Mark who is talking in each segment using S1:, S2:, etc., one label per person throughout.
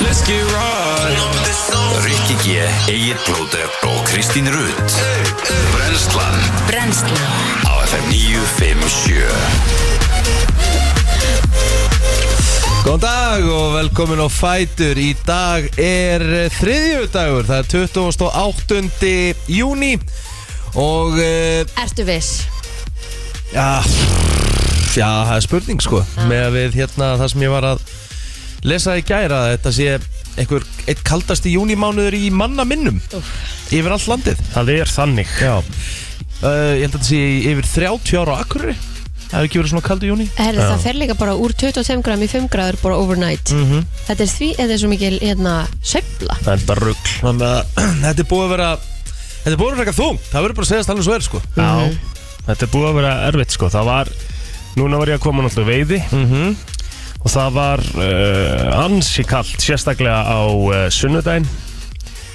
S1: Let's get right
S2: Rikki G, Egil Blóter og Kristín Rutt Brenslan
S3: Brennslan
S2: á FM 957
S4: Góðan dag og velkomin á Fætur Í dag er þriðjudagur, það er 28. júni Og, uh,
S3: Ertu viss?
S4: já, já, það er spurning sko Með að við hérna það sem ég var að lesa í gæra Þetta sé einhver, eitt kaldasti júnimánuður í manna minnum Yfir allt landið
S1: Það er þannig
S4: Já uh, Ég held að þetta sé í yfir 30 ára á Akureyri Það hefur ekki verið svona kaldi júni
S3: Herðu, það fer líka bara úr 25 gram í 5 gráður bara overnight -hmm. Þetta er því, þetta er svo mikil hérna, sveifla
S1: Það er bara rugg
S4: Þannig að þetta er búið að vera Þetta er búið að vera eitthvað þung Það verður bara að segja alveg svo er sko
S1: Já Mm. Þetta er búið að vera erfitt sko Það var Núna var ég að koma náttúrulega veiði
S4: Mhm.
S1: Og það var uh, ansi kalt Sérstaklega á uh, sunnudaginn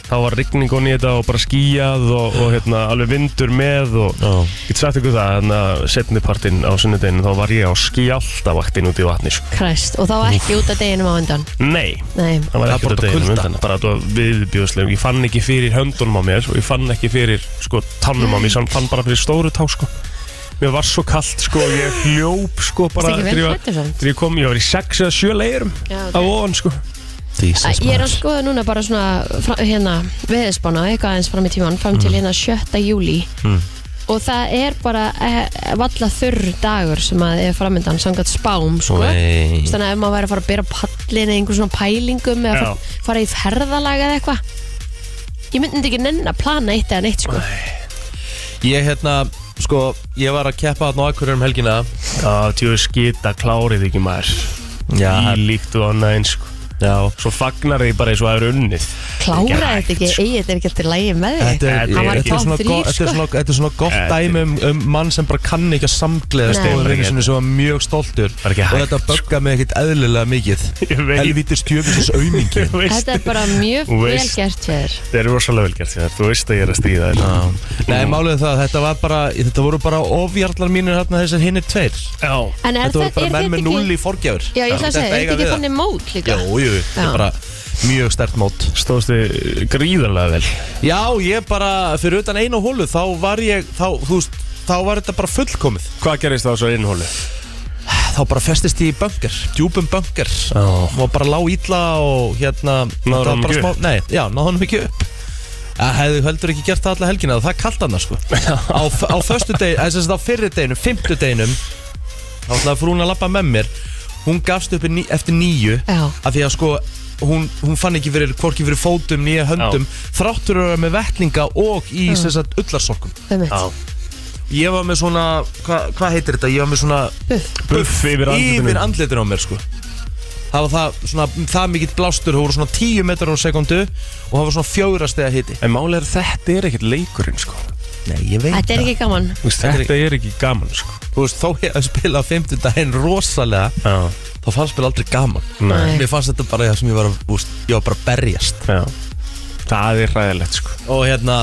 S1: Þá var rigningun í þetta og bara skýjað og, og hérna alveg vindur með og
S4: Já.
S1: Ég get sagt ykkur það, hérna setnipartinn á sunnudeginu þá var ég á skjáltavaktin út í vatni sko.
S3: Kræst, og þá ekki út af deginum á undan
S1: Nei,
S3: Nei,
S1: það var
S4: Það
S1: ekkert
S4: bara
S1: að deginum
S4: kulda.
S1: undan bara þetta var viðbjóðslegum, ég fann ekki fyrir höndunum á mér og ég fann ekki fyrir sko tannum á mér, ég fann bara fyrir stóru tá sko mér var svo kallt sko og ég hljóp sko bara
S3: Varstu ekki vel
S1: þegar ég var-
S3: klæddur samt?
S1: þegar ég kom, ég var í sex eða sjö leirum
S3: Já, ok.
S1: á ofan sko
S3: Æ, ég er að skoða núna bara svona fra, hérna, veðisbána, eitthvað eins fram í tíman fram til hérna 7. júli og það er bara e, valla þurr dagur sem að er framöndan samkvæmt spám, sko
S4: Nei.
S3: þannig að ef maður væri að fara að byrja pallin eða einhver svona pælingum eða
S1: Já.
S3: fara, fara í ferðalag eða eitthvað ég myndi ekki nenn að plana eitt eða neitt, sko
S4: Ég hérna, sko, ég var að keppa hann á Akureyri um helgina
S1: það tjóðu skita klárið ekki maður
S4: Já.
S1: í líkt og annað eins sko
S4: Já
S1: svo fagnar ég bara eins og það er unnið
S3: klára þetta ekki, sko. eigi þetta er ekki alltaf lægi með þig
S4: Þetta er,
S1: Þetta
S4: þetta
S1: er
S4: er,
S1: ekki-
S4: svona,
S3: Top
S4: go,
S3: þrír,
S4: þetta er,
S3: sko.
S4: svona, þetta er svona gott
S1: Þetta er-
S4: dæmi um, um mann sem bara kann ekki að samgleðast
S3: Nei. sko.
S4: og vinnu sinni sem var sko. mjög stoltur
S1: Bara ekki
S4: og
S1: hægt,
S4: þetta bögga mig ekkert eðlilega mikið
S1: Ég veit.
S4: Helvítis djöfisins aumingi
S1: Þú veist,
S3: þetta er bara mjög
S1: Þú
S3: vel
S1: veist.
S3: gert hér
S1: þetta er rosalega vel gert Hjörvar, þú veist að ég er að stríða þér
S4: Nei, málið er það, þetta var bara þetta voru bara ofjarlar mínir hérna þessar hinnir tveir
S1: já,
S3: en er
S4: Þetta voru
S3: þetta,
S4: bara
S3: er
S4: menn
S3: þetta
S4: með
S3: ekki
S4: null í forgjafur
S3: já, ég ætla að segja, er þetta ekki þannig mót líka
S4: Jú, jú, þetta
S3: Já.
S4: er bara mjög stert mót
S1: stóðst þið gríðarlega vel
S4: Já, ég bara, fyrir utan einu hólu þá var ég, þá, þú veist þá var þetta bara fullkomið
S1: Hvað gerist það á svo innhóli?
S4: þá bara festist ég í böngar, djúpum böngar
S1: Já.
S4: og bara lá ítla og hérna
S1: Náður
S4: það
S1: honum
S4: bara
S1: ekki
S4: smá-
S1: upp?
S4: Nei, já, náðu honum ekki upp Það hefði heldur ekki gert það alla helgina það er kallt annars sko á, á föstu deginu, þess að á fyrri deginu, fymtu deginum þá ætlaði frúin að lappa með mér hún gafst upp í ní, eftir nýju
S3: Já.
S4: af því að sko hún, hún fann ekki fyrir, hvorki fyrir fótum nýja höndum, þráttur að vera með vettlinga og í þess að ullarsorkum
S3: Einmitt.
S4: ég var með svona, hva- hvað heitir þetta ég var með svona
S3: Buff.
S1: Buff yfir andlutinu
S4: yfir andlitin á mér sko það var það, svona, það mikill blástur það voru svona 10 metrar á sekundu og það var svona fjóra stega hiti
S1: En máli er þetta er ekkert leikurinn sko
S4: Nei, ég veit
S3: Þetta er ekki gaman
S1: Vist, Þetta er ekki gaman sko
S4: Þú veist, þó ég að spila á 50 daginn rosalega
S1: Já,
S4: þá fannst mér aldrei gaman
S3: Nei.
S4: Mér fannst þetta bara það sem ég var að, úst, ég var bara að berjast
S1: já Það er ræðilegt sko
S4: og hérna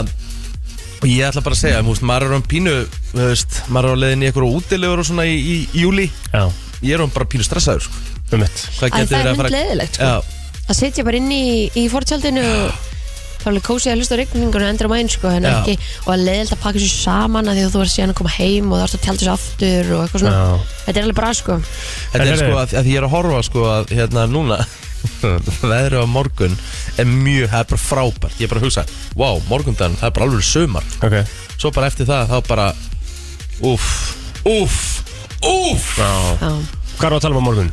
S4: og ég ætla bara að segja, þú veist, maður er um pínu þú veist, maður er á leiðin í eitthvað útilegur og svona í, í, í júli
S1: Já,
S4: ég er um bara pínu stressaður sko.
S1: um mitt
S4: Hvað
S3: Æ,
S4: gæti
S3: það er
S4: verið að fara-
S3: hundleiðilegt, sko.
S4: Já.
S3: að sitja bara inn í, í fortjaldinu og þá er alveg kósið að hlusta á rigningun og endur á mæn sko, en
S4: Já.
S3: ekki, og að leiðilt að pakka sér saman að því að þú er síðan að koma heim og það er að tjálta sér aftur og eitthvað svona
S1: Já.
S3: þetta er alveg bra sko
S1: En
S4: Þetta er
S1: heyrðu.
S4: sko að, að ég er að horfa sko að hérna núna veðrið á morgun er mjög, það er bara frábært ég er bara að hugsa, wow, morgundan, það er bara alveg sumar
S1: Ok
S4: svo bara eftir það, þá bara úff, úff, úff
S1: Já
S3: Já.
S1: Hvað er að tala um á morgun?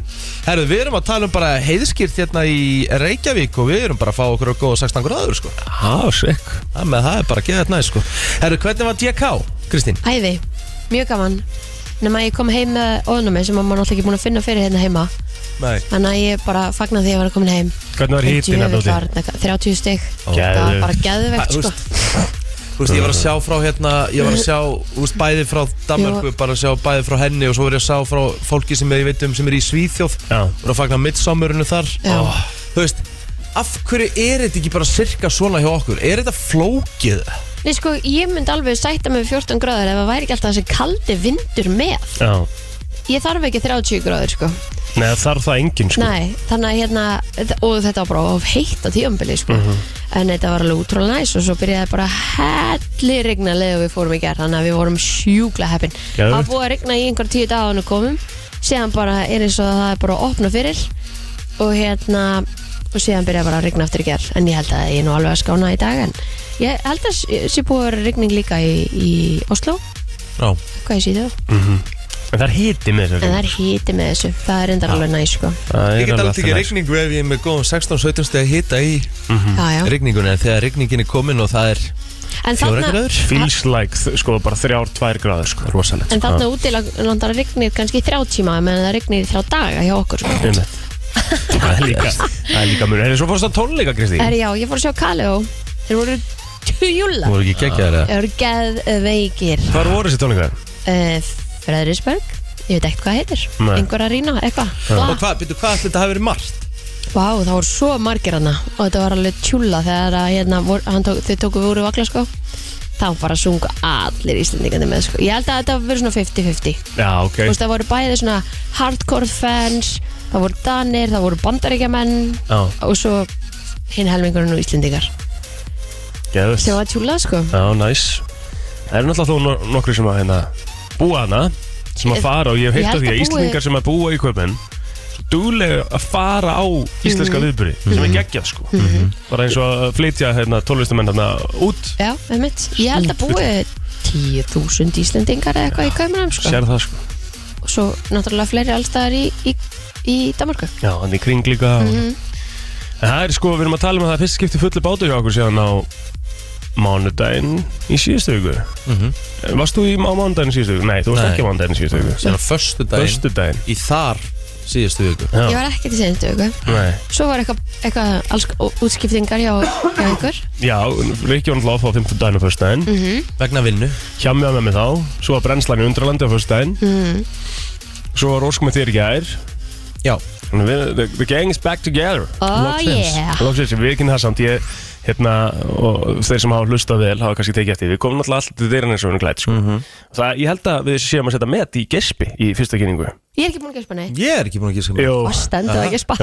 S4: Herðu, við erum að tala um bara heiðskýrt hérna í Reykjavík og við erum bara að fá okkur að góða 16 gráður sko,
S1: Já, sikk
S4: það með það er bara að geða þetta næst sko Herðu, hvernig var DK, Kristín?
S3: Æði, mjög gaman nema ég kom heim með óðnumi sem maður náttúrulega ekki búin að finna fyrir hérna heima
S4: Nei
S3: þannig að ég bara fagna því að vera komin heim
S1: Hvernig var hýtin að
S3: Djöfull
S1: dóti?
S3: var þetta- 30 stygg það
S1: Geðveikt.
S3: var bara geðvegt
S4: Þú
S3: sko
S4: veist, þú veist, ég var að sjá frá hérna, ég var að sjá, þú veist, bæði frá Danmarku,
S3: Já.
S4: bara að sjá bæði frá henni og svo var ég að sjá frá fólki sem ég veit um sem er í Svíþjóð
S1: Já.
S4: og að fagna midsommurinu þar
S3: Já.
S4: Ó, þú veist, af hverju er þetta ekki bara cirka svona hjá okkur? Er þetta flókið?
S3: Nei sko, ég myndi alveg sætta mig við 14 gráður ef það væri ekki alltaf þessi kaldi vindur með
S1: Já
S3: ég þarf ekki 30 gráður sko.
S1: Nei, það þarf það enginn sko
S3: Nei, þannig að hérna og þetta var bara of heitt á tíumbili sko.
S1: Mhm.
S3: en þetta var alveg útrúlega næs og svo byrjaði bara helli regna leðu við fórum í gerð, þannig að við vorum sjúkla heppin
S1: Geðveikt.
S3: það var búið að regna í einhver tíu dagan og komum síðan bara er eins og það er bara að opna fyrir og hérna og síðan byrjaði bara að regna aftur í gerð en ég held að ég er nú alveg að skána í dag en ég held að sé- sé búið að vera regning líka í, í Oslo,
S4: Já,
S3: hvað ég sýðu
S1: Mhm. En það er hiti með þessu
S3: en það er híti með þessu, það er endar alveg næs sko.
S1: Það
S4: ég
S1: er
S4: get
S1: alveg
S4: alveg ekki
S1: alltaf næst.
S4: rigningu ef ég er með góðum 16-17 steg hita í
S1: Mhm.
S3: já, já.
S4: rigningunni en þegar rigningin er komin og það er
S3: en
S4: fjóra
S3: þarna
S4: gráður
S1: Feels like, þ- sko, bara þrjár, tvær gráður sko Rosalegt
S3: En þarna úti landar rignir kannski í þrjá tíma menn það rignir í þrjá daga hjá okkur sko.
S1: Um Það er líka Það er líka mjög Það er svo fórst að tónleika, Kristi
S3: Er já, ég fór að sjá Kaleo Þeir voru tjúla
S4: Þú voru ekki geggjaðar eða?
S3: Þeir voru geðveikir
S1: Hvar voru þessi tónleika?
S3: uh, Fredrisberg, ég veit ekkert hvað það heitir
S1: Nei.
S3: Einhver að rýna, eitthvað Bla.
S4: Og hvað, byrju, hvað ætli þetta hafi verið margt?
S3: Vá, það voru svo margir hana og þetta var alveg tjúla þegar að, hérna, vor, hann tók, þau tóku voru vakla sko þá bara sungu allir íslendingandi með sko. ég held að þetta verið svona 50-50
S1: Já, ok
S3: Þú veist, það voru bæði svona hardcore fans, það voru danir, það voru bandaríkjamenn
S1: Já.
S3: og svo hinn helmingurinn og Íslendingar.
S1: Geðvist
S3: Sem var tjúlað, sko.
S1: Já, næs Það eru náttúrulega þó no- nokkri sem að hérna búa hana sem að
S3: Ég-
S1: fara og ég hef
S3: ég
S1: heitt
S3: held
S1: af því
S3: að
S1: að
S3: búi-
S1: Íslendingar sem að búa í köpinn dúlega að fara á
S3: Mhm.
S1: íslenska viðbyrði sem er geggjað sko bara eins og að flytja hérna, tólvistamenn hérna út
S3: Já, einmitt. Ég held að búið 10.000 Íslendingar eða eitthvað í kameranum, sko.
S1: sér það sko
S3: Og svo náttúrulega fleiri allstaðar í, í, í Danmarku.
S1: Já, hann í kring líka og...
S3: Mhm.
S1: En það er sko, við erum að tala um að það er fyrst skipti fullu bátur hjá okkur síðan á mánudaginn í síðustu viku Varst þú í, á mánudaginn í síðustu viku? Nei, þú varst
S4: Nei.
S1: ekki á mánudaginn í síðustu viku
S4: Sérna förstu daginn
S1: Föstudaginn
S4: Í þar síðustu viku
S1: Já.
S3: Ég var ekkert í sendu, eitthvað.
S1: Nei.
S3: Svo var eitthvað, eitthvað alls, ó- útskiptingar hjá, hjá ykkur.
S1: Já, Rikki var náttúrulega off á 15 daginn og föstudaginn
S3: Mhm.
S1: mm -hmm.
S4: Vegna vinnu
S1: Hjá mig með mig þá Svo var brennslan í undralandi á föstudaginn mm
S3: Mhm.
S1: Svo var Ósk með þér í gær
S4: Já,
S1: Þannig við- The, the gang is back together
S3: Oh,
S4: Loksins.
S3: yeah.
S1: Lóksins, við ekki það samt ég, hérna, og þeir sem hafa hlustað vel hafa kannski tekið eftir, við komum náttúrulega alltaf til þeirra eins og hún glæt, sko.
S4: Mhm.
S1: Það, ég held að við séum að setja met í gespi í fyrsta kynningu.
S3: Ég er ekki búin að gespa, nei.
S4: ég er ekki búin að gíska mér
S1: Jó,
S3: Og stendur að gespa.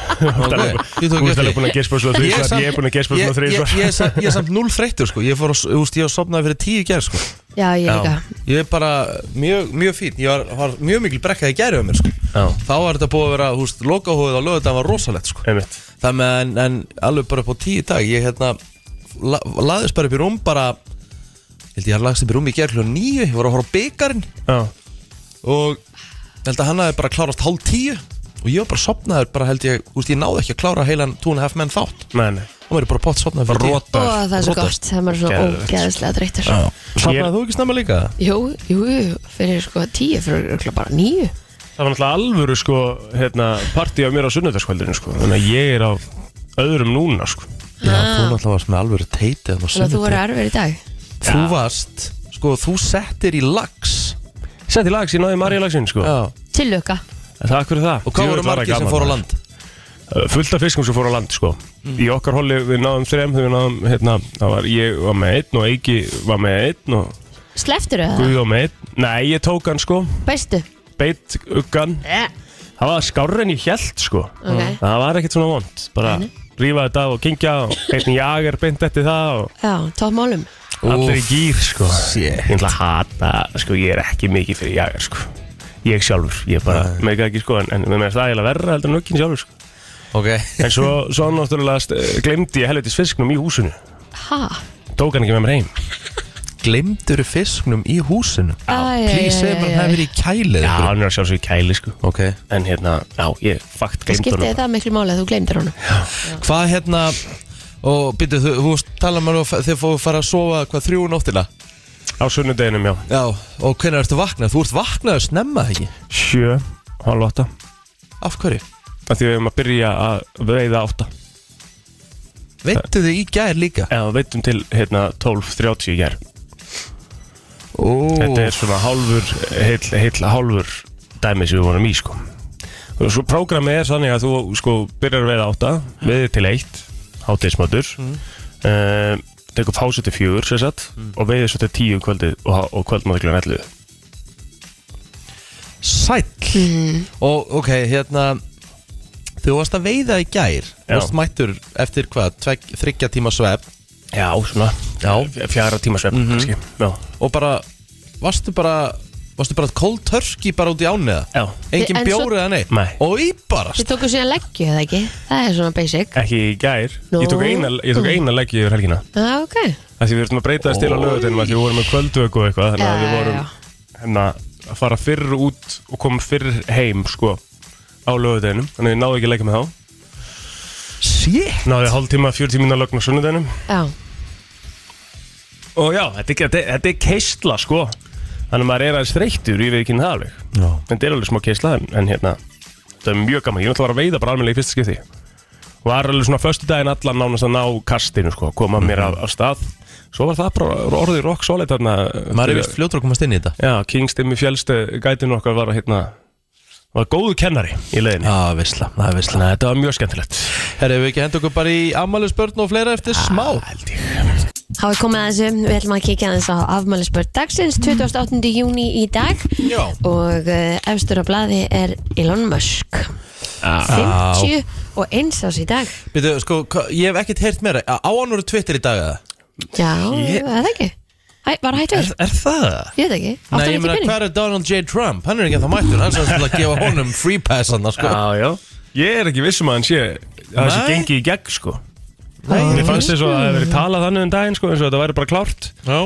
S4: Ok, Ég
S1: þú
S4: tók
S1: veist alveg
S4: eftir
S1: búin að gespa svona
S4: Ég er
S1: þrísvar,
S4: samt-
S1: ég er búin að gespa svona
S4: ég- ég- Ég
S1: þrísvar.
S4: er samt- ég er samt null þreyttur sko Ég fór að, þú veist, ég var sopnaði fyrir tíu gerð sko
S3: Já, ég líka.
S4: Ég er bara mjög, mjög fín Ég var, var mjög mikil brekkað í gerðu á mér sko
S1: Já,
S4: Þá var þetta búið að vera, þú veist, lokahóðið á lögðu var rosalegt sko
S1: einmitt.
S4: Það með, en, en alveg bara upp á tíu í dag Ég hérna, la, laðist bara upp í rúm bara Ég held ég að lagst upp í rúm í gerð hljóð nýju Ég var að horfa á byggarinn
S1: Já,
S4: og ég held að hann hafi bara klárast hálf tíu og ég var bara sopnaður bara held ég, úst, ég náði ekki að klára heilan two and a half menn þátt
S1: nei, nei.
S4: og maður er bara pott sopnaður fyrir
S1: Bara
S4: tíu
S3: Ó, það er svo
S4: Rótar.
S3: gott. Það er maður svona
S1: Geðveikt.
S3: ógeðslega dreytur.
S4: Já.
S1: Ég-
S4: Sopnaði þú ekki snemma líka?
S3: Jú, jú, jú, fyrir sko tíu, fyrir örugglega bara nýju.
S1: Það var náttúrulega alvöru, sko, hérna, partí af mér á sunnudagskvöldinu, sko. Þannig að ég er á öðrum núna, sko.
S4: Já, þú náttúrulega varst með alvöru teiti
S3: Þannig að þú voru erfið í dag.
S4: Þú varst, sko, þú settir í lags
S1: Sett í lags, ég náði Marja lagsin, sko.
S4: Já.
S3: Til lukka.
S1: Takk fyrir það.
S4: Og hvað
S1: Djöfull
S4: voru
S1: var það
S4: margir sem
S1: gaman,
S4: fór á
S1: maður.
S4: land? Mm.
S1: Uh, fullt af fiskum sem fór á land sko í okkar holi við náðum þrem þegar við náðum hérna það var ég var með einn og Eiki var með einn og
S3: Sleftur þau það?
S1: Guði var með einn nei ég tók hann sko
S3: Beistu?
S1: beitt uggan
S3: Yeah.
S1: það var skárri en ég held sko
S3: Ok.
S1: það var ekkert svona vond bara rífa þetta af og kingja og einn jager beint eftir það og
S3: Já, toppmálum.
S1: allir í gýr sko
S4: shit.
S1: ég ætla að hata sko ég er ekki mikið fyrir jager sko ég sjálfur ég bara meika ekki sko en, en með mér er það eiginlega verra heldur en uggan sjálfur sko
S4: Ok
S1: en svo, svo náttúrulega glemdi ég helvitis fisknum í húsinu
S3: Ha?
S1: tók hann ekki með mér heim
S4: Glemdur fisknum í húsinu?
S3: Æ,
S4: Please
S3: æ,
S4: segir
S3: æ,
S4: maður
S3: æ.
S4: það hefur í kælið
S1: Já,
S4: einhverju.
S1: hann er að sjálfsögja kæli sko
S4: Ok
S1: En hérna, já, ég fakt
S3: Það
S1: glemt
S3: skiptiði
S1: honum
S3: það miklu máli að þú gleymdir honum.
S4: Hvað hérna Og byrju, þú, þú tala maður og þeir fóðu fara að sofa hvað þrjú nóttina
S1: Á sunnudeginum, já
S4: Já, og hvernig ertu vaknað? Þú ert vaknað að snemma ekki?
S1: Sjö, hálf átta
S4: Af hverju?
S1: Af því við erum að byrja að veiða átta
S4: Veittu þið í gær líka?
S1: Eða veitum til, hérna, 12.30 ég er
S4: Ó,
S1: Þetta er svona hálfur, heill, heill hálfur dæmi sem við vorum í sko Og Svo prógramið er þannig að þú sko byrjar að veiða átta Veiðir til eitt, hátíðismötur mm. Tekur pásu til fjögur, sér satt Og veiðir svo til tíu kvöldið og, og kvöldmöður kl. 11
S4: sæll
S3: Hmm.
S4: og ok, hérna þú varst að veiða í gær
S1: Já.
S4: varst mættur eftir hvað, tvegg, þryggja tíma svefn
S1: Já, svona
S4: Já.
S1: F- Fjara tíma svefn kannski Já,
S4: og bara, varstu bara varstu bara cold turkey bara út í ániða
S1: Já.
S4: engin
S3: En svo-
S4: bjóri eða neitt
S1: Nei.
S4: og í bara
S3: Þið tóku síðan leggju eða ekki? Það er svona basic
S4: Eh.
S1: ekki í gær
S3: Nú.
S1: Ég tók eina, ég tók eina leggju yfir helgina
S3: Já, Ah, ok
S1: Það því við erum að breyta þess til á lögutinum Því við vorum með kvöldvöku og eitthvað Þannig að
S3: Já,
S1: við
S3: já,
S1: vorum
S3: já.
S1: hérna, að fara fyrr út og koma fyrr heim sko, á lögutinum Þannig að ég náði ekki að leggja með þá
S4: shit
S1: Náði hálf tíma, fjör tíma að lögna sunnudeginum
S3: Já,
S1: Og já, þetta, er- þetta, er- þetta er keistla sko Þannig að maður er aðeins þreyttur, ég veit ekki um það alveg
S4: Já.
S1: En þetta er alveg smá keisla en, en hérna, þetta er mjög gaman Ég ætla að vara að veiða bara almennilega í fyrsta skipti Var alveg svona föstu daginn allan nánast að ná kastinu sko, koma mér af, af stað Svo var það bara orðið rock solid þarna
S4: maður er vist fljótur að komast inn í þetta
S1: Já, Kingstimmi fjælstu gætinu okkar var hérna Var góðu kennari í leiðinni
S4: Já, veistla, það er veistla
S1: Þannig að þetta var mjög skemmtilegt
S4: Herri, við ekki henda okkur bara í afmælisbörn og fleira eftir smá
S1: Held ég
S3: Há er komið að þessu, við ætlum að kíkja aðeins á afmælisbörn dagsins 28. júni í dag
S4: Mm. Já.
S3: og uh, efstur á blaði er Elon Musk
S4: Ah.
S3: 50 og eins ás í dag
S4: Býtu, sko, hva- ég hef ekkert heyrt meira Á hann voru Twitter í dag eða?
S3: Já, ég... það ekki Æ, Var hættur?
S4: Er, er það?
S3: Ég veit ekki,
S4: Nei,
S3: átti
S4: ég
S3: hann ekki
S4: meina,
S3: pening?
S4: hvað er Donald J. Trump? Hann er ekki að það mættur, hann sem til að gefa honum free pass hann, sko
S1: Já, já Ég er ekki vissum að hann sé að það sé
S4: Nei.
S1: gengið í gegn sko Mér fannst þess að það hefði verið talað þannig um daginn sko eins og þetta væri bara klárt
S4: Já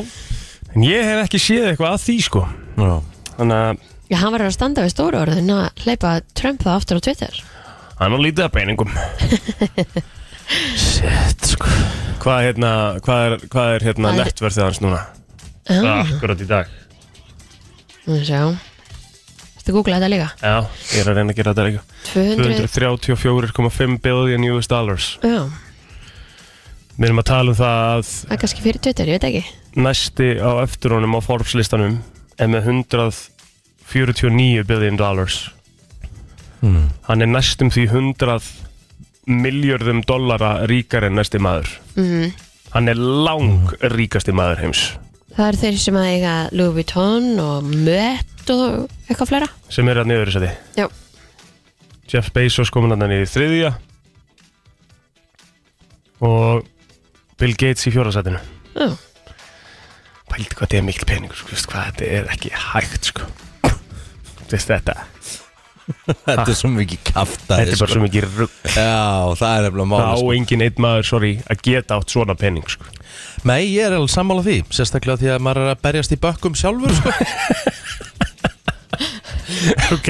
S1: En ég hef ekki séð eitthvað að því sko
S4: Já
S1: Þannig að
S3: Já, hann var að standa við stóru orðin að hleypa Trump það aftur á Twitter
S1: hann á lítið að peningum
S4: Shit, sko
S1: Hvað hérna, hvað er, hvað er hérna
S3: Hvað er- Ah.
S1: nettverðið hans núna?
S3: Já,
S1: Akkurat í dag
S3: þú sjá Þú googlaði þetta líka
S1: Já, ég er að reyna að gera þetta ekki
S3: 200
S1: 234,5 billion US dollars
S3: Já,
S1: Við erum að tala um það að
S3: það er kannski fyrir Twitter, ég veit ekki
S1: næsti á eftir honum á Forbes-listanum er með 149 billion dollars hann er næstum því 100 miljörðum dollara ríkar en næsti maður hann er lang ríkasti maður heims
S3: Það eru þeir sem að eiga Louis Vuitton og Met og eitthvað flera.
S1: sem er að niður þess að þið
S3: Já.
S1: Jeff Bezos komin hann í þriðja og Bill Gates í fjórðasætinu
S3: Já.
S1: Pældi hvað þetta er mikil peningur sko, veist hvað þetta er ekki hægt sko Veist þetta
S4: Þetta er svo mikið kaftaði,
S1: Þetta er bara svo mikið rugg
S4: Já, það er nefnilega sko.
S1: Það á
S4: máli,
S1: engin einn maður, sorry, að geta átt svona pening sko.
S4: sko Nei, ég er alveg sammála því Sérstaklega því að maður er að berjast í bökkum sjálfur, sko
S1: Ok,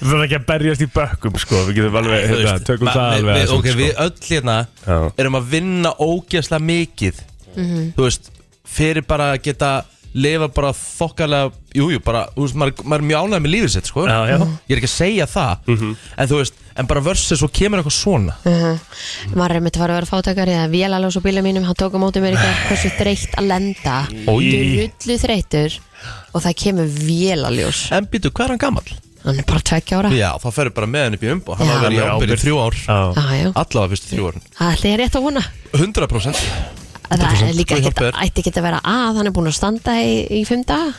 S1: það er ekki að berjast í bökkum sko. Við getum alveg,
S4: Þú
S1: hérna,
S4: veist,
S1: tökum
S4: ma-
S1: það
S4: við-
S1: alveg sko.
S4: við-
S1: aðeins,
S4: Ok, við öll hérna
S1: Já.
S4: erum að vinna ógeðslega mikið
S3: Mhm.
S4: Þú veist, fyrir bara að geta lifa bara þokkalega Jú, jú, bara, þú veist, maður, maður er mjög ánægð með lífið sitt, sko
S1: Já, Mhm. já.
S4: Ég er ekki að segja það En þú veist, en bara versus svo kemur eitthvað svona
S3: Maður er mitt var að vera fátakari að vélalás og bíla mínum, hann tók á móti mér í gerð hversu þreytt að lenda.
S1: Oj.
S3: Þú er hullu þreytur og það kemur vélaljós.
S4: En býtu, hvað er hann gamall?
S3: Hann er bara tvekja ára.
S4: Já, þá ferur bara með hann upp í umbo Hann
S3: Ah. Já.
S4: har verið í
S1: Hann er
S4: ábyrði
S1: ábyrgð.
S4: þrjú ár
S1: Já,
S3: Ah, já.
S4: Allavega fyrstu þrjú árin
S3: Það ætli ég rétt að vona.
S4: 100%
S3: Að Það er líka
S4: Guð
S3: ekkert,
S4: hjálpi þér.
S3: ætti ekki að vera að, hann er búin að standa í, í fimm daga.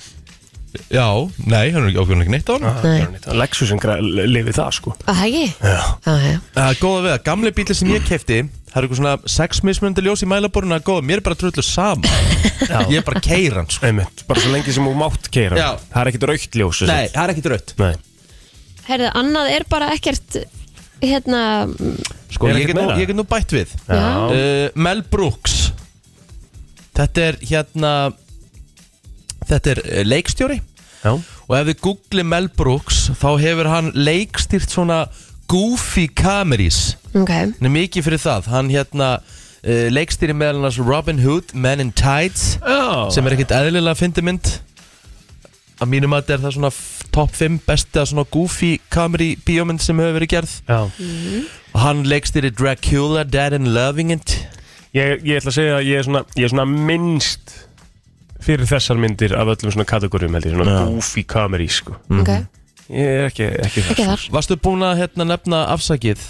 S4: Já, nei, hann er ekki okkur ekki neitt á hann
S1: Ah.
S3: Nei.
S1: Lexusin lifið það sko.
S3: Að það ekki? Já. Ah, já.
S4: Uh, góða við að gamli bíli sem ég kefti Það eru eitthvað svona sex mismunandi ljós í mælaboruna Góða, mér er bara trullu sama Ég er bara keiran sko.
S1: Einmitt, bara svo lengi sem þú mátt keira
S4: Já.
S1: Það er ekkit raukt ljós sem
S4: Nei,
S1: sagt.
S4: það er ekki draut
S1: Nei.
S3: Herðu, annað er bara ekkert, hérna,
S4: sko,
S1: Er
S4: ég,
S1: ekkert
S4: get nú,
S1: meira?
S4: ég get nú bætt við
S3: já.
S1: Já.
S4: uh, Mel Brooks Þetta er hérna Þetta er uh, leikstjóri
S1: Já.
S4: Og ef við googli Mel Brooks Þá hefur hann leikstýrt svona Goofy Camerís
S3: Ok.
S4: Hann er mikið fyrir það Hann hérna uh, leikstýri meðal annars Robin Hood, Men in Tights
S1: Já.
S4: sem er ekkert eðlilega fyndi mynd að mínum að þetta er það svona f- top 5 besta svona goofy kameri bíómynd sem hefur verið gerð
S1: Já.
S4: og hann leikstýri Dracula, Dead and Loving It
S1: Ég, ég ætla að segja að ég er svona, ég er svona minnst fyrir þessar myndir af öllum svona kategórium held ég, svona goofy comedy sko.
S4: Mhm.
S3: Ok,
S1: Ég er ekki, ekki
S3: ekki þar
S4: Varstu búin að hérna, nefna afsakið?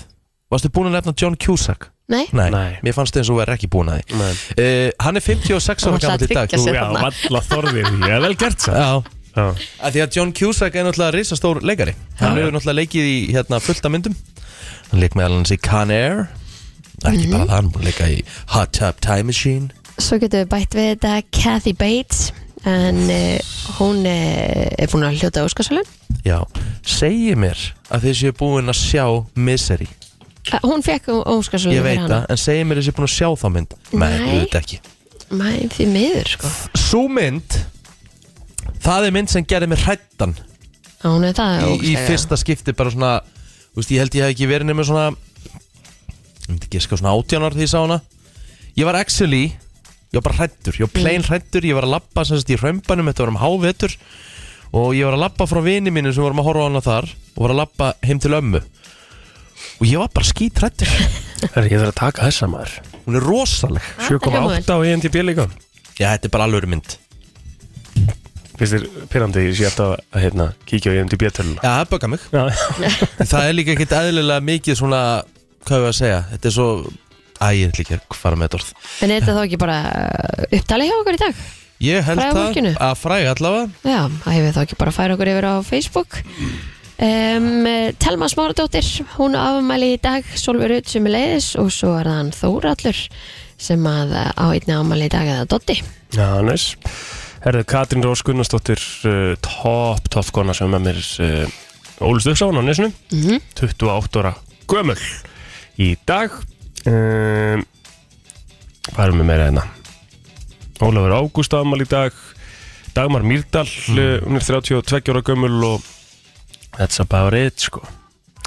S4: Varstu búin að nefna John Cusack?
S3: Nei,
S4: Nei,
S1: Nei.
S4: mér fannst eins og verið ekki búin að því uh, Hann er 56
S3: Hann
S4: ára
S3: ætlaði
S4: gammal í
S3: að
S4: dag
S3: tryggja
S1: Já,
S3: Þarna.
S1: valla þorðið, ég er vel gert það
S4: Já,
S1: Já.
S4: að Því að John Cusack er náttúrulega risastór leikari Hann hefur náttúrulega leikið í hérna, fullta myndum Hann leik meðal hans í Con Air Ekki
S3: Mhm.
S4: bara það, hann búin að leika í Hot Tub Time Machine
S3: Svo getum við bætt við þetta Kathy Bates en uh, hún uh, er búin að hljóta Óskarsvölun
S4: Já, segi mér að þið séu búin að sjá Misery
S3: uh, Hún fekk Óskarsvölun
S4: Ég veit það, en segi mér að þið séu búin að sjá þá mynd Nei,
S3: Nei.
S4: auðvitað ekki
S3: Mæ, því miður sko
S4: Sú mynd Það er mynd sem gerði mig hrættan
S3: Já, Hún er það
S4: í, í
S3: ógeðslega.
S4: fyrsta skipti bara svona þú veist, ég held ég hef ekki verið nema svona ég myndi ekki sko svona átjánar því ég sá hana ég var actually ég var bara hrættur, ég var
S3: Mm.
S4: plain hrættur ég var að labba sem sagt í hrömbanum, þetta var um hávetur og ég var að labba frá vini mínu sem vorum að horfa á hana þar og var að labba heim til ömmu og ég var bara skít hrættur
S1: Herri, ég þarf að taka þessa maður
S4: hún er rosaleg
S3: Ah, það hljómar vel.
S1: 7,8 á E IMDb líka
S4: já, þetta er bara alveg mynd
S1: Fyrst þér pyrrandi ég sé alltaf að hérna, kíkja á IMDb töluna
S4: já, það böggar mig
S1: Já,
S4: það er líka ekkert eðlilega mikið svona hvað hefur að segja, þetta er svo æ, ég ætla ekki að fara með þetta orð
S3: En er þetta þá ekki bara eh, upptalið hjá okkur í dag?
S4: Ég held
S3: Fræga
S4: það
S3: fólkinu?
S4: að fræga allavega
S3: Já, það hefur þá ekki bara að færa okkur yfir á Facebook um, Telma Smáradóttir, hún á afmæli í dag Solveig Rut sem er leiðis og svo er það hann Þórallur sem að eh, á einni afmæli í dag eða Dotti
S1: Já, næs Herðu Katrín Rós Gunnarsdóttir uh, top, top kona sem er mér uh, ólust upp sá hún á nesinu 28 ára gömul í dag um, Hvað erum við meira hérna? Ólafur Ágúst afmæl í dag Dagmar Mýrdal, uh, hún er 32 ára gömul og that's about it sko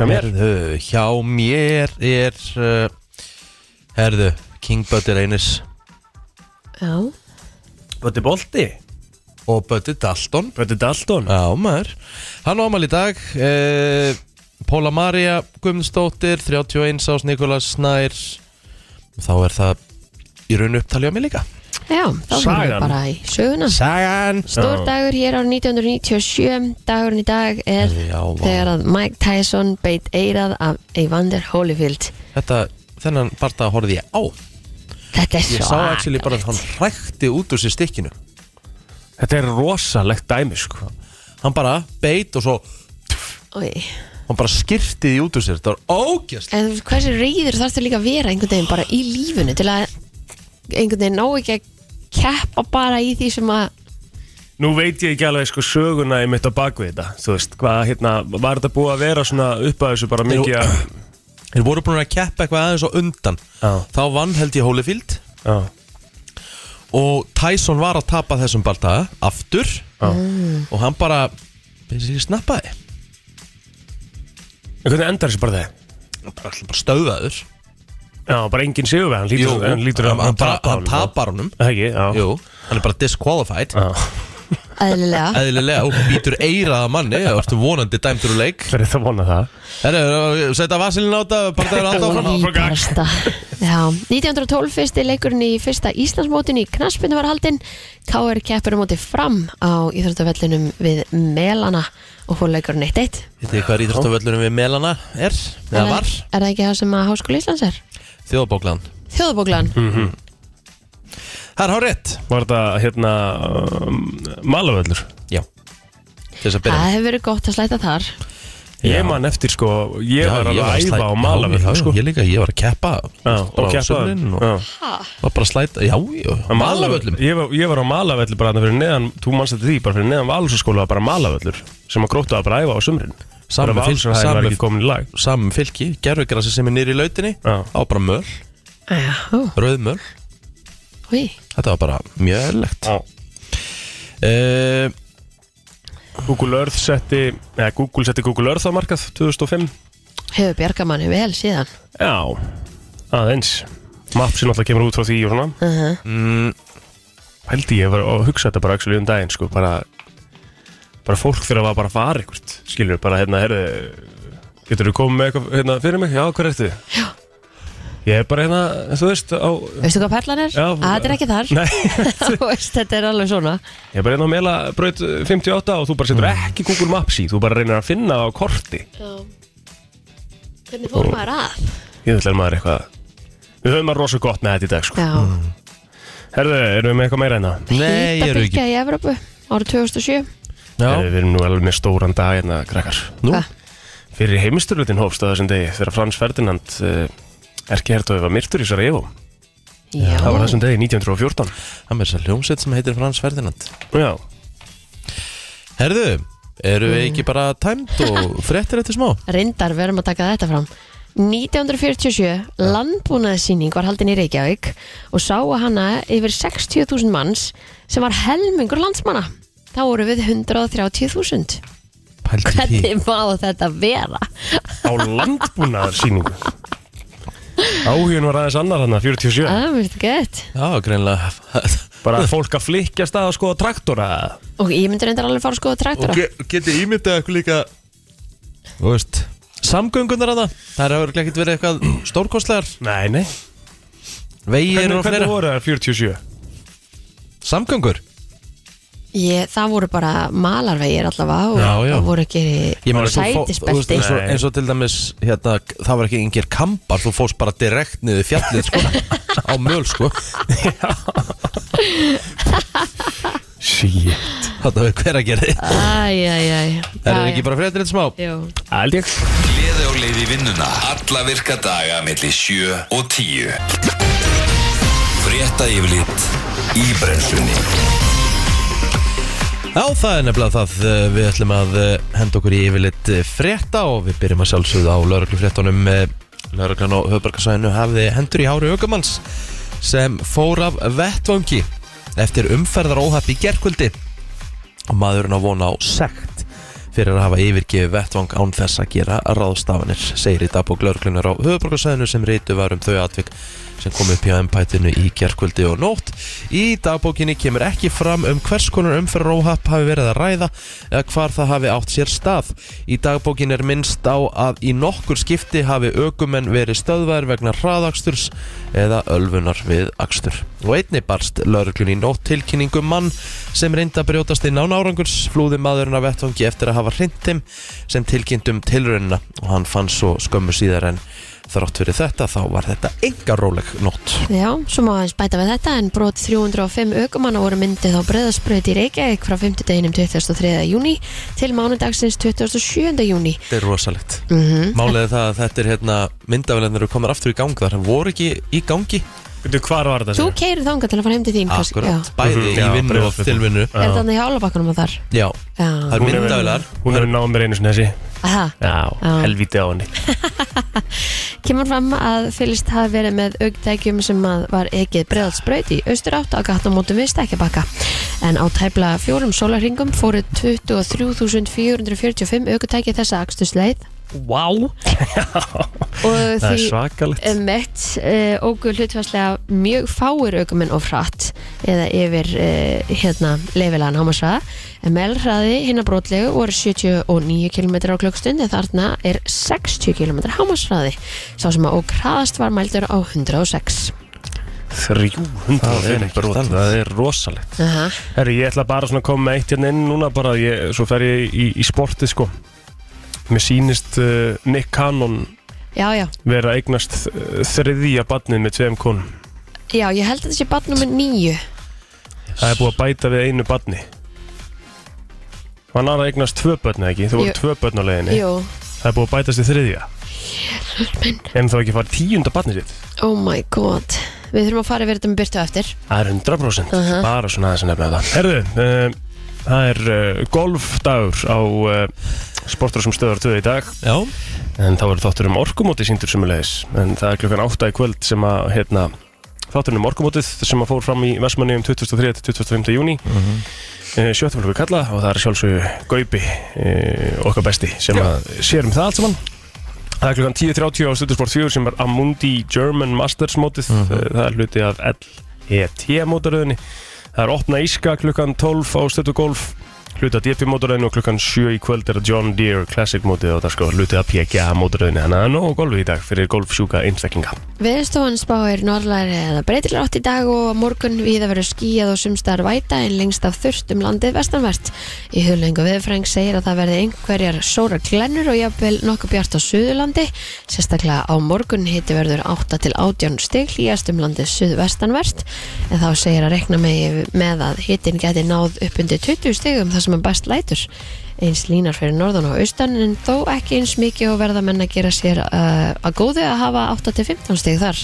S1: Það mér
S4: Herðu, hjá mér er uh, Herðu, King Buddy Reynis
S3: Já,
S1: Bötti Bolti
S4: og Buddy Dalton
S1: Bötti Dalton
S4: Já maður Hann ámal í dag uh, Póla Maria Guðmundsdóttir 31 ás Nikolas Snær Þá er það í raun upptalja mig líka
S3: já þá erum við
S1: Sagan.
S3: bara í söguna
S4: Sagan
S3: Stór dagur hér árið 1997 dagurinn í dag er
S4: Já, vá.
S3: þegar að Mike Tyson beit eirað af Evander Holyfield
S4: Þetta, þennan barða horfði ég á
S3: Þetta er
S4: Ég sá actually bara að
S3: svakalegt.
S4: hann hrækti út úr sér stikkinu
S1: Þetta er rosalegt dæmi sko
S4: Hann bara beit og svo
S3: Oj.
S4: hann bara skirtiði út úr sér þetta var ógjast
S3: En þú veist, hversu reyður þarf það líka að vera einhvern veginn bara í lífinu til að einhvern veginn ná ekki að keppa bara í því sem að
S1: Nú veit ég ekki alveg sko söguna í mitt á bakvið þetta Þú veist, hvað hérna, var þetta búið að vera svona upp að þessu bara mikið að
S4: þeir voru búin að keppa eitthvað aðeins og undan
S1: Já.
S4: þá vann held ég Holyfield
S1: Já,
S4: og Tyson var að tapa þessum balta aftur
S1: já
S4: og hann bara basically snappaði
S1: En hvernig endar þessu bara það?
S4: bara, alltaf bara stöðaður
S1: Já, bara enginn sigur við, hann lítur,
S4: Jú,
S1: hann lítur
S4: hann, hann, bara, hann
S1: honum,
S4: tapar honum
S1: þá. Ekki, já
S4: Jú, hann er bara disqualified
S1: Já,
S3: eðlilega
S4: eðlilega og býtur eiraða manni og ertu vonandi dæmtur úr leik
S1: fyrir það vona það
S4: Herru, setja vasilin á þetta bara það er alltaf
S3: Það
S4: áfram
S3: var íbarasta. Já, 1912 fyrsti leikurinn í fyrsta Íslandsmótinu í knaspinu var haldinn K.R. keppur á móti fram á íþróttavellinum við Melana og hún leikurinn 1-1
S4: Vitið þið hvað íþróttavöllunum við Melana er? Eða
S3: Er-
S4: var?
S3: Er það ekki það sem að Háskóli Íslands er?
S4: Þjóðabóklan
S3: Þjóðabóklan
S4: Hm, Það er hár rétt
S1: Var þetta, hérna, um, malavöllur
S4: Já Til þess að byrja
S3: Það hefur verið gott að slæta þar
S4: Já.
S1: Ég man eftir sko, ég
S4: Já,
S1: var alveg að
S4: slæ-
S1: æfa á
S4: já, já,
S1: malavöllur
S4: já,
S1: sko
S4: Ég líka, ég var að keppa
S1: Já,
S4: bara
S1: og
S4: á
S1: keppa um,
S4: sumrin og Var bara að slæta, já, já Malavöllum
S1: Ég var, ég var á malavöllur bara þarna fyrir neðan, þú mannst þetta því, bara fyrir neðan valsaskóla var bara malavöllur sem að gróttu að bara æfa á sumrin
S4: Saman
S1: Bara
S4: fylg-
S1: Valsarhæðin var
S4: saman-
S1: ekki komin í lag
S4: Saman fylki, gerfugrasi sem er nýri í lautinni
S1: Já.
S4: Það var bara möl,
S3: Já, ó,
S4: rauðmöl
S3: oi.
S4: Þetta var bara mjög eðlilegt
S1: Já.
S4: uh,
S1: Google Earth setti eða Google setti Google Earth á markað 2005
S3: hefur bjargað manni vel síðan
S1: Já, aðeins Maps er náttúrulega kemur út frá því og svona
S3: uh -huh.
S1: Hældi ég var að hugsa þetta bara actually um daginn sko, bara, bara fólk fyrir að bara fara eitthvað skilur bara hérna, herðu getur þú komið með eitthvað hérna, fyrir mig? Já, hvað ertu? Já Ég er bara hérna, þú veist á,
S3: Veistu hvað perlan er?
S1: Já,
S3: Að þetta er ekki þar
S1: Nei,
S3: Þú veist, Þetta er alveg svona
S1: ég er bara hérna á meila braut 58 og þú bara setur ekki Google Maps í þú bara reynir að finna það á korti
S3: Hvernig fór maður að?
S1: Ég ætla að maður eitthvað Við höfum að rosa gott með þetta í dag sko
S3: Já,
S1: Herðu, erum við með eitthvað meira hérna?
S4: Nei, ég er ekki
S3: Hýtabylgja í Evrópu árið 2007
S4: Já.
S1: Heyrðu, Við erum nú alveg með stóran dag hérna, krakkar
S4: Nú?
S3: Hvað?
S1: Fyrir heimistyrlutin hófst á þessum degi Þegar Frans Ferdinand uh, Erki Hertói var myrtur í Sarajevo
S3: Já,
S1: Það var þessum degi 1914
S4: Það með þess að hljómsveit sem heitir Frans Ferdinand
S1: Já,
S4: Herðu, eru við ekki bara tæmt og fréttir eftir smá?
S3: reyndar við erum að taka þetta fram 1947 landbúnaðsýning var haldin í Reykjavík og sá að hana yfir 60.000 manns sem var helmingur landsmanna þá voru við 130.000
S4: Pældi í því
S3: hvernig má þetta vera
S1: á landbúnaðarsýningu Áhugin var aðeins annar hann 47
S3: það er mjög gett
S4: Já, greinlega
S1: Bara fólk að flikja stað að skoða traktora
S3: og ég myndi reyndar alveg fara að skoða traktora
S4: geti ímyndið eitthvað líka Þú veist Samgöngunar að það Það er örugglega ekkert verið eitthvað stórkostlegar
S1: Nei, nei
S4: Vegir
S1: Hvernig,
S4: og
S1: hvernig
S4: fleira
S1: voru það 47?
S4: Samgöngur?
S3: ég, það voru bara malarvegir allavega og
S4: Já, já.
S3: það voru ekki sætisbelti
S4: eins, og- eins og til dæmis hérna, það var ekki yngir kampar þú fóst bara direkt niður fjallið sko, á möl sko
S1: Shit
S4: þetta verður hver að gera þið
S3: æjæjæj
S4: það er ekki bara fréttir eitt smá
S3: Jú.
S1: Aldi ég
S2: Gleði á leið í vinnuna Alla virka daga melli 7 og 10 Frétta yfirlit í brennslunni
S4: Já, það er nefnilega það eh, við ætlum að eh, henda okkur í yfirleitt eh, frétta og við byrjum að sjálfsögðu á lauruglufréttunum eh, lauruglan og höfbarkasvæðinu hafði hendur í hári aukumanns sem fór af vettvangi eftir umferðar í gerkvöldi og maðurinn á vona á sekt fyrir að hafa yfirgefið vettvang án þess að gera ráðstafanir, segir í dagbók lauruglunar á höfuborgarsæðinu sem reytu var um þau atvik sem kom upp hjá embættinu í gerkvöldi og nótt. Í dagbókinni kemur ekki fram um hvers konar umferðaróhapp hafi verið að ræða eða hvar það hafi átt sér stað. Í dagbókinni er minnst á að í nokkur skipti hafi aukumenn verið stöðvæðir vegna hraðaksturs eða ölfunar við akstur. Og einni barst lauruglun í nótt tilkynningum mann sem reyndi að brjótast inn á nárangurs flúði maðurinn af vettvangi eftir að hafa hrindt þeim sem tilkynntum tilraunina og hann fann svo skömmu síðar en þrátt fyrir þetta þá var þetta enga róleg nótt.
S3: Já, svo má aðeins bæta við þetta en brot 305 aukumanna voru myndið á breðaspröðið í Reykjavík frá 50 deginum 23. júni til mánudagsins 27. júni.
S4: Þetta er rosalegt. Málið er það að þetta er hérna myndavelendur eru komin aftur í gang þar hann voru ekki í gangi
S1: Veitu, hvar var þetta?
S3: Þú keirir þangað til að fara heim til þín. kannski,
S4: akkurat,
S3: já.
S4: bæði
S1: Já,
S4: í vinnu og
S1: Breiðholti.
S4: tilvinnu.
S3: Er þetta þannig í álabakkanum að þar?
S4: Já,
S3: Já.
S4: það er
S1: Hún hefur-
S4: myndavelar.
S1: Hún hefur náð mér einu sinni þessi
S3: Aha.
S1: Já,
S3: Já.
S1: helvíti á henni
S3: Kemur fram að fylgst hafi verið með augtækjum sem að var ekið breðalsbraut í austurátt á gattamótum við Stekkjabakka. En á tæpla fjórum sólarringum fóru 23.445 augtæki þessa akstusleið
S1: Vá wow.
S3: og
S1: Það er
S3: því
S1: svakalegt
S3: um Emmett, uh, ógur hlutfarslega mjög fáir aukumenn og fratt eða yfir uh, hérna leifilegan hámasraða en meðalhraði hinn að brotlegu voru 79 km á klukkstund en þarna er 60 km hámasraði sá sem að óg hraðast var mældur á 106
S4: Það er
S1: 300
S4: ekkert
S1: brot
S4: annað.
S1: Það er rosalegt
S3: Aha.
S1: Herri, ég ætla bara svona að koma með eitt hérna inn núna bara ég, Svo fer ég í, í sportið sko Mér sýnist uh, Nick Cannon
S3: Já, já,
S1: vera að eignast uh, þriðja badnið með tveim konum
S3: já, ég held að þetta sé barn nummer nýju
S1: Það er búið að bæta við einu badni Hann er að eignast tvö börn eða ekki Þú voru
S3: Jú.
S1: tvö börn á leiðinni
S3: Jú,
S1: Það er búið að bætast í þriðja En þá ekki farið tíunda badnið sitt
S3: oh my god Við þurfum að fara yfir þetta með byrtu á eftir
S1: Það er 100%
S3: Mhm.
S1: Bara svona aðeins að nefna þetta Herðu, uh, það er uh, golfdagur á uh, sportur sem stöðar töðu í dag
S4: Já,
S1: En þá verður þáttur um orkumóti síndur sumulegis En það er klukkan 8 í kvöld sem að hérna, Þátturinn um orkumótið sem að fór fram í Vestmanni um 23. til 25. júni mm -hmm. Sjöttaflöku kalla og það er sjálfsögju Gaupi uh, okkar besti sem að sér um það allt saman Það er klukkan 10.30 á Stöðursport 4 sem er Amundi German Masters mótið Eh, Það er hluti af LET mótaröðinni Það er opna íska klukkan 12 á Stöðu Golf hluti af DP mótaröðinu og klukkan 7 í kvöld er John Deere Classic mótið og það sko hluti af PGA mótaröðinu þannig að það er nóg golfi í dag fyrir golfsjúka einstaklinga
S3: Veðurstofan spáir norðlæri eða breytilega átt í dag og á morgun viða verður skíjað og sumstar væta en lengst af þurft um landið vestanvert. Í huglengu viðfræng segir að það verði einhverjar sóra glennur og jafnvel nokkuð bjart á suðurlandi. Sérstaklega á morgun hiti verður 8 til 18 stig hlýjast um landið suðvestanvert en þá segir að rekna með, með að hitin geti náð upp undir 20 stigum þar sem þar sem hann best lætur eins línar fyrir norðan og austan en þó ekki eins mikið og verða menn að gera sér uh, að góðu að hafa 8-15 stig þar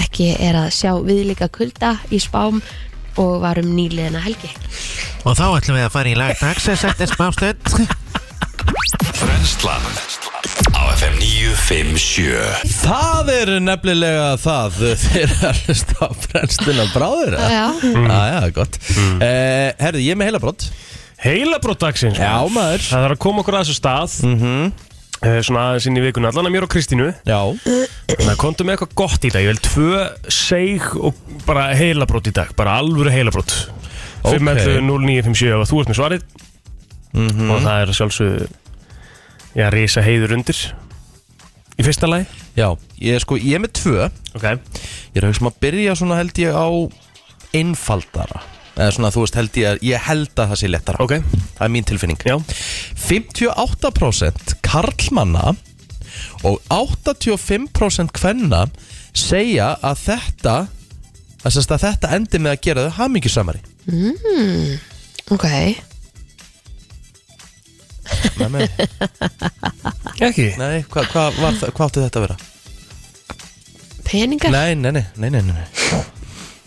S3: ekki er að sjá viðlíka kulda í spám og var um nýliðina helgi
S5: Og þá ætlum við að fara í lag dagsins eftir smástund
S2: Brennslan Á FM 957
S4: Það er nefnilega það þegar að hlusta á brennstuna bráður eða?
S3: Já.
S4: Já, já, gott mm. Herðu, ég er með heila brott
S1: Heilabrót dagsins
S4: Já, maður Mhm.
S1: Það þarf að koma okkur að þessu stað eh, Svona aðeins inn í vikuna Allan að mér og Kristínu
S4: Já,
S1: Þannig að komdu með eitthvað gott í dag Ég vil tvö seig og bara heilabrót í dag Bara alvöru heilabrót
S4: Ok.
S1: 511-0957 og þú ert með svarið
S4: Mhm.
S1: Og það er sjálfsög Já, risa heiður undir Í fyrsta lagi
S4: já, ég er sko, ég er með tvö
S1: Ok
S4: Ég er að hugsa um að byrja svona held ég á einfaldara Eða svona, þú veist, held ég að, ég held að það sé lettara
S1: Ok.
S4: Það er mín tilfinning
S1: Já
S4: 58% karlmanna og 85% kvenna segja að þetta að, sérst að þetta endi með að gera þau hamingjusamari
S3: Ok,
S4: Nei, nei,
S1: Ekki
S4: nei hvað hva, hva, hva átti þetta að vera?
S3: peningar
S4: Nei, nei, nei, nei, nei, nei.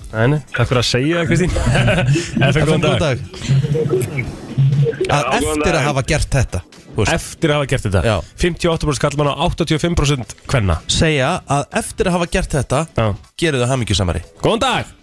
S1: Nei, nei, takk fyrir að segja það Kristín Eftir
S4: FM,
S1: góðan
S4: góðan
S1: dag
S4: dag að Eftir að hafa gert þetta þú veist,
S1: Eftir að hafa gert þetta
S4: Já.
S1: 58% kallmann og 85% kvenna
S4: Segja að eftir að hafa gert þetta
S1: Já.
S4: gera þau hamingjusamari
S1: Góðan dag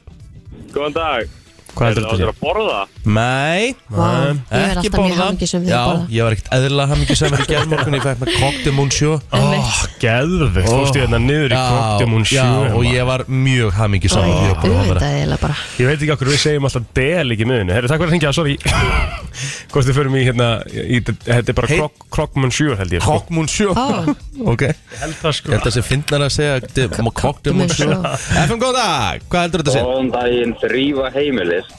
S6: Góðan dag
S1: Hvað
S6: Er
S1: heldur
S6: það
S1: þetta
S6: áttur að borða?
S4: Nei,
S3: Vá, Ég er
S4: ekki
S3: alltaf mjög
S4: borða
S3: hamingisum því
S4: Já,
S3: að borða
S4: ég var ekkert eðlilega hamingjusamari gerð morgun Ég fæk með koktum hún sjó
S1: Oh, geðvegt, þú veist ég hérna niður í kvöldum hún sjö
S4: Já, og
S1: maður.
S4: ég var mjög
S3: Æ,
S4: hamingjusamari
S3: Þú veit að ég bara
S1: Ég veit ekki okkur við segjum alltaf del ekki miðinu Herru, takk fyrir að hringja, sorry Hvort þið förum í hérna í, Þetta er bara
S4: Hey.
S1: hey. Krokman 7 held ég sko.
S4: Koktum hún sjó
S3: Ó,
S4: Ok Ég
S1: Held það sko
S4: held að sé fyndnar að segja Koktum hún sjó
S3: Cockmunnsjó.
S4: FM, góðan dag Hvað heldur þetta að segja?
S6: Góðan daginn, þrýfa heimilis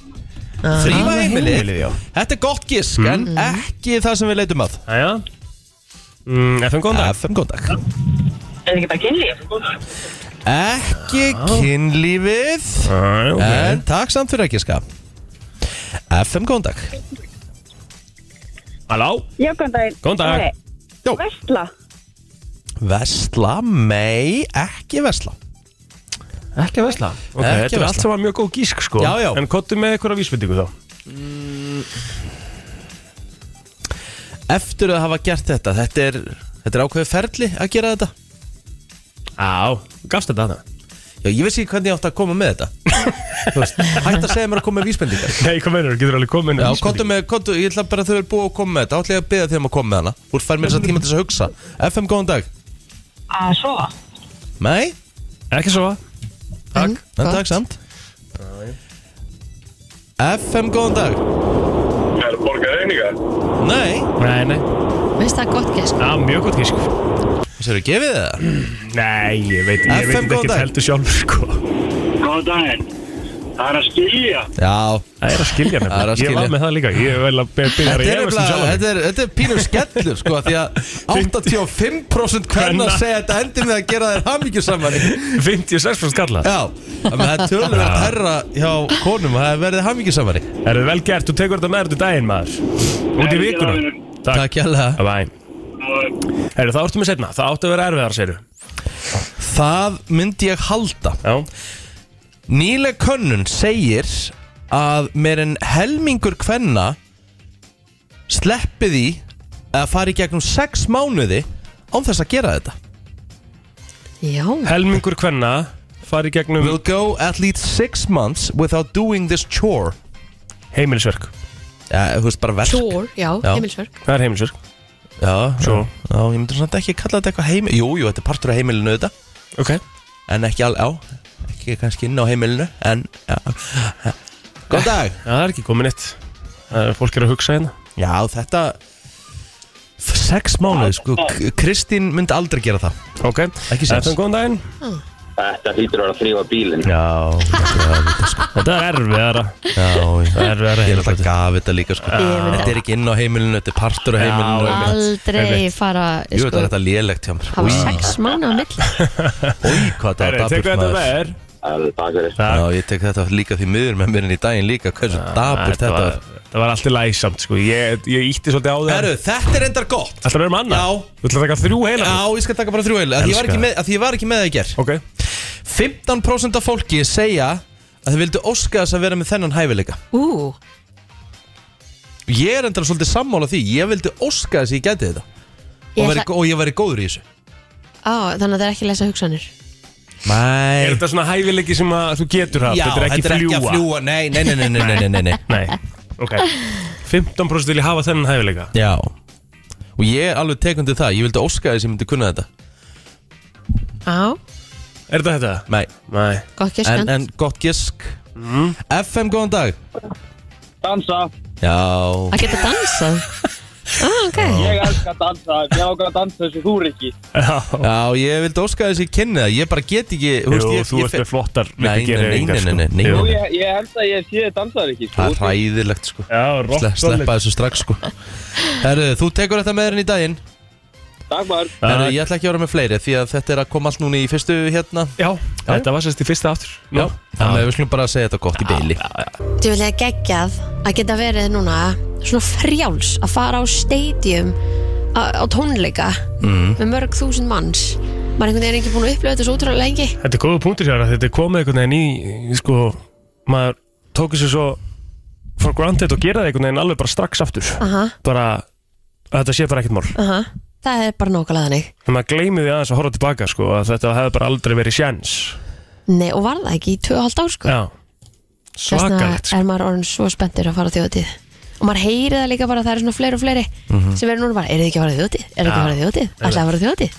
S4: Þrýfa heimilið
S1: heimilið, já.
S4: Þetta er gott gisk,
S3: Mm.
S4: en ekki það sem við leitum að
S1: Æja mm, FM góðan dag
S4: FM góðan dag
S7: Er það ekki bara kynlíf?
S4: Ekki kynlífið
S1: Æ, ok.
S4: En takk samt fyrir að giska FM góðan dag
S1: Halló,
S7: Já, góðan daginn.
S1: Góðan dag.
S7: Nei,
S4: Jó.
S7: Vesla.
S4: Vesla mei, ekki vesla
S1: ekki að vesla okay,
S4: Ekki
S1: Þetta er
S4: versla.
S1: allt saman mjög góð gísk sko
S4: Já, já.
S1: En kottu með eitthvað vísvendingu þá
S4: Eftir að hafa gert þetta, þetta er, þetta er ákveðið ferli að gera þetta
S1: Á, gafst þetta að það
S4: Já, ég veist ekki hvernig ég átti að koma með þetta Þú veist, Hætt að segja mér að koma með vísbendingar
S1: Nei, hvað meinar, getur alveg komið
S4: Já, kontu með, kontu, ég ætla bara að þau eru búið að koma með þetta Þá ætla ég að beða þeim að koma með hana Þú fær mér þess að tíma til þess að hugsa FM, góðan dag
S7: Að sofa.
S4: Nei,
S1: Ekki svo
S3: Takk,
S4: en takk samt FM, góðan dag
S6: Er borgað eininga?
S4: Nei,
S1: Nei, nei,
S3: Veist það gott gæst
S1: það er mjög gott gísk
S4: þess eru gefið það
S1: Nei, ég veit, ég veit
S4: FM,
S1: þetta
S4: góðan
S1: ekki
S4: dag.
S1: heldur sjálfur sko
S6: Góðan daginn Það er að skilja
S4: Já,
S1: Það er að skilja nefnilega.
S4: Það er að skilja.
S1: Ég var með það líka Ég vel að byrja að
S4: þetta er,
S1: reyðast um
S4: nefnilega-
S1: sjálf
S4: þetta er, þetta er pínur skellur sko Því að 85% hvernig
S1: Kvenna.
S4: að segja að þetta endi með að gera þér hamingjusamari
S1: 56% kalla
S4: Já, þannig að það er tölvöld herra hjá konum að það verði hamingjusamari
S1: Er þið vel gert, þú tekur þetta með þetta daginn maður Út í vikuna Takk,
S4: Takk hjálpa
S1: bæ Herru, það ortum við setna, það átti að vera erfiðar, segir
S4: Það myndi ég halda
S1: Já,
S4: Nýleg könnun segir að meir en helmingur kvenna sleppi því að fara í gegnum 6 mánuði án þess að gera þetta
S3: Já,
S1: helmingur hvenna fari í gegnum
S4: Will go at least 6 months without doing this chore
S1: heimilisverk
S4: Já, þú veist bara verk
S3: sure, já,
S4: Já.
S3: heimilsverk
S1: Það er heimilisverk
S4: Já, já,
S1: Chore.
S4: já, ég myndi samt ekki kalla þetta eitthvað heimil Jú, jú, þetta er partur af heimilinu þetta
S1: Ok
S4: En ekki alveg, já, ekki kannski inn á heimilinu En, já Góðan dag
S1: Já, það er ekki komin eitt Það er fólk er að hugsa hérna
S4: Já, þetta Sex mánuði, sko, K- Kristín myndi aldrei gera það
S1: Ok,
S4: Ekki séns.
S1: Eftir góðan daginn
S6: Þetta hlýtur að vera að þrýfa bílinn
S4: Já,
S1: Þetta er erfiðara
S4: já, já
S1: Það er erfiðara
S4: Ég er alltaf gaf þetta líka, sko
S3: Ég myndi-
S4: Þetta er ekki inn á heimilinu, þetta er partur af heimilinu
S3: Aldrei fara
S4: Jú,
S3: sko,
S4: þetta er þetta lélegt hjá mér
S3: Hafa sex mánu á milli
S4: Új, hvað
S1: Herru,
S4: þetta var
S1: tekur
S4: daburt
S1: þetta
S4: maður
S1: með er
S6: Alveg takk fyrir.
S1: Takk.
S4: Já, ég tek þetta líka því miður með mér en í daginn líka Hversu dapur þetta var
S1: Það var alltaf læsamt sko Ég, ég ítti svolítið á það
S4: Herru, þetta er endar gott
S1: Alltaf verðum annað
S4: Já.
S1: Þú ætlar að taka þrjú heila
S4: Já, ég skal taka bara þrjú heila af því ég var
S1: Elska
S4: ekki
S1: það.
S4: með- af því ég var ekki með það í ger
S1: Ok
S4: 15% af fólki segja að þau vildu óska þess að vera með þennan hæfileika
S3: Ú,
S4: Ég er endara svolítið sammála því Ég vildi óska þess að ég gæti þetta
S3: Ég
S4: og, veri,
S3: ætla-
S4: og ég væri góður í þessu
S3: á, þannig að það er ekki að lesa hugsanir
S1: Er
S4: Nei
S1: þetta svona hæfileiki sem að þú getur haft?
S4: Já,
S1: þetta er ekki fljúa
S4: að fljúa Nei, nei, nei, nei, nei, nei, nei, nei.
S1: Nei Ok 15% vilja hafa þennan hæfileika
S4: Já Og ég er alveg tekundið það Ég vildi óska þess að ég myndi kunna þetta
S3: Á,
S1: Er þetta þetta?
S4: Nei
S1: Nei
S3: gott ekki
S4: En,
S3: skant
S4: en gott gisk
S1: Mhm.
S4: FM, góðan dag
S6: Dansa,
S4: Já
S3: Að geta dansað Á, ok
S6: ég elskar að dansa, ég ákveð að dansa þessu þú er ekki.
S1: Já
S4: Já, ég vildi óska þess að ég kynna það Ég bara get ekki
S1: Jú,
S4: ég,
S1: þú
S4: ég
S1: ert
S4: fer-
S1: með flottar
S4: Nei, nei, nei,
S1: lyfjageringar,
S4: nei, nei,
S1: sko.
S4: nei, nei.
S1: Jú.
S6: Jú, ég, ég held að ég sé dansaður ekki,
S4: Það
S6: sko.
S4: er hræðilegt sko
S1: Já,
S4: Sle,
S1: rock solid.
S4: Sleppa þessu strax sko Herru, þú tekur þetta með þér í daginn
S6: Takk maður.
S4: Herru, ég ætla ekki að vera með fleiri Því að þetta er að koma allt núna í fyrstu hérna
S1: Já, þetta var sérst í fyrsta aftur
S4: Já, þannig að við skulum bara segja þetta gott í beili
S3: Þú vil ég geggjað að geta verið núna svona frjáls að fara á stadium á, á tónleika
S4: Mm.
S3: með mörg þúsund manns maður einhvern veginn er ekki búin að upplifa þetta svo útrúlega lengi
S1: Þetta er góða punktur sér að þetta er komið einhvern veginn í sko, maður tók þessu svo for granted og gera það einhvern veginn alveg bara strax aftur
S3: Aha,
S1: bara að þetta sé bara ekkert mál
S3: aha. það er bara nákvæmlega þannig
S1: þannig maður gleymi því aðeins að horfa tilbaka sko, að þetta hefði bara aldrei verið sjens
S3: Nei, og var það ekki í 2,5 ár sko
S1: Já,
S3: Þess vegna
S1: svakalegt sko.
S3: Hérna, er maður orðin svo spenntur að fara á þjóðatíð og maður heyri það líka bara að það eru svona fleiri og fleiri
S4: Mhm.
S3: sem verður núna bara, er þið ekki að fara á þjóðatíð? Er þið ekki að fara á þjóðatíð? Ætlaði að fara á þjóðatíð?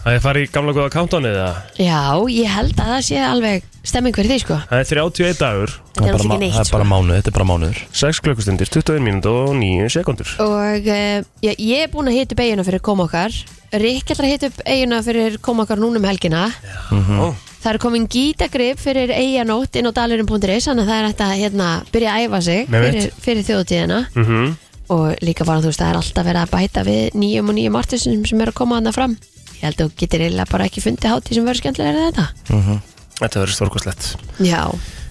S1: Það er farið í gamla góða countdownið það
S3: Já, ég held að það sé alveg stemming fyrir því sko
S1: Það er 31 dagur,
S3: Þetta er
S4: bara
S3: alls
S4: ma-
S3: ekki neitt sko.
S4: það er bara mánuð, þetta er bara mánuður
S1: 6 klukkustundir, 21 mínútur og 9 sekundur
S3: Og uh, já, ég er búin að hita upp eiguna fyrir koma okkar Rikk ætlar að hita upp eiguna fyrir koma okkar núna um helgina
S4: Mhm.
S1: Ó.
S3: Það er komin gítagrip fyrir eiganótt inn á dalurinn.is Þannig að það er hægt að hérna, byrja að æfa sig
S1: Nei, veit.
S3: fyrir, fyrir þjóðtíðina
S1: mm
S3: Og líka bara þú veist það er alltaf verið að bæta við nýjum og nýjum artistum sem eru að koma þarna fram Ég held að þú getur eiginlega bara ekki fundið hátíð sem verður skemmtilega en þetta
S1: Þetta verður stórkostlegt
S3: Já,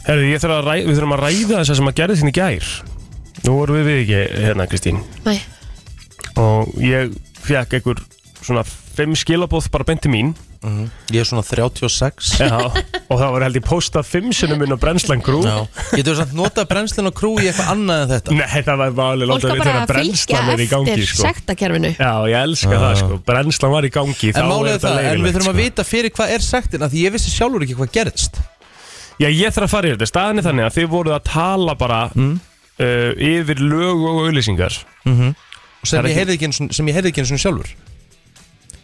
S1: Herðu, ég þarf að ræ, við þurfum að ræða þess að sem að gerði þín í gær Nú vorum við við ekki hérna Kristín
S3: næ,
S1: og ég fekk einhver svona fimm skilabóð bara beinti mín Mhm.
S4: Ég er svona 36
S1: Já, og það var held ég postað fimm sinnum inn á brennslan grú
S4: Já. Getur samt notað brennslun og krú í eitthvað annað en þetta
S1: Nei, það var bara alveg
S3: fólk
S1: látað
S3: á
S1: við
S3: bara
S1: þegar
S3: að fylgja
S1: brennslan er í gangi
S3: eftir
S1: sko.
S3: sektakerfinu
S1: Já, ég elska það sko, brennslan var í gangi þá
S4: En
S1: er
S4: málið er það, en við þurfum að
S1: sko.
S4: vita fyrir hvað er sektin af Því ég vissi sjálfur ekki hvað gerðist
S1: Já, ég þarf að fara í þetta, staðan er þannig að þið voruð að tala bara
S4: Mm.
S1: uh, yfir lög og auðlýsingar Það er
S4: sem ég,
S1: ekki-
S4: heyrði ekki einu sinni, sem ég heyrði ekki eins og sjálfur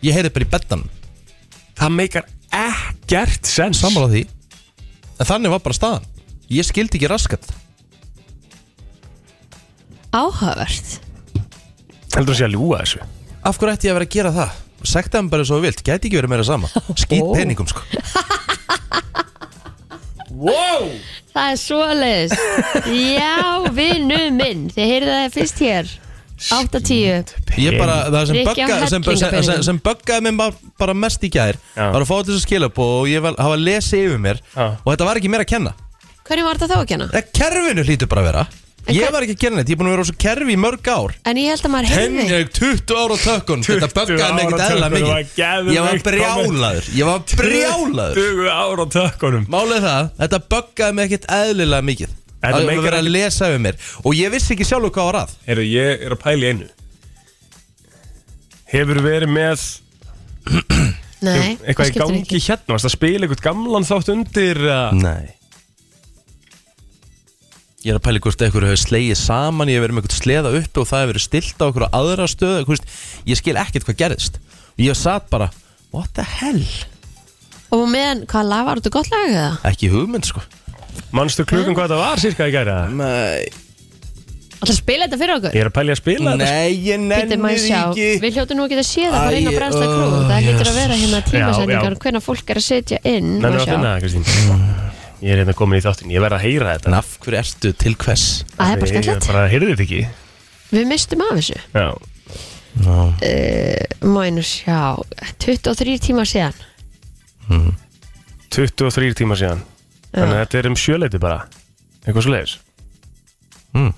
S4: Ég heyrði bara í beddan
S1: Það meikar ekkert sens
S4: Sammála því En þannig var bara staðan Ég skildi ekki raskat
S3: Áhugavert
S1: Heldur þú að sé að ljúga þessu
S4: Af hverju ætti ég að vera að gera það? Sekta hann bara svo þú vilt, gæti ekki verið meira sama Skýt peningum sko
S3: Það er svoleiðis Já, vinnu minn Þið heyrðu það fyrst hér 8-10
S4: Ég bara, það sem
S3: Rikki
S4: bögga,
S3: á
S4: sem,
S3: helling af
S4: sem, sem,
S3: peningum.
S4: sem böggaði mér bara, bara mest í gær
S1: Já.
S4: Var að fá þess að skila upp og ég var, hafa lesið yfir mér
S1: Já.
S4: Og þetta var ekki mér að kenna
S3: Hvernig var þetta þá að kenna?
S4: Það kerfinu hlýtur bara að vera
S3: En
S4: Ég
S3: hver-
S4: var ekki að kenna þetta, ég er búin að vera á svo kerfi í mörg ár
S3: En ég held að maður heyrði
S4: Henning, 20 ára tökkun, þetta
S1: 20
S4: böggaði mig
S1: ára
S4: ekkert eðla
S1: tökkun, það var
S4: mikið
S1: geðveikt
S4: Ég var
S1: komment.
S4: brjálaður, ég var brjálaður
S1: 20 ára á tökkunum
S4: Málið er það, þetta böggaði mig ekkert eðlilega mikið
S1: Þetta
S4: Að ég
S1: meikar
S4: var verið að
S1: ekki-
S4: lesa yfir mér Og ég vissi ekki sjálfur hvað var að
S1: Heyrðu, ég er að pæla í einu Hefur verið með
S3: Nei,
S1: eitthvað í
S3: skiptir
S1: gangi
S3: ekki.
S1: hérna Varst að spila eitthvað gamlan þátt undir uh,
S4: Nei Ég er að pæla í hvort eitthvað hefur slegið saman Ég hefur verið með eitthvað sleða uppi og það hefur verið stilt á eitthvað aðra stöðu eitthvað, veist, Ég skil ekkert hvað gerðist Og ég satt bara, what the hell
S3: Og á meðan, hvað lag var þetta gott lag eða?
S4: Ekki hugmynd sko
S1: Manstu klukkan hvað það var sirka í gæra
S4: Nei,
S3: Alltaf að spila þetta fyrir okkur
S1: Ég er að pæla í að spila þetta
S4: ég nenni
S3: Býtum maður
S4: því
S3: sjá,
S4: ekki
S3: við hljóttum nú að geta séð það bara inn á
S4: Æ,
S3: brennsla krú
S4: ó,
S3: Það hlýtur
S4: Jesus.
S3: að vera hérna
S1: uh, Já,
S3: tímasetningar
S1: já.
S3: Hvernig fólk er að setja inn
S1: Nennar
S3: og
S1: að
S3: sjá.
S1: finna það, Kristín
S4: Mm.
S1: Ég er hérna komin í þáttin, ég verð að heyra
S4: En
S1: þetta
S4: af hverju ertu til hvers?
S3: Það er bara
S1: Ég- Ég
S3: skemmtilegt
S1: bara heyrði þetta ekki
S3: Við mistum af þessu
S1: Já,
S3: Máinu sjá, 23 tíma síðan
S1: 23 tíma síðan Þannig að þetta er um sjöleiti bara Eitthvað svo leiðis
S4: Mm.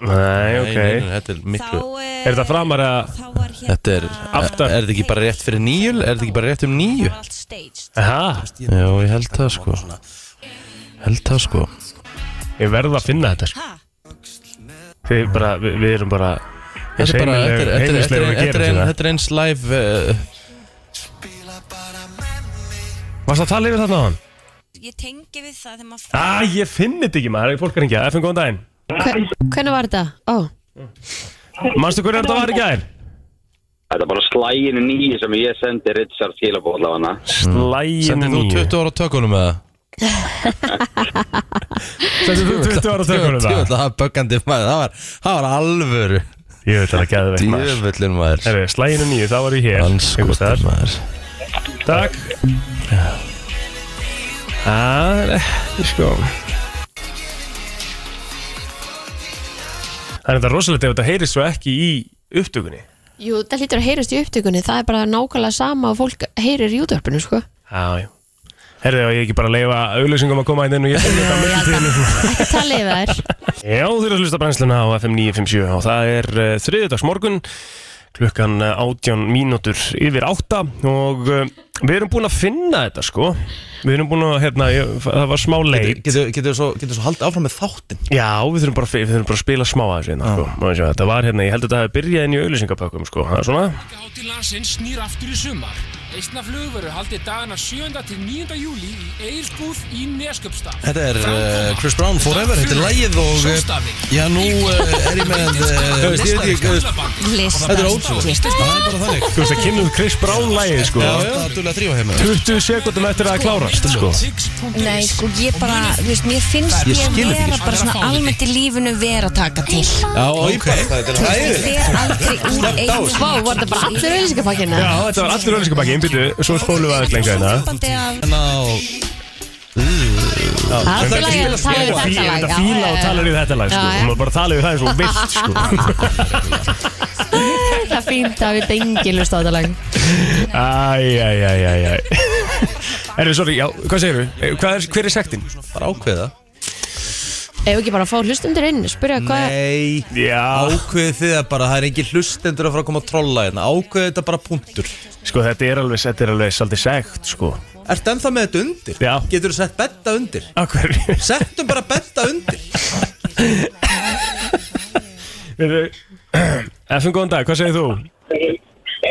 S1: Nei, ok
S4: nei, nei, þetta er miklu
S1: Er þetta framar að
S8: eh, Þá var hérna
S4: Þetta er,
S1: Aftar.
S4: er þetta ekki bara rétt fyrir nýju? Er þetta ekki bara rétt um
S8: Það
S4: nýju?
S8: var allt staged
S1: Aha,
S4: Já, ég held það sko Held það sko
S1: Ég verð að finna þetta sko.
S8: Ha?
S1: Þið bara, við, við erum bara
S4: Þetta er bara, þetta er- þetta er- þetta
S1: Heimilislegur
S4: er-
S1: að
S4: þetta er
S1: gera
S4: ein-
S1: þetta
S4: þetta er eins live uh,
S1: Varst að tala yfir þarna á hann?
S8: Ég tengi við það þegar maður
S1: Æ, ég finn þetta ekki maður, fólk er ekki að FN góðan daginn
S3: Hvernig var þetta? Ó,
S1: Manstu hvernig þetta var í gær?
S6: Þetta er bara slæginu nýju sem ég sendi Richard Skilabóð af hana.
S1: Slægin
S4: Mm. Sendið þú 20 ára á tökunum eða?
S1: Sendir þú 20 ára tökunum
S4: Djöfull,
S1: það?
S4: Það var böggandi maður, það var, það var alvöru
S1: Ég veit að það gæði veikt maður
S4: Djöfullin maður
S1: Herri, slæginu nýju, það var ég hér einhvers staðar.
S4: Anskotin maður
S1: Takk Það er ekki sko Það er þetta rosalegt ef þetta heyrist svo ekki í upptökunni
S3: jú, það hlýtur að heyrast í upptökunni Það er bara nákvæmlega sama og fólk heyrir í útvarpinu, sko
S1: Já, já Herðu, á ég ekki bara að leifa auðlýsingum að koma hérna inn og ég finn þetta mikið tíðinu
S3: Ekki talið við þær
S1: Já, þú eru að hlusta á brennsluna á FM 957 og það er uh, þriðdags morgun klukkan eh, 18 mínútur yfir 8 og uh, við erum búin að finna þetta sko við erum búin að, hérna, ég, það var smá leik
S4: Getur getur svo, getur svo haldið áfram með þáttin
S1: Já, við þurfum bara, að- við þurfum bara að spila smá að þessu hérna, sko. Má við sjá, þetta var hérna, ég held að þetta hefði byrjað inn í auðlýsingapökkum sko, það er svona
S9: Hátíð landsins snýr aftur í sumar. Eistna flug verður haldið dagana 7. til 9. júli í Eilsbúð í Nesköpstað.
S4: Þetta er eh, Chris Brown Forever, þetta er lægið og eh, Já, nú eh, er ég með eh, veist, ég veit ekki, eh,
S3: Lista
S4: Þetta er ótrúlega Það er bara þannig
S1: Þú veist að kynnuð Chris Brown lægið sko
S4: Já, já, það er hérna. að þrýfa heima
S1: 20 sekundum eftir að það klárast sko
S8: Nei, sko, ég bara, þú veist, mér finnst
S4: Ég
S8: ég,
S4: skil þetta
S8: vera
S4: ekki.
S8: bara svona almennt í lífinu vera að taka til
S4: Já, ok Þetta er
S8: Ég
S4: hæðið
S8: fer aldrei úr einu
S3: Vá, var þetta bara allir auðlýsingapakkinu?
S1: Já, þetta var allir auðlýsingapakki, einbyttu, svo spólum við aðeins lengra hérna
S8: Þetta
S4: En á
S3: Allt í lagi að tala við
S1: Fí-
S3: þetta lag
S1: Þetta
S3: já,
S1: fíla og
S3: já, já.
S1: talar við þetta lag sko
S3: Já, já.
S1: Hún var bara að tala við það eins og hún vilt sko
S3: Það er fínt að við dengil við stáðalag
S1: Æjæjæjæjæ Erum við, sorry, já, hvað segir við? Er, hver er sektin?
S4: Bara ákveða
S3: Ef ekki bara að fá hlustundur inn, spyrja hvað
S4: Nei
S1: Já,
S4: Ákveðið þið að bara, það er engin hlustendur að fara að koma að trolla hérna Ákveðið þetta bara punktur
S1: sko þetta er alveg, þetta er alveg svolítið sekt sko
S4: Ertu ennþá með þetta undir?
S1: Já.
S4: Getur þú sett betta undir?
S1: Akkur,
S4: Settum bara betta undir
S1: FN góðan dag, hvað segir þú?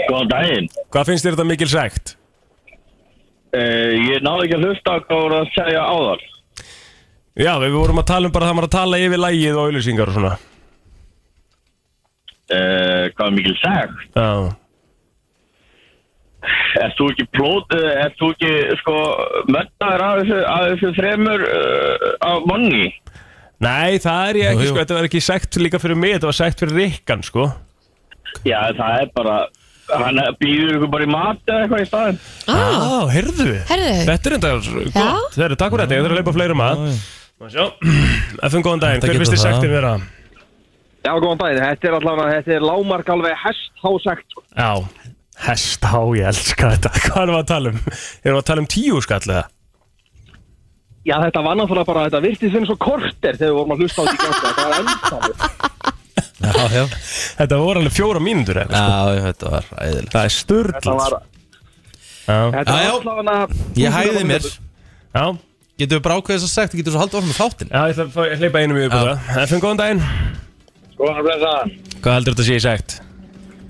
S6: Góðan daginn.
S1: Hvað finnst þér þetta mikil sekt?
S6: Uh, ég náði ekki að hlusta á hvað voru að segja áðar.
S1: Já, við vorum að tala um bara það maður að tala yfir lægið og auðlýsingar og svona
S6: Uh, hvað er mikil sagt?
S1: Já,
S6: Er þú ekki plót, eh, er þú ekki sko mönnaður af þessu, af þessu þremur uh, af manni?
S1: Nei, það er ég
S4: Jú,
S1: ekki,
S4: jú.
S1: sko, þetta var ekki sekt líka fyrir mig, þetta var sekt fyrir Rikkan, sko.
S6: Já, það er bara, hann býður ykkur bara í mat eða eitthvað í staðin.
S1: Á,
S3: ah,
S1: heyrðu.
S3: Herðu,
S1: Þetta er enda gott. Þetta er takk fyrir þetta, ég þarf að leipa fleiri mat. Má sjá, FN góðan daginn, hver
S4: getur
S1: finnst þið
S4: það.
S1: sektin vera?
S6: Já, góðan daginn, þetta er allavega, þetta er lámark alveg hesthásækt.
S1: Já, hest, á, ég elska þetta. Hvað erum við að tala um? Erum við að tala um tíu skallega?
S6: Já, þetta var náttúrulega bara, þetta virtist þinn svo korter þegar við vorum að hlusta á því gæti, þetta var ennstæður.
S4: Já, já
S1: Þetta voru alveg fjóra mínútur eitthvað, sko.
S4: Já, þetta var
S1: Það er
S4: æðilegt
S6: Þetta var,
S1: sturdlans. Já,
S6: þetta
S4: Já, já.
S6: var allavega...
S4: Ég hæði mér
S1: já,
S4: Getur við bara ákveðið þess að sagt Getur þú haldið áfram með þáttin
S1: já, ég ætla að fá- ég hleypa einum yfir bara. FN góðan daginn,
S6: Góðan blessaðan.
S1: hvað heldur þetta sé í sekt?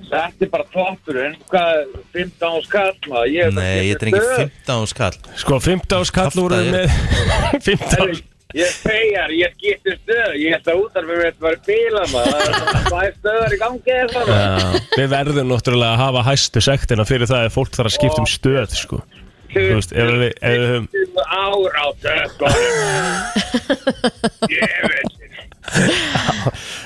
S6: Þetta er bara toppurinn, hvað, 15 skall maður, ég
S4: Nei, ég er ekki 15 skall
S1: Sko, 15 skall
S4: Kjafta
S1: úr
S4: þér.
S1: með 15
S6: Ég segjar, ég skiptir stöð, ég ætla út af mér þetta var bíla maður, það er svona tvær stöðar í gangi eða það maður.
S1: Við verðum náttúrulega að hafa hæstu sektina fyrir það að fólk þarf að skipta um stöð sko. Þú veist, ef við, ef við höfum
S6: 20 ár á tökunum. Ég veit ekki.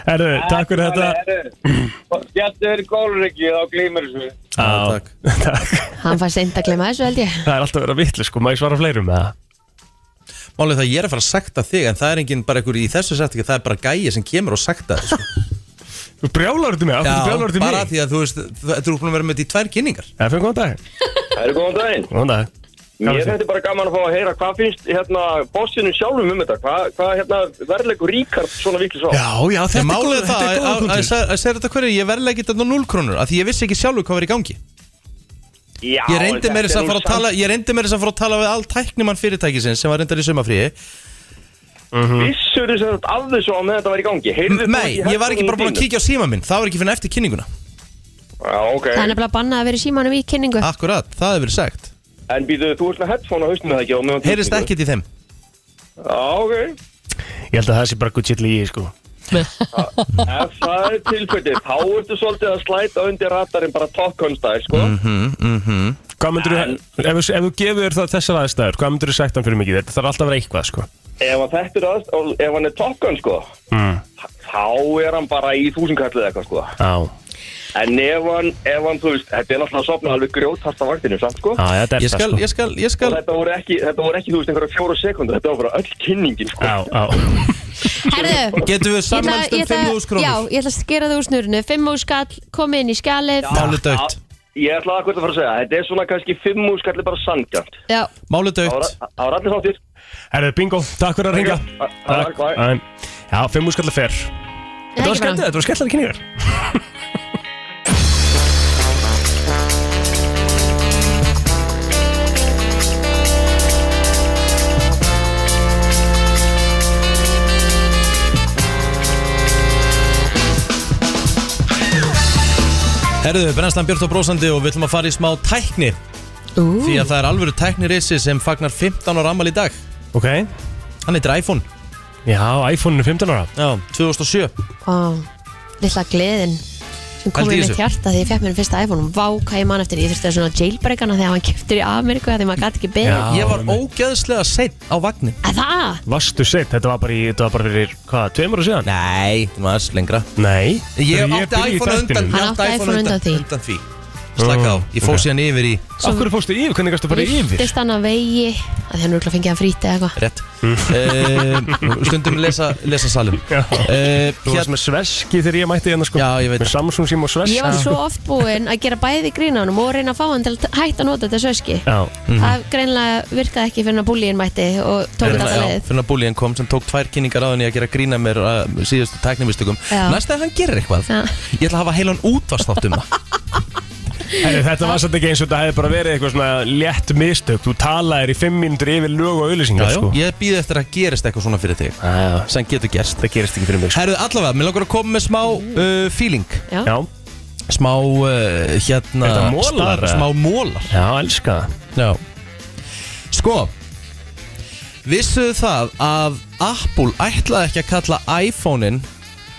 S1: Herru, takk fyrir þetta
S6: Gjaldur gólryggi, þá glýmur þessu.
S1: Á,
S4: takk.
S1: takk.
S3: hann fær seint að glemma þessu held ég
S1: Það er alltaf að vera vitlu sko, maður svara fleirum með það
S4: Málið er það að ég er að fara að sakta þig En það er enginn bara einhver í þessu sagt Það er bara gæja sem kemur og sakta þig sko.
S1: Þú brjálar þetta mig, af hverju brjálar þetta
S4: bara
S1: mig?
S4: því að þú veist, þú- þú ert búin að vera með þetta í tvær kynningar
S1: Efum, góðan dag
S6: Það eru góðan daginn.
S1: Góðan dag
S6: Mér
S1: Gaman að
S6: þetta bara gaman að fá að heyra hvað finnst hérna bossinu sjálfum um þetta. Hvað, hvað hérna verðleikur Ríkard svona vikið svo?
S1: Já, já, þetta
S4: En
S1: er góð,
S4: málið er
S1: þetta er
S4: það að-
S1: góð
S4: að- að
S1: punktur
S4: seg- að segja þetta hverju, ég verðlega ekki þetta 0 krónur af því ég vissi ekki sjálfur hvað var í gangi
S6: Já,
S4: Ég reyndi meira þess að fara að tala Ég reyndi meira þess að fara að tala við all tæknimann fyrirtækisins sem var reyndar í sumafríi
S6: Vissur
S1: Mhm.
S6: þess að af þessu á meðan þetta var í gangi? Heyrðu
S4: Nei, ég var ekki bara búin að kíkja á síma minn Það var ekki fyrir eftir kynninguna
S6: Já,
S3: Það
S6: ok.
S3: er nefnilega að banna að vera í símanum í kynningu
S4: Akkurat, það hefur verið sagt
S6: En býðu, þú ert með headphone á hausnum það ekki á meðan
S4: Heyrist
S6: kíkningu?
S4: ekkit í þeim
S6: Já, ok.
S1: Ég held að það sé bara gutt sýtli í, sko
S6: Ef það er tilfellið, þá ertu svolítið að slæta undir ratarinn bara tokkonstæðir,
S1: Mm.
S6: sko.
S1: Hvað myndur þú, ef, þú- ef þú gefur þér það þessar aðstæður, hvað myndur þú sagt hann fyrir mikið? Þetta þarf alltaf að vera eitthvað, sko
S6: Ef hann þetta er aðst, ef hann er tokkon, sko,
S1: mm.
S6: þá er hann bara í þúsundkallið eitthvað, sko.
S1: Á,
S6: En ef hann, ef hann, þú veist, þetta er náttúrulega að sopna alveg grjótast á vaktinu, samt, sko.
S1: á, þetta er
S4: Ég skal,
S1: það, sko
S4: ég skal, ég
S6: Og
S4: skal
S6: þetta voru ekki, þetta voru ekki, þú veist, einhverja fjóra sekundur, þetta var bara öll kynningin, sko.
S1: Á, á
S3: Herðu,
S4: Getum við
S3: ég ætla-
S4: sammælst
S3: ég
S4: um
S3: ætla-
S4: 5.000
S3: Já,
S4: krónur?
S3: ég ætla að skera það úr snurinu 5.000 skall, kom inn í skjalið
S4: Málið dögt
S6: Ég ætlaði að hvað það fara að segja, þetta er svona kannski fimm úr skallir bara sandgjant.
S3: Já,
S4: Málið
S6: Það
S4: dögt
S6: voru- það voru allir þáttir.
S1: Herðu, bingo, takk fyrir að ringa
S6: Takk, bye.
S1: En- Já, fimm úr skallar fer
S3: það
S1: Þetta var
S3: er ekki bara
S1: skemmtilegt, þetta var skemmtilega kynningar
S4: Herðu, Brennslan Björn og Brósandi og við ætlum að fara í smá tækni
S3: Ú,
S4: Því að það er alvöru tæknirissi sem fagnar 15 ára ammali í dag
S1: Ok,
S4: Hann heitir iPhone
S1: já, iPhone er 15 ára
S4: Já, 2007
S3: á, Lilla gleðin sem kom
S4: Pældi í
S3: í mitt
S4: þessu.
S3: hjarta þegar ég fekk mér fyrsta iPhone Vá, hvað ég man eftir, ég þurfti að svona jailbreakana þegar hann keftur í Ameríku þegar maður gæti ekki beðið
S1: Já.
S4: Ég var
S1: einmitt.
S4: ógeðslega seitt á vagnin
S3: Að Það,
S1: Vastu set, þetta var bara, í, þetta var bara fyrir, hvað, tveimur og síðan?
S4: Nei, það var aðeins lengra
S1: Nei
S4: Ég átti iPhone undan
S3: Hann
S4: ég
S3: átti iPhone undan því.
S4: Undan því Slaka á, ég fóð
S1: Ok.
S4: síðan yfir í
S1: Akkur fórstu yfir, hvernig gæstu bara yfir?
S3: lyftist hann að vegi að því hann rúkla fengið hann frítið eða eitthvað
S4: Rétt uh, Stundum lesa, lesa salum
S1: Mm. Já.
S4: uh,
S1: Þú varst
S4: hér,
S1: með sveski þegar ég mætti hérna sko
S4: Já, ég veit
S1: Með Samsung sím og sveski
S3: Ég var svo oft búinn að gera bæði grínanum og reyna að fá hann til að hætta að nota þetta sveski
S1: Já,
S3: Það greinlega virkaði ekki fyrir að búlíin mætti og tók þetta
S4: Já,
S3: leið
S4: Fyrir að búlíðan kom sem tók tvær kynningar á henni að gera grína mér uh, síðustu tæknimistökum
S3: Já.
S4: Næst að hann gerir eitthvað
S3: Já.
S4: Ég ætla að hafa heilan útvarsþátt um það
S1: Heri, þetta var svolítið ekki eins og þetta hefði bara verið eitthvað svona létt mistök Þú talaðir í fimm mínútur yfir lög og auðlýsingar sko
S4: Ég býð eftir að gerist eitthvað svona fyrir þig
S1: Já, já,
S4: sem getur gerst
S1: Það gerist ekki fyrir mig sko
S4: Herðu allavega, mér langar að koma með smá uh, feeling
S1: Já,
S4: Smá uh, hérna
S1: Er þetta molar,
S4: star-
S1: eða?
S4: Smá mólar
S1: já, elska það
S4: Já Sko Vissuðu það að Apple ætlaði ekki að kalla iPhone-in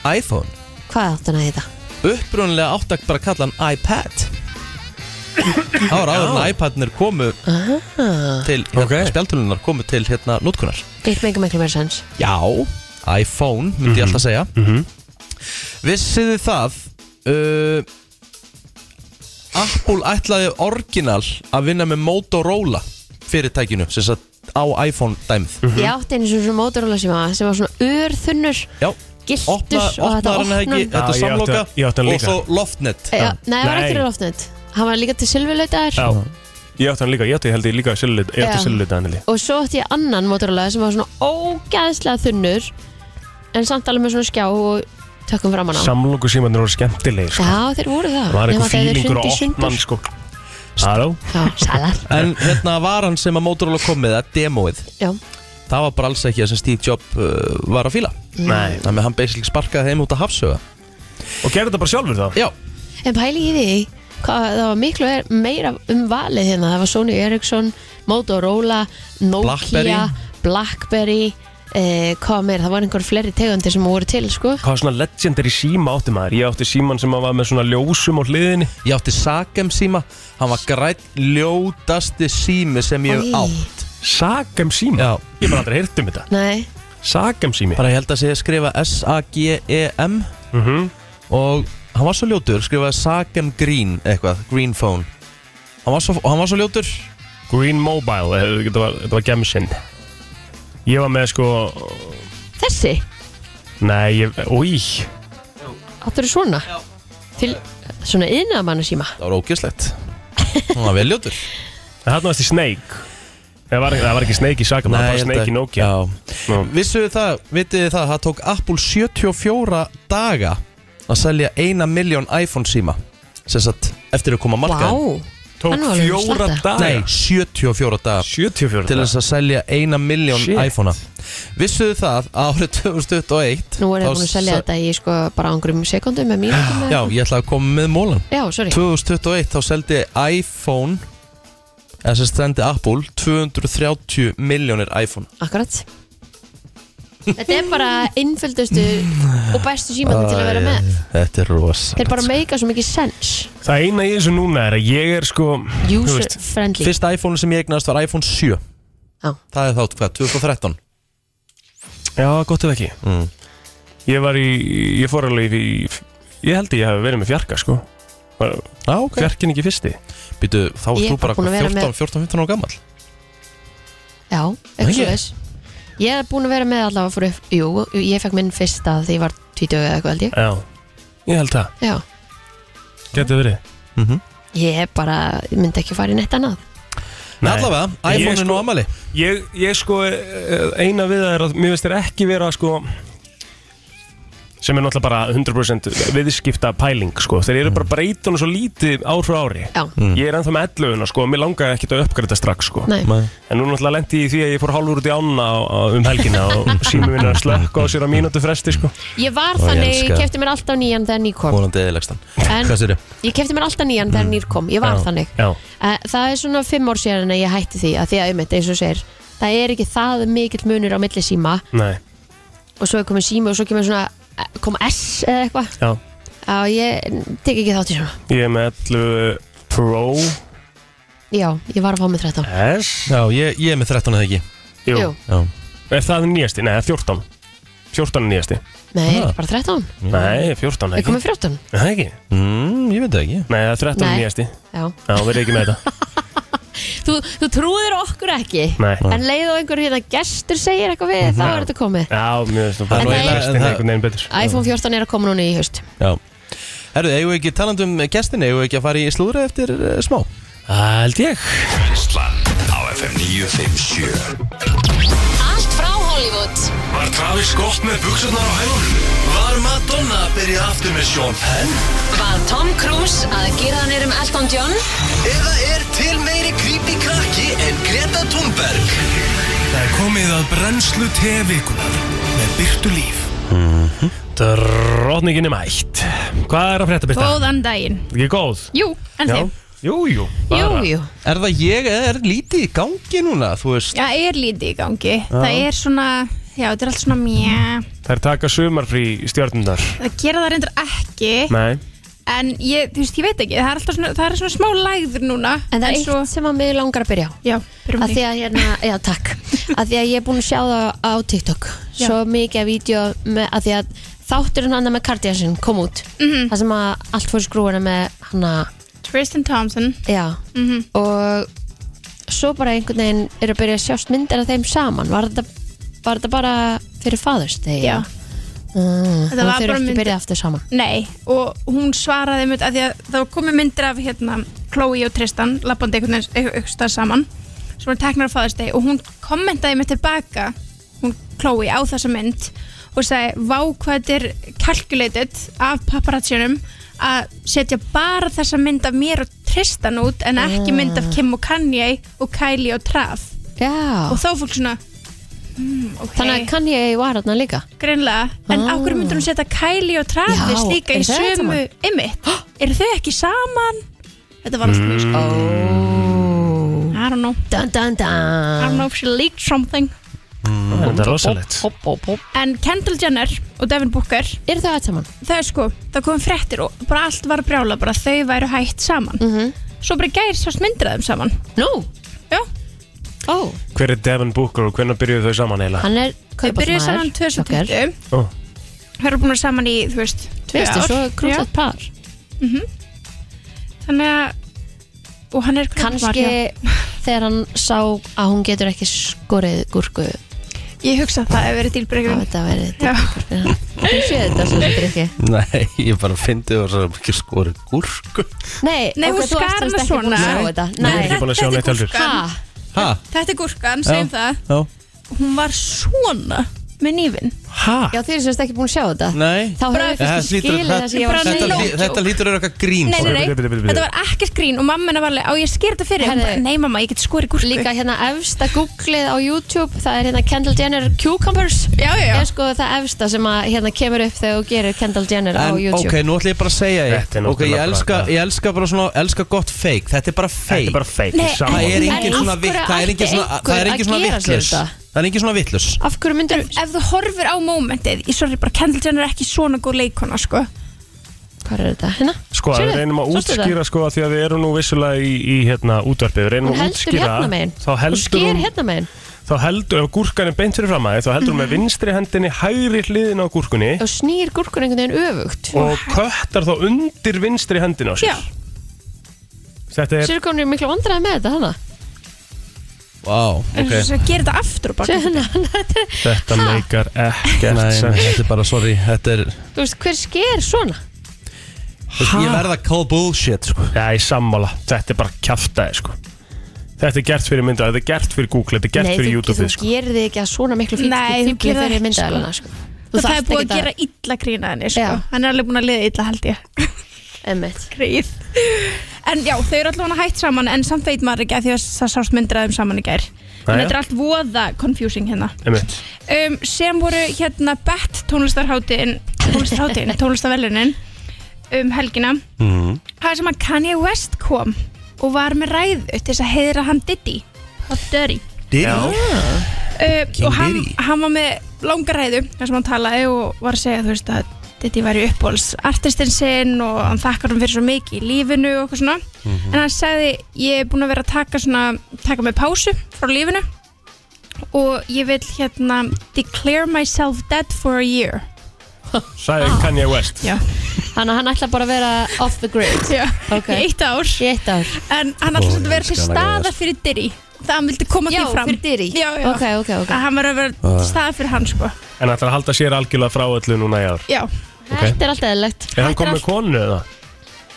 S4: iPhone
S3: Hvað átti hann að þetta?
S4: Upprunlega átti ekki bara að kalla hann iPad Það var áður en iPadnir komu til hérna,
S1: Ok.
S4: spjaltölunar komu til hérna notkunar
S3: Eitt mikið miklu meira sens
S4: Já, iPhone myndi
S1: Mhm.
S4: ég alltaf segja mm -hmm. Vissið þið það uh, Apple ætlaði orginal að vinna með Motorola fyrirtækinu sem satt á iPhone dæmið
S1: Mm. Mhm.
S3: Ég átti einu svona Motorola síma sem var svona urþunnur
S4: Já,
S3: Giltur
S4: opna,
S3: og
S4: opnaði
S3: þetta
S4: hann það ekki,
S3: opnun
S4: þetta
S1: Já, ég átti-
S4: samloka
S1: ég átti hann
S4: og
S1: líka.
S4: svo loftnet
S3: Já, Nei, það var
S1: Nei.
S3: ekki fyrir loftnönd Hann var líka til silfurlautaður
S1: Já, ég átti hann líka, ég átti held ég líka sillulit Ég átti
S3: Já.
S1: sillulit annili
S3: Og svo átti ég annan Motorola sem var svona ógæðslega þunnur En samt alveg með svona skjá og tökum fram hann á
S1: Samlóku símanir voru skemmtilegir sko
S3: Já, þeir voru það
S1: Það var
S3: Nema
S1: eitthvað
S3: þegar þeir
S1: fílingur
S3: hrundu
S1: að
S3: í
S1: opna hann
S3: sundur.
S1: sko Halló?
S3: Já, salar
S4: En hérna var hann sem að Motorola kom með að demoið
S3: Já,
S4: Það var bara alls ekki það sem Steve Jobs uh, var að fíla
S1: Nei
S4: Þannig að hann basically sparkaði þeim út að hafsöga
S1: Og gerðu þetta bara sjálfur þá?
S4: Já,
S3: en pæli í því Hvað, það var miklu er, meira um valið hérna Það var Sony Ericsson, Motorola, Nokia, Blackberry, eh, Hvað meira, það var einhver fleiri tegundir sem voru til sko.
S1: Hvað svona legendary síma átti maður? Ég átti síman sem var með svona ljósum á hliðinni
S4: Ég átti Sakem síma Hann var græn ljótasti sími sem ég
S3: Oj.
S4: hef átt
S1: Sagem síma?
S4: Já.
S1: Ég bara aldrei heyrt um þetta
S3: Nei,
S1: Sagem sími?
S4: Bara ég held að segja skrifa S-A-G-E-M
S1: Mhm.
S4: E Og hann var svo ljótur Skrifaði Sakem Green eitthvað Green Phone Hann var svo, hann var svo ljótur
S1: Green Mobile, eh, þetta var, þetta var gemsinn Ég var með sko
S3: þessi
S1: Nei, ég, új
S3: Áttur svona? Til svona yðnaðamannu síma
S4: Það var ógeðslegt Hún var veljótur
S1: En þarna varst í Snake Það var, það var ekki Snake í Saga, það var bara Snake í Nokia Já.
S4: Vissuðu það, vitið þið það Það tók Apple 74 daga Að selja eina miljón iPhone síma Sem sagt, eftir að koma
S3: Vá,
S4: markaðin
S1: Tók
S3: Hann var alveg um
S1: fjóra
S3: slatta.
S1: daga
S4: Nei, 74 daga
S1: 74
S4: Til þess að selja eina miljón
S1: Shit.
S4: iPhone-a Vissuðu það, árið 2021
S3: nú
S4: þá
S3: er það búin að selja
S4: se-
S3: þetta í sko bara á einhverjum sekundum með mínútum
S4: Já, ég ætla að koma með mólan
S3: já, sorry
S4: 2021 þá seldi iPhone eða sem stendi Apple 230 miljónir iPhone
S3: Akkurat Þetta er bara innföldustu og bestu símandi til að vera með
S4: Þetta er
S3: Þeir
S4: rosa
S3: bara meika svo mikið sens
S1: Það eina í þessu núna er að ég er sko þú
S3: User
S1: veist,
S3: friendly
S4: Fyrsta iPhone sem ég eignast var iPhone 7
S3: Já.
S4: Það er þátt hvað, 2013
S1: Já, gott ef ekki
S4: Mm.
S1: Ég var í, ég fór alveg í Ég held ég hafi verið með fjarka sko Var
S4: Já, ok
S1: Fjarkin ekki fyrsti
S4: Býtu, þá
S3: Ég
S4: er
S3: er
S4: þú bara
S3: bara búin að vera
S4: 14,
S3: með-
S4: 14, 15 ára gammal
S3: Já, eitthvað
S4: Ekki?
S3: svo þess Ég er búin að vera með allavega fyrir upp Jú, ég fekk minn fyrsta því ég var 20 eða eitthvað held ég
S1: Já, ég held það
S3: Já,
S1: Gæti verið
S3: ég er bara, ég myndi ekki fara í neitt annað
S1: Nei.
S4: Allavega,
S1: Ég
S4: iPhone er
S1: sko-
S4: nú amali
S1: Ég, ég sko, eh, eina við það er að Mér veist þér ekki vera sko sem er náttúrulega bara 100% viðskipta pæling sko. þeir eru
S4: Mm.
S1: bara breytunum svo lítið ár frá ári
S3: Já,
S1: ég er ennþá með 11 sko, og mér langaði ekkert að uppgræta strax sko.
S3: nei,
S1: En nú náttúrulega lendi ég í því að ég fór hálfur út í ána á, á, um helgina og sími minn er að slökka á sér á mínútu fresti sko.
S3: ég var
S4: ég
S3: þannig, ég
S4: elska-
S3: kefti mér alltaf nýjan þegar nýr kom
S4: Vonandi eðilegstan
S3: En
S4: Hvað sér þið?
S3: ég kefti mér alltaf nýjan þegar nýr kom, ég
S1: Mm.
S3: var
S1: Já,
S3: þannig
S1: Já,
S3: Eh, Það er svona fimm ár síðan að ég hætti því að því að auðvitað eins og þú segir það er ekki það mikill munur á milli síma
S1: nei,
S3: og svo er komið síma og svo kemur svona eh, kom S eða eitthvað
S1: já
S3: Já, ég tek ekki þátt í svona
S1: Ég er með 11 Pro
S3: Já, ég var að fá mig 13
S1: S
S4: Já, ég, ég er með 13 eða ekki
S1: Jú,
S3: Jú,
S4: Já,
S1: er það nýjasti? Nei, það er 14 14 er nýjasti
S3: nei,
S4: Ha.
S3: ekki bara 13
S1: Mm. Nei, 14
S3: Ég
S1: ekki
S3: kom með 14
S1: Er Það ekki?
S4: mm, ég veit það ekki
S1: Nei, það er 13
S3: Nei.
S1: nýjasti
S3: Já.
S1: Já, verði ekki með þetta
S3: Þú, þú trúðir okkur ekki
S1: Nei Mhm.
S3: en leið og einhver hérna gestur segir eitthvað við þá er þetta komið
S1: Já, mér veist það
S4: Það
S3: er nú
S1: bara
S3: eiginlega-
S1: Kristín
S4: það-
S1: einhvern veginn betur
S3: iPhone 14 er að koma núna í haust
S4: Já Herru, eigum við ekki talandi um gestinni, eigum við ekki að fara í slúðra eftir uh, smá?
S1: Það held ég
S2: Brennslan á FM 957
S10: Allt frá Hollywood
S2: Var Travis gott með buksunar á hælunum? Var Madonna að byrja aftur með Sean Penn?
S10: Var Tom Cruise að gera hann erum Elton John?
S2: Eða er til meiri creepy krakki en Greta Thunberg? Það er komið að brennslu tevikunar með byrtu líf
S1: Drotningin er mætt Hvað er að frétta byrta?
S10: Góðan daginn
S1: Ekki góð?
S10: Jú, en
S1: Já
S10: þið?
S1: Jú, jú
S3: Jú,
S1: bara.
S3: jú,
S4: Er það ég eða er lítið í gangi núna? Þú veist,
S10: Já, er lítið í gangi Það er svona, já, þetta er allt svona mjö
S1: Þær taka sumarfrí stjórnundar
S10: Það gera það reyndar ekki
S1: Nei
S10: En ég, þú veist, ég veit ekki Það er alltaf svona, það er svona smá lægður núna
S3: en það er eitt
S10: svo,
S3: sem að mig langar að byrja á
S10: Já, byrjum
S3: að
S10: því
S3: því að hérna, já takk að því að ég er búin að sjá það á TikTok
S10: Já.
S3: svo mikið af vídeo með, að því að þátturinn hann með Kardashian kom út
S10: Mhm.
S3: það sem að allt fór í skrúina með hann að
S10: Tristan Thompson
S3: já
S10: Mhm.
S3: og svo bara einhvern veginn eru að byrja að sjást myndir af þeim saman var þetta, var þetta bara fyrir faðurst
S10: Já.
S3: mm,
S10: Þetta var
S3: þau eru ekki
S10: bara myndir-
S3: byrjað aftur saman
S10: Nei, og hún svaraði mynd að því að það komið myndir af hérna Chloe og Tristan, lappandi einhvern veginn einhver- einhvers staðar saman, sem var teknar á fæðastegi og hún kommentaði mig tilbaka hún Chloe á þessa mynd og sagði, vá hvað þetta er calculated af paparazzinum að setja bara þessa mynd af mér og Tristan út en ekki mynd
S3: Ah.
S10: af Kim og Kanye og Kylie og Trav
S3: já
S10: og þá fólk svona hmm, okay.
S3: þannig að kann ég var hérna líka
S10: Greinlega, en
S3: Ah.
S10: á hverju myndur hún setja Kylie og Travis
S3: Já,
S10: líka
S3: eru
S10: í
S3: þau ekki
S10: sömu
S3: saman?
S10: ymmit? Eru þau ekki saman? Þetta var alltaf mjög sko
S3: Mm.
S10: I don't know,
S3: dun dun
S10: I don't
S3: dun
S10: know if she leaked something
S1: Þetta er rosalegt
S3: hopp hopp hopp
S10: En Kendall Jenner og Devin Booker
S3: eru þau allt saman
S10: þau sko, það kom fréttir og bara allt var brjála bara þau væru hætt saman
S3: Mhm.
S10: Svo bara í gær sást myndir af þeim saman
S3: nú
S10: Já,
S3: ó
S1: Hver er Devin Booker og hvernig byrjuðu þau saman eiginlega?
S3: Hann er
S10: þau byrjuðu saman
S3: kaupasmaður, sjokker.
S10: 2020
S1: Ó.
S10: Þau eru búin að vera saman í, þú veist, tvö
S3: Veistu,
S10: ár
S3: svo
S10: Já.
S3: krúsað par
S10: Þannig að, og hann er kaupmaður,
S3: Kanski
S10: já.
S3: þegar hann sá að hún getur ekki skorið gúrku
S10: Ég hugsa að það hefur verið dílbreykjum
S3: Þetta verið dílbreykjum Þú séð þetta svo sem drikki
S4: Nei, ég bara fyndi og svo ekki skorið gúrku
S3: Nei,
S10: Nei,
S3: ok,
S10: hún
S3: þú varst
S10: skar
S3: víst
S10: hana
S3: ekki búin
S10: svona
S3: að sjá þetta.
S1: Ég er
S3: Nei,
S1: ekki búin að sjá neitt heldur
S10: gúrkan.
S3: Ha?
S4: Hæ?
S10: Þetta er gúrkan, segjum það Hún var svona með nýfin
S1: Mm,
S4: Hæ?
S3: Já, þið eru semst ekki búin að sjá þetta
S4: Nei
S3: Þá hefur
S4: Þetta
S3: fyrst
S4: hlýtur-
S3: skilið það sem ég var að
S10: Bara
S3: segja
S10: no
S4: Þetta,
S10: joke.
S4: þetta lítur að vera eitthvað grín
S10: Nei, nei, nei,
S4: sko.
S10: þetta var ekkert grín og mamma hennar var alveg, á ég sker þetta fyrir Hún
S3: Herðu.
S10: bara, Nei mamma, ég get skorið gúrku
S3: Líka hérna efsta googlið á YouTube Það er hérna Kendall Jenner Cucumbers
S10: Já, já, já
S3: Er sko það efsta sem að hérna kemur upp þegar þú gerir Kendall Jenner á
S4: En
S3: YouTube
S4: ok, nú ætla ég bara að segja
S1: Þetta er
S4: ég Ok, ég
S1: náttúrulega
S4: elska,
S1: bara-
S4: ég elska bara svona, elska gott fake Þetta er bara fake
S1: Þetta er bara feik
S10: Nei,
S4: Það er
S3: En
S4: engin
S3: af
S4: svona
S3: hverju
S4: vitt Það er engin
S3: ætti
S4: svona Það er engin svona vittlus
S3: einhver að gera sér þetta?
S4: Það er engin svona vittlus
S3: Af hverju myndir
S10: En ef þú horfir á mómentið, ég sorry bara, Kendall Jenner er ekki svona góð leikona, sko
S1: Ah,
S3: Hvað er þetta? Hérna?
S1: Sko,
S3: Sérðu?
S1: við reynum að
S3: Sástu
S1: útskýra sko að því að við erum nú vissulega í, í hérna útvarpið, við reynum
S3: Hún
S1: að
S3: heldur
S1: útskýra
S3: hérna megin
S1: þá
S3: Hún
S1: heldur
S3: sker
S1: hún,
S3: hérna Mhm. megin
S1: þá heldur, ef gúrkan er beint fyrir fram að þá heldur hún með vinstri hendinni hægri hliðin á gúrkunni
S3: og snýr gúrkur einhvern veginn öfugt
S1: og köttar þá undir vinstri hendin á sér
S10: Já.
S1: Þetta er,
S3: Sér komur miklu vandræði með þetta hana
S4: Vá,
S10: En
S4: ok
S10: svo gerir þetta aftur og bara
S3: Sér hérna, þetta er-
S1: þetta meikar
S4: Nei,
S1: ekkert
S4: nei,
S1: sens.
S4: þetta er bara, sorry Þetta er
S3: Þú veist, hver sker svona?
S4: Þú veist, Ég verða að call bullshit, sko
S1: Já, ég sammála, þetta er bara kjaftaði sko Þetta er gert fyrir mynda, þetta er gert fyrir Google, þetta er gert
S3: Nei,
S1: fyrir
S3: þú, þú
S1: YouTube sko.
S3: gerir þig ekki að svona miklu fíkli
S10: Nei, þú gerir það
S3: fyrir
S10: ekki,
S3: myndaðalina sko. Þú
S10: Það er
S3: þarft
S10: búið
S3: ekki
S10: að gera illa grína henni, sko
S3: Já.
S10: Hann er alveg búin að liða illa, held ég
S3: Einmitt.
S10: Gríð En já, þau eru allavega hætt saman En samt veit maður ekki að því að það sást myndraðum saman í gær En
S1: Jæja.
S10: þetta er allt voða confusing hérna
S1: Einmitt.
S10: um, Sem voru hérna Bett tónlistarháttin Tónlistarháttin, tónlistarvelunin Um helgina Það er sem að Kanye West kom Og var með ræðu til þess að heiðra hann Diddy Pop Dirty
S4: Diddy
S10: um,
S4: King
S10: og hann,
S4: Diddy.
S10: hann var með langa ræðu þar sem hann talaði og var að segja þú veist að Diddy væri uppbóls artistinn sinn og hann þakkar hann fyrir svo mikið í lífinu og eitthvað svona
S4: Mhm.
S10: en hann sagði ég er búin að vera að taka svona taka mig pásu frá lífinu og ég vil hérna declare myself dead for a year
S1: Sagði
S10: Ah.
S1: Kanye West
S10: já,
S3: Þannig að hann ætla bara að vera off the grid
S10: já.
S3: Ok.
S10: í eitt ár
S3: í eitt ár
S10: en hann ætlaði samt að vera
S4: elskar
S10: til
S4: hann að
S10: staða
S4: gera
S10: fyrir Diddy það hann vildi koma
S3: Já,
S10: því fram
S3: fyrir dyri
S10: já, já, Ah.
S3: Ok, ok, ok
S10: að hann var að vera
S4: Ah.
S10: til staða fyrir hann sko
S1: En ætlar að halda sér algjörlega frá öllu núna í ár
S10: já,
S3: Þetta er alltaf eðlilegt
S1: Er hann kom með konu eða?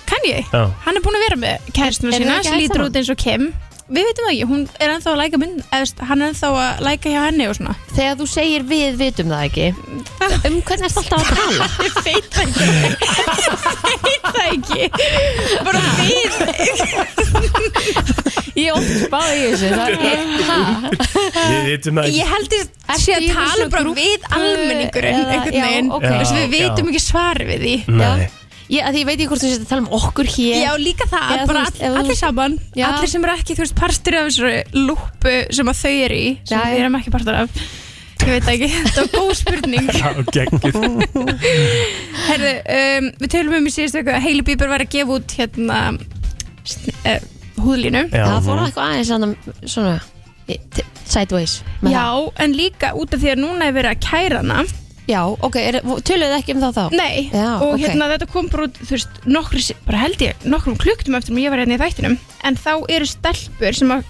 S10: kann ég
S1: Já
S10: hann er búinn að vera með kæristinu
S3: Eru þau
S10: sína
S3: ekki
S10: sem
S3: hætt
S10: lítur
S3: saman?
S10: út eins og Kim við veitum það ekki, hún er ennþá að læka mynd eða, veist, hann er ennþá að læka hjá henni og svona
S3: Þegar þú segir við vitum það ekki
S10: Ah.
S3: Um hvernig ertu alltaf að tala?
S10: ég veit það ekki ég veit það ekki bara við
S3: Ég er oft spáð í þessu Það er ha?
S10: Eh,
S1: Við vitum það
S10: ég held ég
S3: Ertu
S10: sé að
S3: í
S10: tala
S3: þessu
S10: bara
S3: grúppu
S10: við almenningurinn
S3: eða-
S10: einhvern
S3: já,
S10: veginn
S3: ok.
S10: Þú veist, við
S1: Já,
S10: veitum
S1: já.
S10: ekki svar við því
S1: Nei
S3: Ég, að því ég veit ekki hvort þú sést að tala um okkur hér
S10: Já, líka það,
S3: Já, þú
S10: bara
S3: veist,
S10: all,
S3: ef þú-
S10: allir saman
S3: Já.
S10: Allir sem eru ekki, þú veist, partur af þessari lúpu sem að þau eru í sem
S3: Já, já.
S10: við erum ekki partur af Ég veit það ekki, þetta var góð spurning
S1: Já, geggjuð
S10: Herðu, um, við tölum um í síðustu viku að Hailey Bieber var að gefa út hérna sn- eh, húðlínu
S1: Já, Mhm.
S3: Það fór eitthvað aðeins annað, svona í- t- Sideways með
S10: Já,
S3: það.
S10: en líka út af því að núna er verið að kæra hana
S3: Já, ok, er- töluðu ekki um það þá?
S10: Nei,
S3: Já,
S10: og
S3: ok.
S10: hérna þetta kom bara út, þú veist, nokkru, bara held ég, nokkrum klukkutum eftir að ég var hérna í þættinum En þá eru stelpur sem að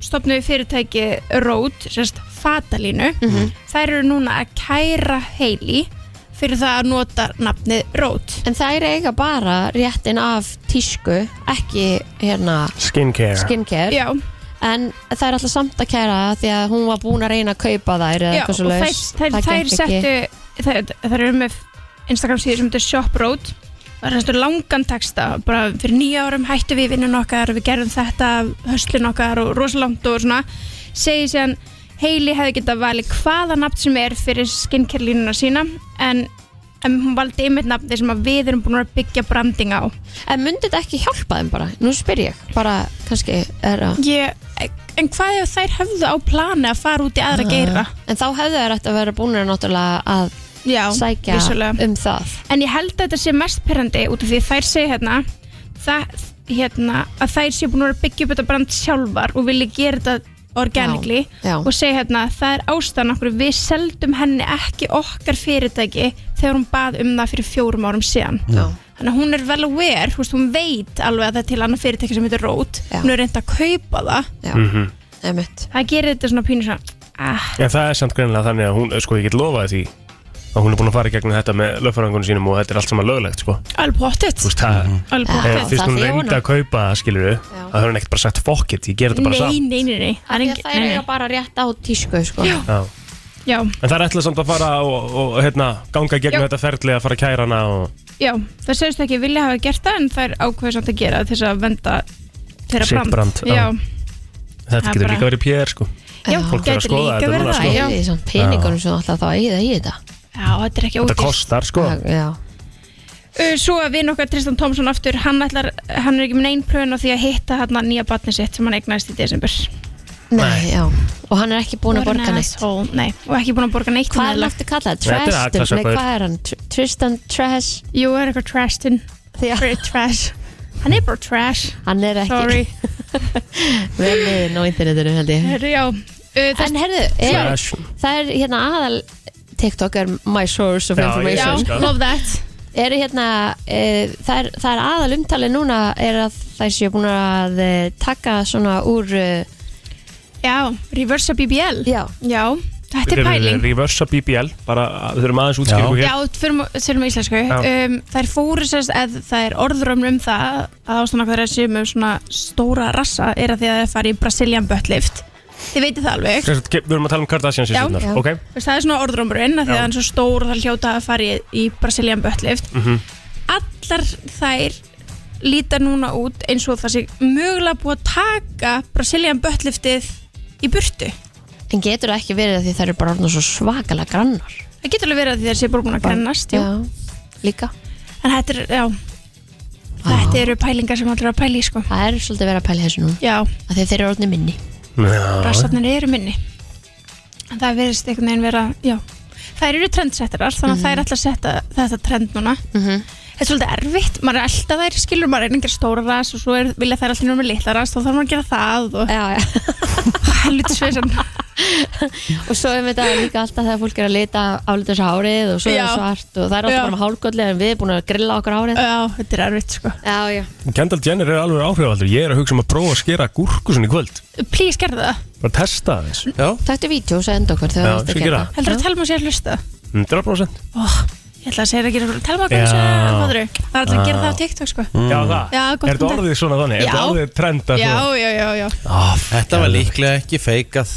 S10: stopnuði fyrirtæki Rót, sérst Fatalínu
S3: Mhm.
S10: Þær eru núna að kæra Hailey fyrir það að nota nafnið Rót
S3: En þær eiga bara réttin af tísku, ekki hérna
S1: Skincare
S3: skincare
S10: Já,
S3: en það er alltaf samt að kæra það því að hún var búin að reyna að kaupa þær eða
S10: Já,
S3: eitthvað svo
S10: og
S3: laus
S10: þær, þær, þær settu þær, þær eru með Instagram síður sem þetta er ShopRoad það er þessu langan texta bara fyrir nýja árum hættu við vinnun okkar við gerðum þetta, höslun okkar og rosalangt og svona segi síðan Hailey hefði getað valið hvaða nafn sem er fyrir skinnkerlínuna sína en, en hún valdi einmitt nafni sem að við erum búin að byggja branding á
S3: en myndi þetta ekki hjálpa þeim bara nú spyr ég, bara kannski er að
S10: Ég, en hvað ef þær höfðu á plani að fara út í
S3: Ah.
S10: aðra geira
S3: en þá hefðu þær ætti að vera búin að náttúrulega að
S10: Já,
S3: sækja
S10: vissulega.
S3: um það
S10: En ég held að þetta sé mest perandi út af því þær segi hérna, það, hérna að þær sé búin að vera að byggja upp þetta brand sjálfar og vilja gera þetta organically
S3: Já, já.
S10: og segi hérna það er ástæðan okkur við seldum henni ekki okkar fyrirtæki þegar hún bað um það fyrir fjórum árum síðan
S3: Já.
S10: þannig að hún er vel aware þú veist, hún veit alveg að það er til annað fyrirtæki sem heitir Rót
S3: Já.
S10: hún er reynd að kaupa það
S3: já, mm -hmm.
S10: það gerir þetta svona pínu svona ah,
S1: En það er samt greinilega þannig að hún, sko, ég get lofaði því að hún er búin að fara í gegnum þetta með lögfærangunum sínum og þetta er allt saman löglegt, sko
S10: alveg pottitt
S1: Þú veist, það
S10: Alveg
S1: Eh,
S10: pottþétt.
S1: Fyrst hún
S10: Mhm. Það þjá
S1: reyndi
S10: hana.
S1: að kaupa það, skilur við Það hefur hann ekkert bara sagt fuck it, ég ger þetta bara
S10: Nei,
S1: samt
S10: nei, nei, nei Það er engin
S3: Það er eiga bara rétt á tísku sko. Já,
S1: Já.
S10: já,
S1: En það er ætlað samt að fara og, og hérna, ganga í gegnum
S10: Já.
S1: þetta ferli að fara að kæra hana og
S10: já, það segist ekki vilja hafa gert það en það er ákveð samt að gera til þess að venda þeirra
S1: Sitt brand, já.
S10: Já,
S1: þetta
S10: Það
S1: getur
S10: bara-
S1: líka verið PR, sko
S10: Já,
S1: Fólk fer að
S10: gæti
S1: skoða
S10: líka
S1: þetta
S10: verið
S1: núna,
S10: það,
S1: sko
S10: já.
S3: Í þessum peningunum sem alltaf þá eigið að í þetta
S10: já, þetta er ekki
S1: Þetta
S10: ódýrt
S1: kostar, sko
S3: Já,
S10: Uh, Svo að vinn okkar Tristan Thompson aftur hann, ætlar, hann er ekki með neinn plöðun á því að hitta hann nýja batni sitt sem hann eignaðist í desember
S3: nei, já Og hann er ekki búin að
S10: What an
S3: borga neitt
S10: asshole. Nei, og ekki búin að borga neitt
S3: Hvað er hann
S10: meðlag.
S3: aftur kallað?
S1: Þetta er
S3: Trastum, nei
S1: aðklassakaupur.
S3: hvað er hann? Tr- Tristan Trash
S10: Jú, er eitthvað trashtin Fyrir trash Hann er bara trash
S3: Hann er ekki
S10: Sorry
S3: Vel liðin á internetinu held ég
S10: Herru, já uh,
S3: En herðu, er,
S1: Trash.
S3: það er hérna aðal TikTok er my source of
S1: Já, ég
S3: information
S10: Já,
S1: Sorry, sko.
S10: love that
S3: Eru hérna, uh, það, er, það er aðal umtalið núna er að þær séu búin að uh, taka svona úr uh,
S10: Já, reversa BBL
S3: Já,
S10: Já, þetta er pæling
S1: Reversa BBL, bara uh, við þurfum aðeins útskýra
S4: Já.
S1: ykkur
S10: Já,
S1: hér
S10: þurfum þurfum á íslensku
S1: Já.
S10: um, Það er fóru sérst að það er orðrömmur um það að ástæðan okkur þessi með svona stóra rassa er að því að það er farið í Brazilian butt lift Þið veitir það alveg
S1: Sem sagt, Við þurfum að tala um Kardashian
S10: Já.
S1: sýsturnar,
S3: Já.
S1: ok?
S10: Þú veist, það er svona orðrömmurinn að því
S1: Já.
S10: að hann er svo stór og það hljóta að fara í, í Brazilian butt lift
S1: Mhm.
S10: allar þær líta núna út eins og það sé mögulega búið að taka Brazilian butt liftið í burtu
S3: en getur það ekki verið að því þær eru bara orðin svo svakalega grannar
S10: það getur alveg verið að því þær sé bara búin að grannast jú.
S3: líka
S10: en þetta er, já þetta eru pælingar sem allir eru að pæla í sko
S3: Það er svolítið verið að pæla í þessu nú
S10: já,
S3: að því þeir eru orðin minni
S1: Já,
S10: rassarnir eru minni en það verðist einhvern veginn vera, já þær eru trendsetterar, þannig að þær ætla að setja þetta trend núna
S3: Mhm.
S10: þetta er svolítið erfitt, maður er alltaf þær skilur maður er einhver stóra ras og svo er, vilja þær alltaf með litla ras, þá þarf maður að gera það og
S3: Já, já
S10: helviti svesan
S3: Og svo er þetta líka alltaf þegar fólk er að lita álítið þessu hárið og svo er
S10: Já.
S3: það svart og það er alltaf
S10: Já.
S3: bara með hálfgöldlega en við erum búin að grilla okkur hárið
S10: Já, þetta er erfitt sko
S3: Já, já
S1: Kendall Jenner er alveg áhrifaldur Ég er að hugsa um að prófa að skera gúrkusun í kvöld
S10: Please gerðu það,
S1: Bara testa það eins
S4: Já,
S3: Takktu vídeo og senda okkur
S1: Já,
S3: þegar
S1: skal gera
S3: þú ert að gera
S1: það.
S10: heldur að telma sé að hlusta
S1: 100%
S10: Ó, ég ætla að segja að gera okkur telma okkur
S1: Já.
S10: þessu fattaru. Það er alltaf að gera það á TikTok sko
S3: Mm.
S1: Já, það
S10: Já, gott
S1: Er þetta
S10: um
S1: orðið svona þannig? Er
S10: Já.
S1: þetta orðið trend að
S10: Já,
S1: svona?
S10: já, já, já
S4: Ah, þetta var líklega ekki feikað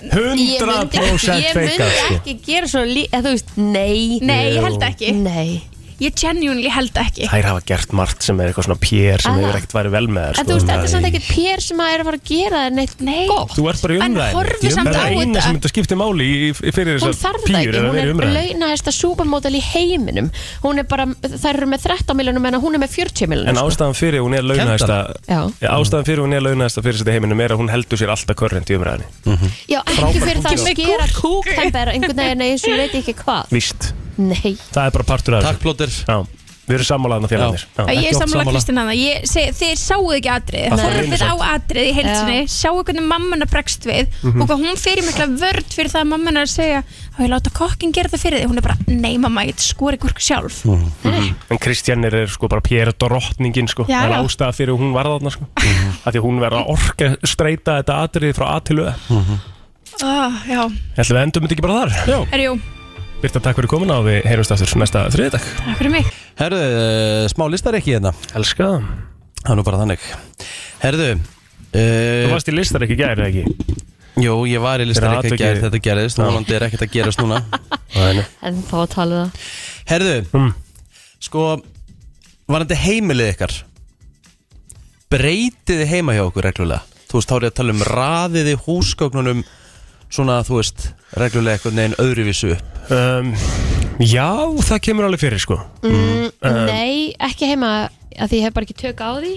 S1: 100%
S3: Ég myndi
S1: feikað sko.
S3: ekki gera svo lí... eða Þú veist, nei
S10: Nei, ég held ekki
S3: Nei
S10: Ég genuinely held ekki
S1: Þær hafa gert margt sem er eitthvað svona PR sem
S3: Aha.
S1: hefur ekkert værið vel með sko. þér
S3: En þú veist, þetta er samt ekkert pér sem að er að fara að gera þér neitt
S10: Nei.
S3: gott
S1: Þú ert bara í
S10: En
S1: umræðinu
S10: horfðu samt
S1: Það
S10: á
S1: er eina
S10: þetta.
S1: sem þetta skiptir máli í, í fyrir
S3: Hún
S1: þessar
S3: þarf það
S1: pýr
S3: ekki,
S1: eða
S3: hún
S1: verið
S3: er
S1: umræðinu
S3: launahæsta supermodel í heiminum Hún er bara, þær eru með 13 miljonum en hún er með
S1: En
S3: sko. 40 miljonum
S1: ástæðan fyrir hún er launæsta
S3: Já.
S1: Ástæðan fyrir hún er launæsta fyrir þetta heiminum er að hún heldur sér alltaf körrent í umræðinu
S3: Já, ekki fyrir það að gera kúktember einhvern veginn eins og ég veit ekki hvað
S1: Víst,
S3: Nei,
S1: það er bara partur af
S4: Takk
S1: þessu
S4: plóter
S1: Já, Við erum sammálaðna félagarnir
S4: Já.
S1: Já.
S10: Ég
S4: ekki
S10: er
S4: oft
S10: sammála
S4: sammála.
S10: Kristina það Ég segi, Þeir sáu ekki atrið
S1: Það er
S10: Horfið á
S1: ýmislegt.
S10: atrið í heilsinni Sjáu hvernig mammana bregst við
S4: Mhm.
S10: Og hvað hún fyrir mikla vörd fyrir það að mammana er að segja Há ég láta kokkin gera það fyrir þig Hún er bara, nei mamma, ég get skori gúrk sjálf
S4: Mm.
S1: En Kristjannir er sko bara Pér drottningin sko
S10: Já,
S1: Það er
S10: já.
S1: ástæða fyrir hún varðarna sko Af Því að hún verður að orka streyta þetta atriði frá atilu Ætlum
S10: Ah, Já,
S1: við endum þetta ekki bara þar Já
S10: erjú,
S1: Birta, takk fyrir komin og við heyrumst aftur næsta þriðdag.
S10: takk fyrir mig
S4: Herðu, eh, smá listar ekki hérna
S1: Elska það.
S4: Það er nú bara þannig Herðu
S1: Þú
S4: uh,
S1: varst í listar ekki gærið, ekki?
S4: Jú, ég var í listar
S1: Þetta
S4: ekki að
S1: atvikið-
S4: gera þetta gerðist
S1: Já.
S4: Núlandi er ekkert að gerast núna
S1: Nei,
S3: en þá að tala um það
S4: Herðu,
S1: Mm.
S4: sko Var þetta heimilið ykkar Breytiði heima hjá okkur reglulega Þú veist, þá er ég að tala um raðiði húsgögnunum Svona, þú veist, reglulega eitthvað neginn öðruvísu upp
S1: Um, já, það kemur alveg fyrir, sko.
S3: Nei, ekki heima að því ég hef bara ekki tök á því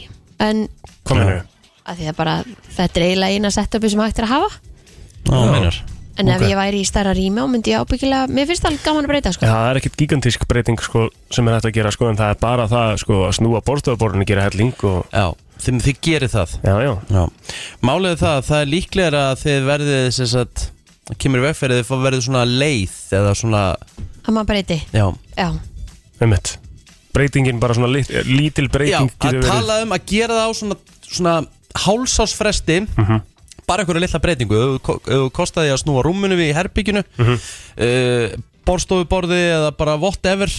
S3: en
S1: Hvað mennur þau?
S3: að því að bara þetta er eiginlega eina setupi sem hægt er að hafa
S4: Já, meinar
S3: en
S1: Ok.
S3: ef ég væri í stærra rými og myndi ég ábyggilega mér finnst það gaman að breyta sko.
S1: Já, það er ekkert gigantísk breyting, sko, sem er hægt að gera, sko, en það er bara það, sko, að snúa borðstofaborðinu, gera helling og...
S4: Já, þeim þið gerir það
S1: Já, já.
S4: Já. Málið er það, það er líklega að þið verðið sem sagt, það kemur í veg fyrir að þið fá- verðið svona leið eða svona,
S3: að maður breyti
S4: já,
S3: já,
S1: Um mitt. Breytingin, bara svona lit, eh, lítil
S4: já
S1: breyting
S4: að tala um að gera það á svona, svona hálsásfresti bara einhverja litla breytingu ef þú ko- ef þú kostaði að snúa rúmunu við í herbygginu mm -hmm. borstofuborði eða bara whatever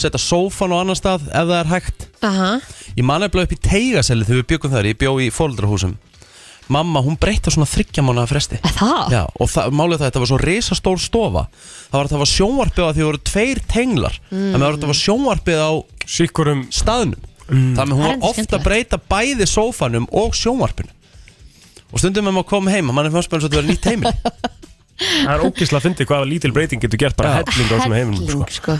S4: setja sófan á annan stað ef það er hægt
S3: Aha.
S4: ég man eftir upp í teigaselli þegar við byggum þar ég bjó í fóldrahúsum mamma hún breytti á svona þryggja mánuða fresti
S3: það?
S4: Já, og það, málið það, þetta var svo risastór stofa það var það var sjónvarpið að því voru tveir tenglar
S1: Mm.
S4: mm. þannig að þetta var sjónvarpið á
S1: síkurum
S4: staðnum þannig að
S1: Mm. Það er
S4: hún
S1: enda
S4: var oft að breyta bæði sófanum og sjónvarpinu og stundum með maður kom heim að mann er fannst bara eins og þetta verið nýtt heimil
S1: Það er ógislega að fyndi hvað lítil breyting getur gert bara helling á svona heiminum
S3: Helling, sko.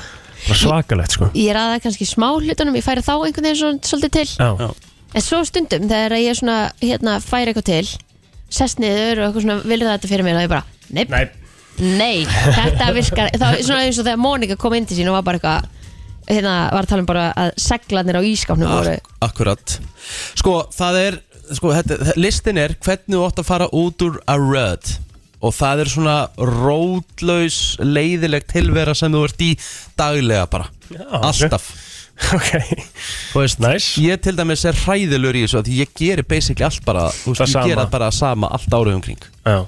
S1: Bara svakalegt sko
S3: Ég ræða kannski smá hlutunum, ég færi þá einhvern veginn svona, svolítið til
S1: Já, já.
S3: En svo stundum þegar ég svona, hérna, færi eitthvað til Sest niður og eitthvað svona, vilja þetta fyrir mér Og ég bara, neip,
S1: Nei,
S3: nei, þetta virkar Það var svona eins og þegar Mónika kom inn til sín og var bara eitthvað Hérna, var að tala um bara að seglanir á ískapnum
S4: Ah.
S3: voru
S4: Akkurat Sko, það er, sko, þetta, listin er hvernig þú átt að fara út úr a röð Og það er svona rótlaus, leiðileg tilvera sem þú ert í daglega bara
S1: Já, ok.
S4: Alltaf
S1: Ok
S4: Þú veist, nice. ég til dæmis er hræðilur í þessu af Því ég gerir basically allt bara Þú veist,
S1: Það
S4: ég
S1: sama.
S4: gera bara sama allt árið umkring
S1: Já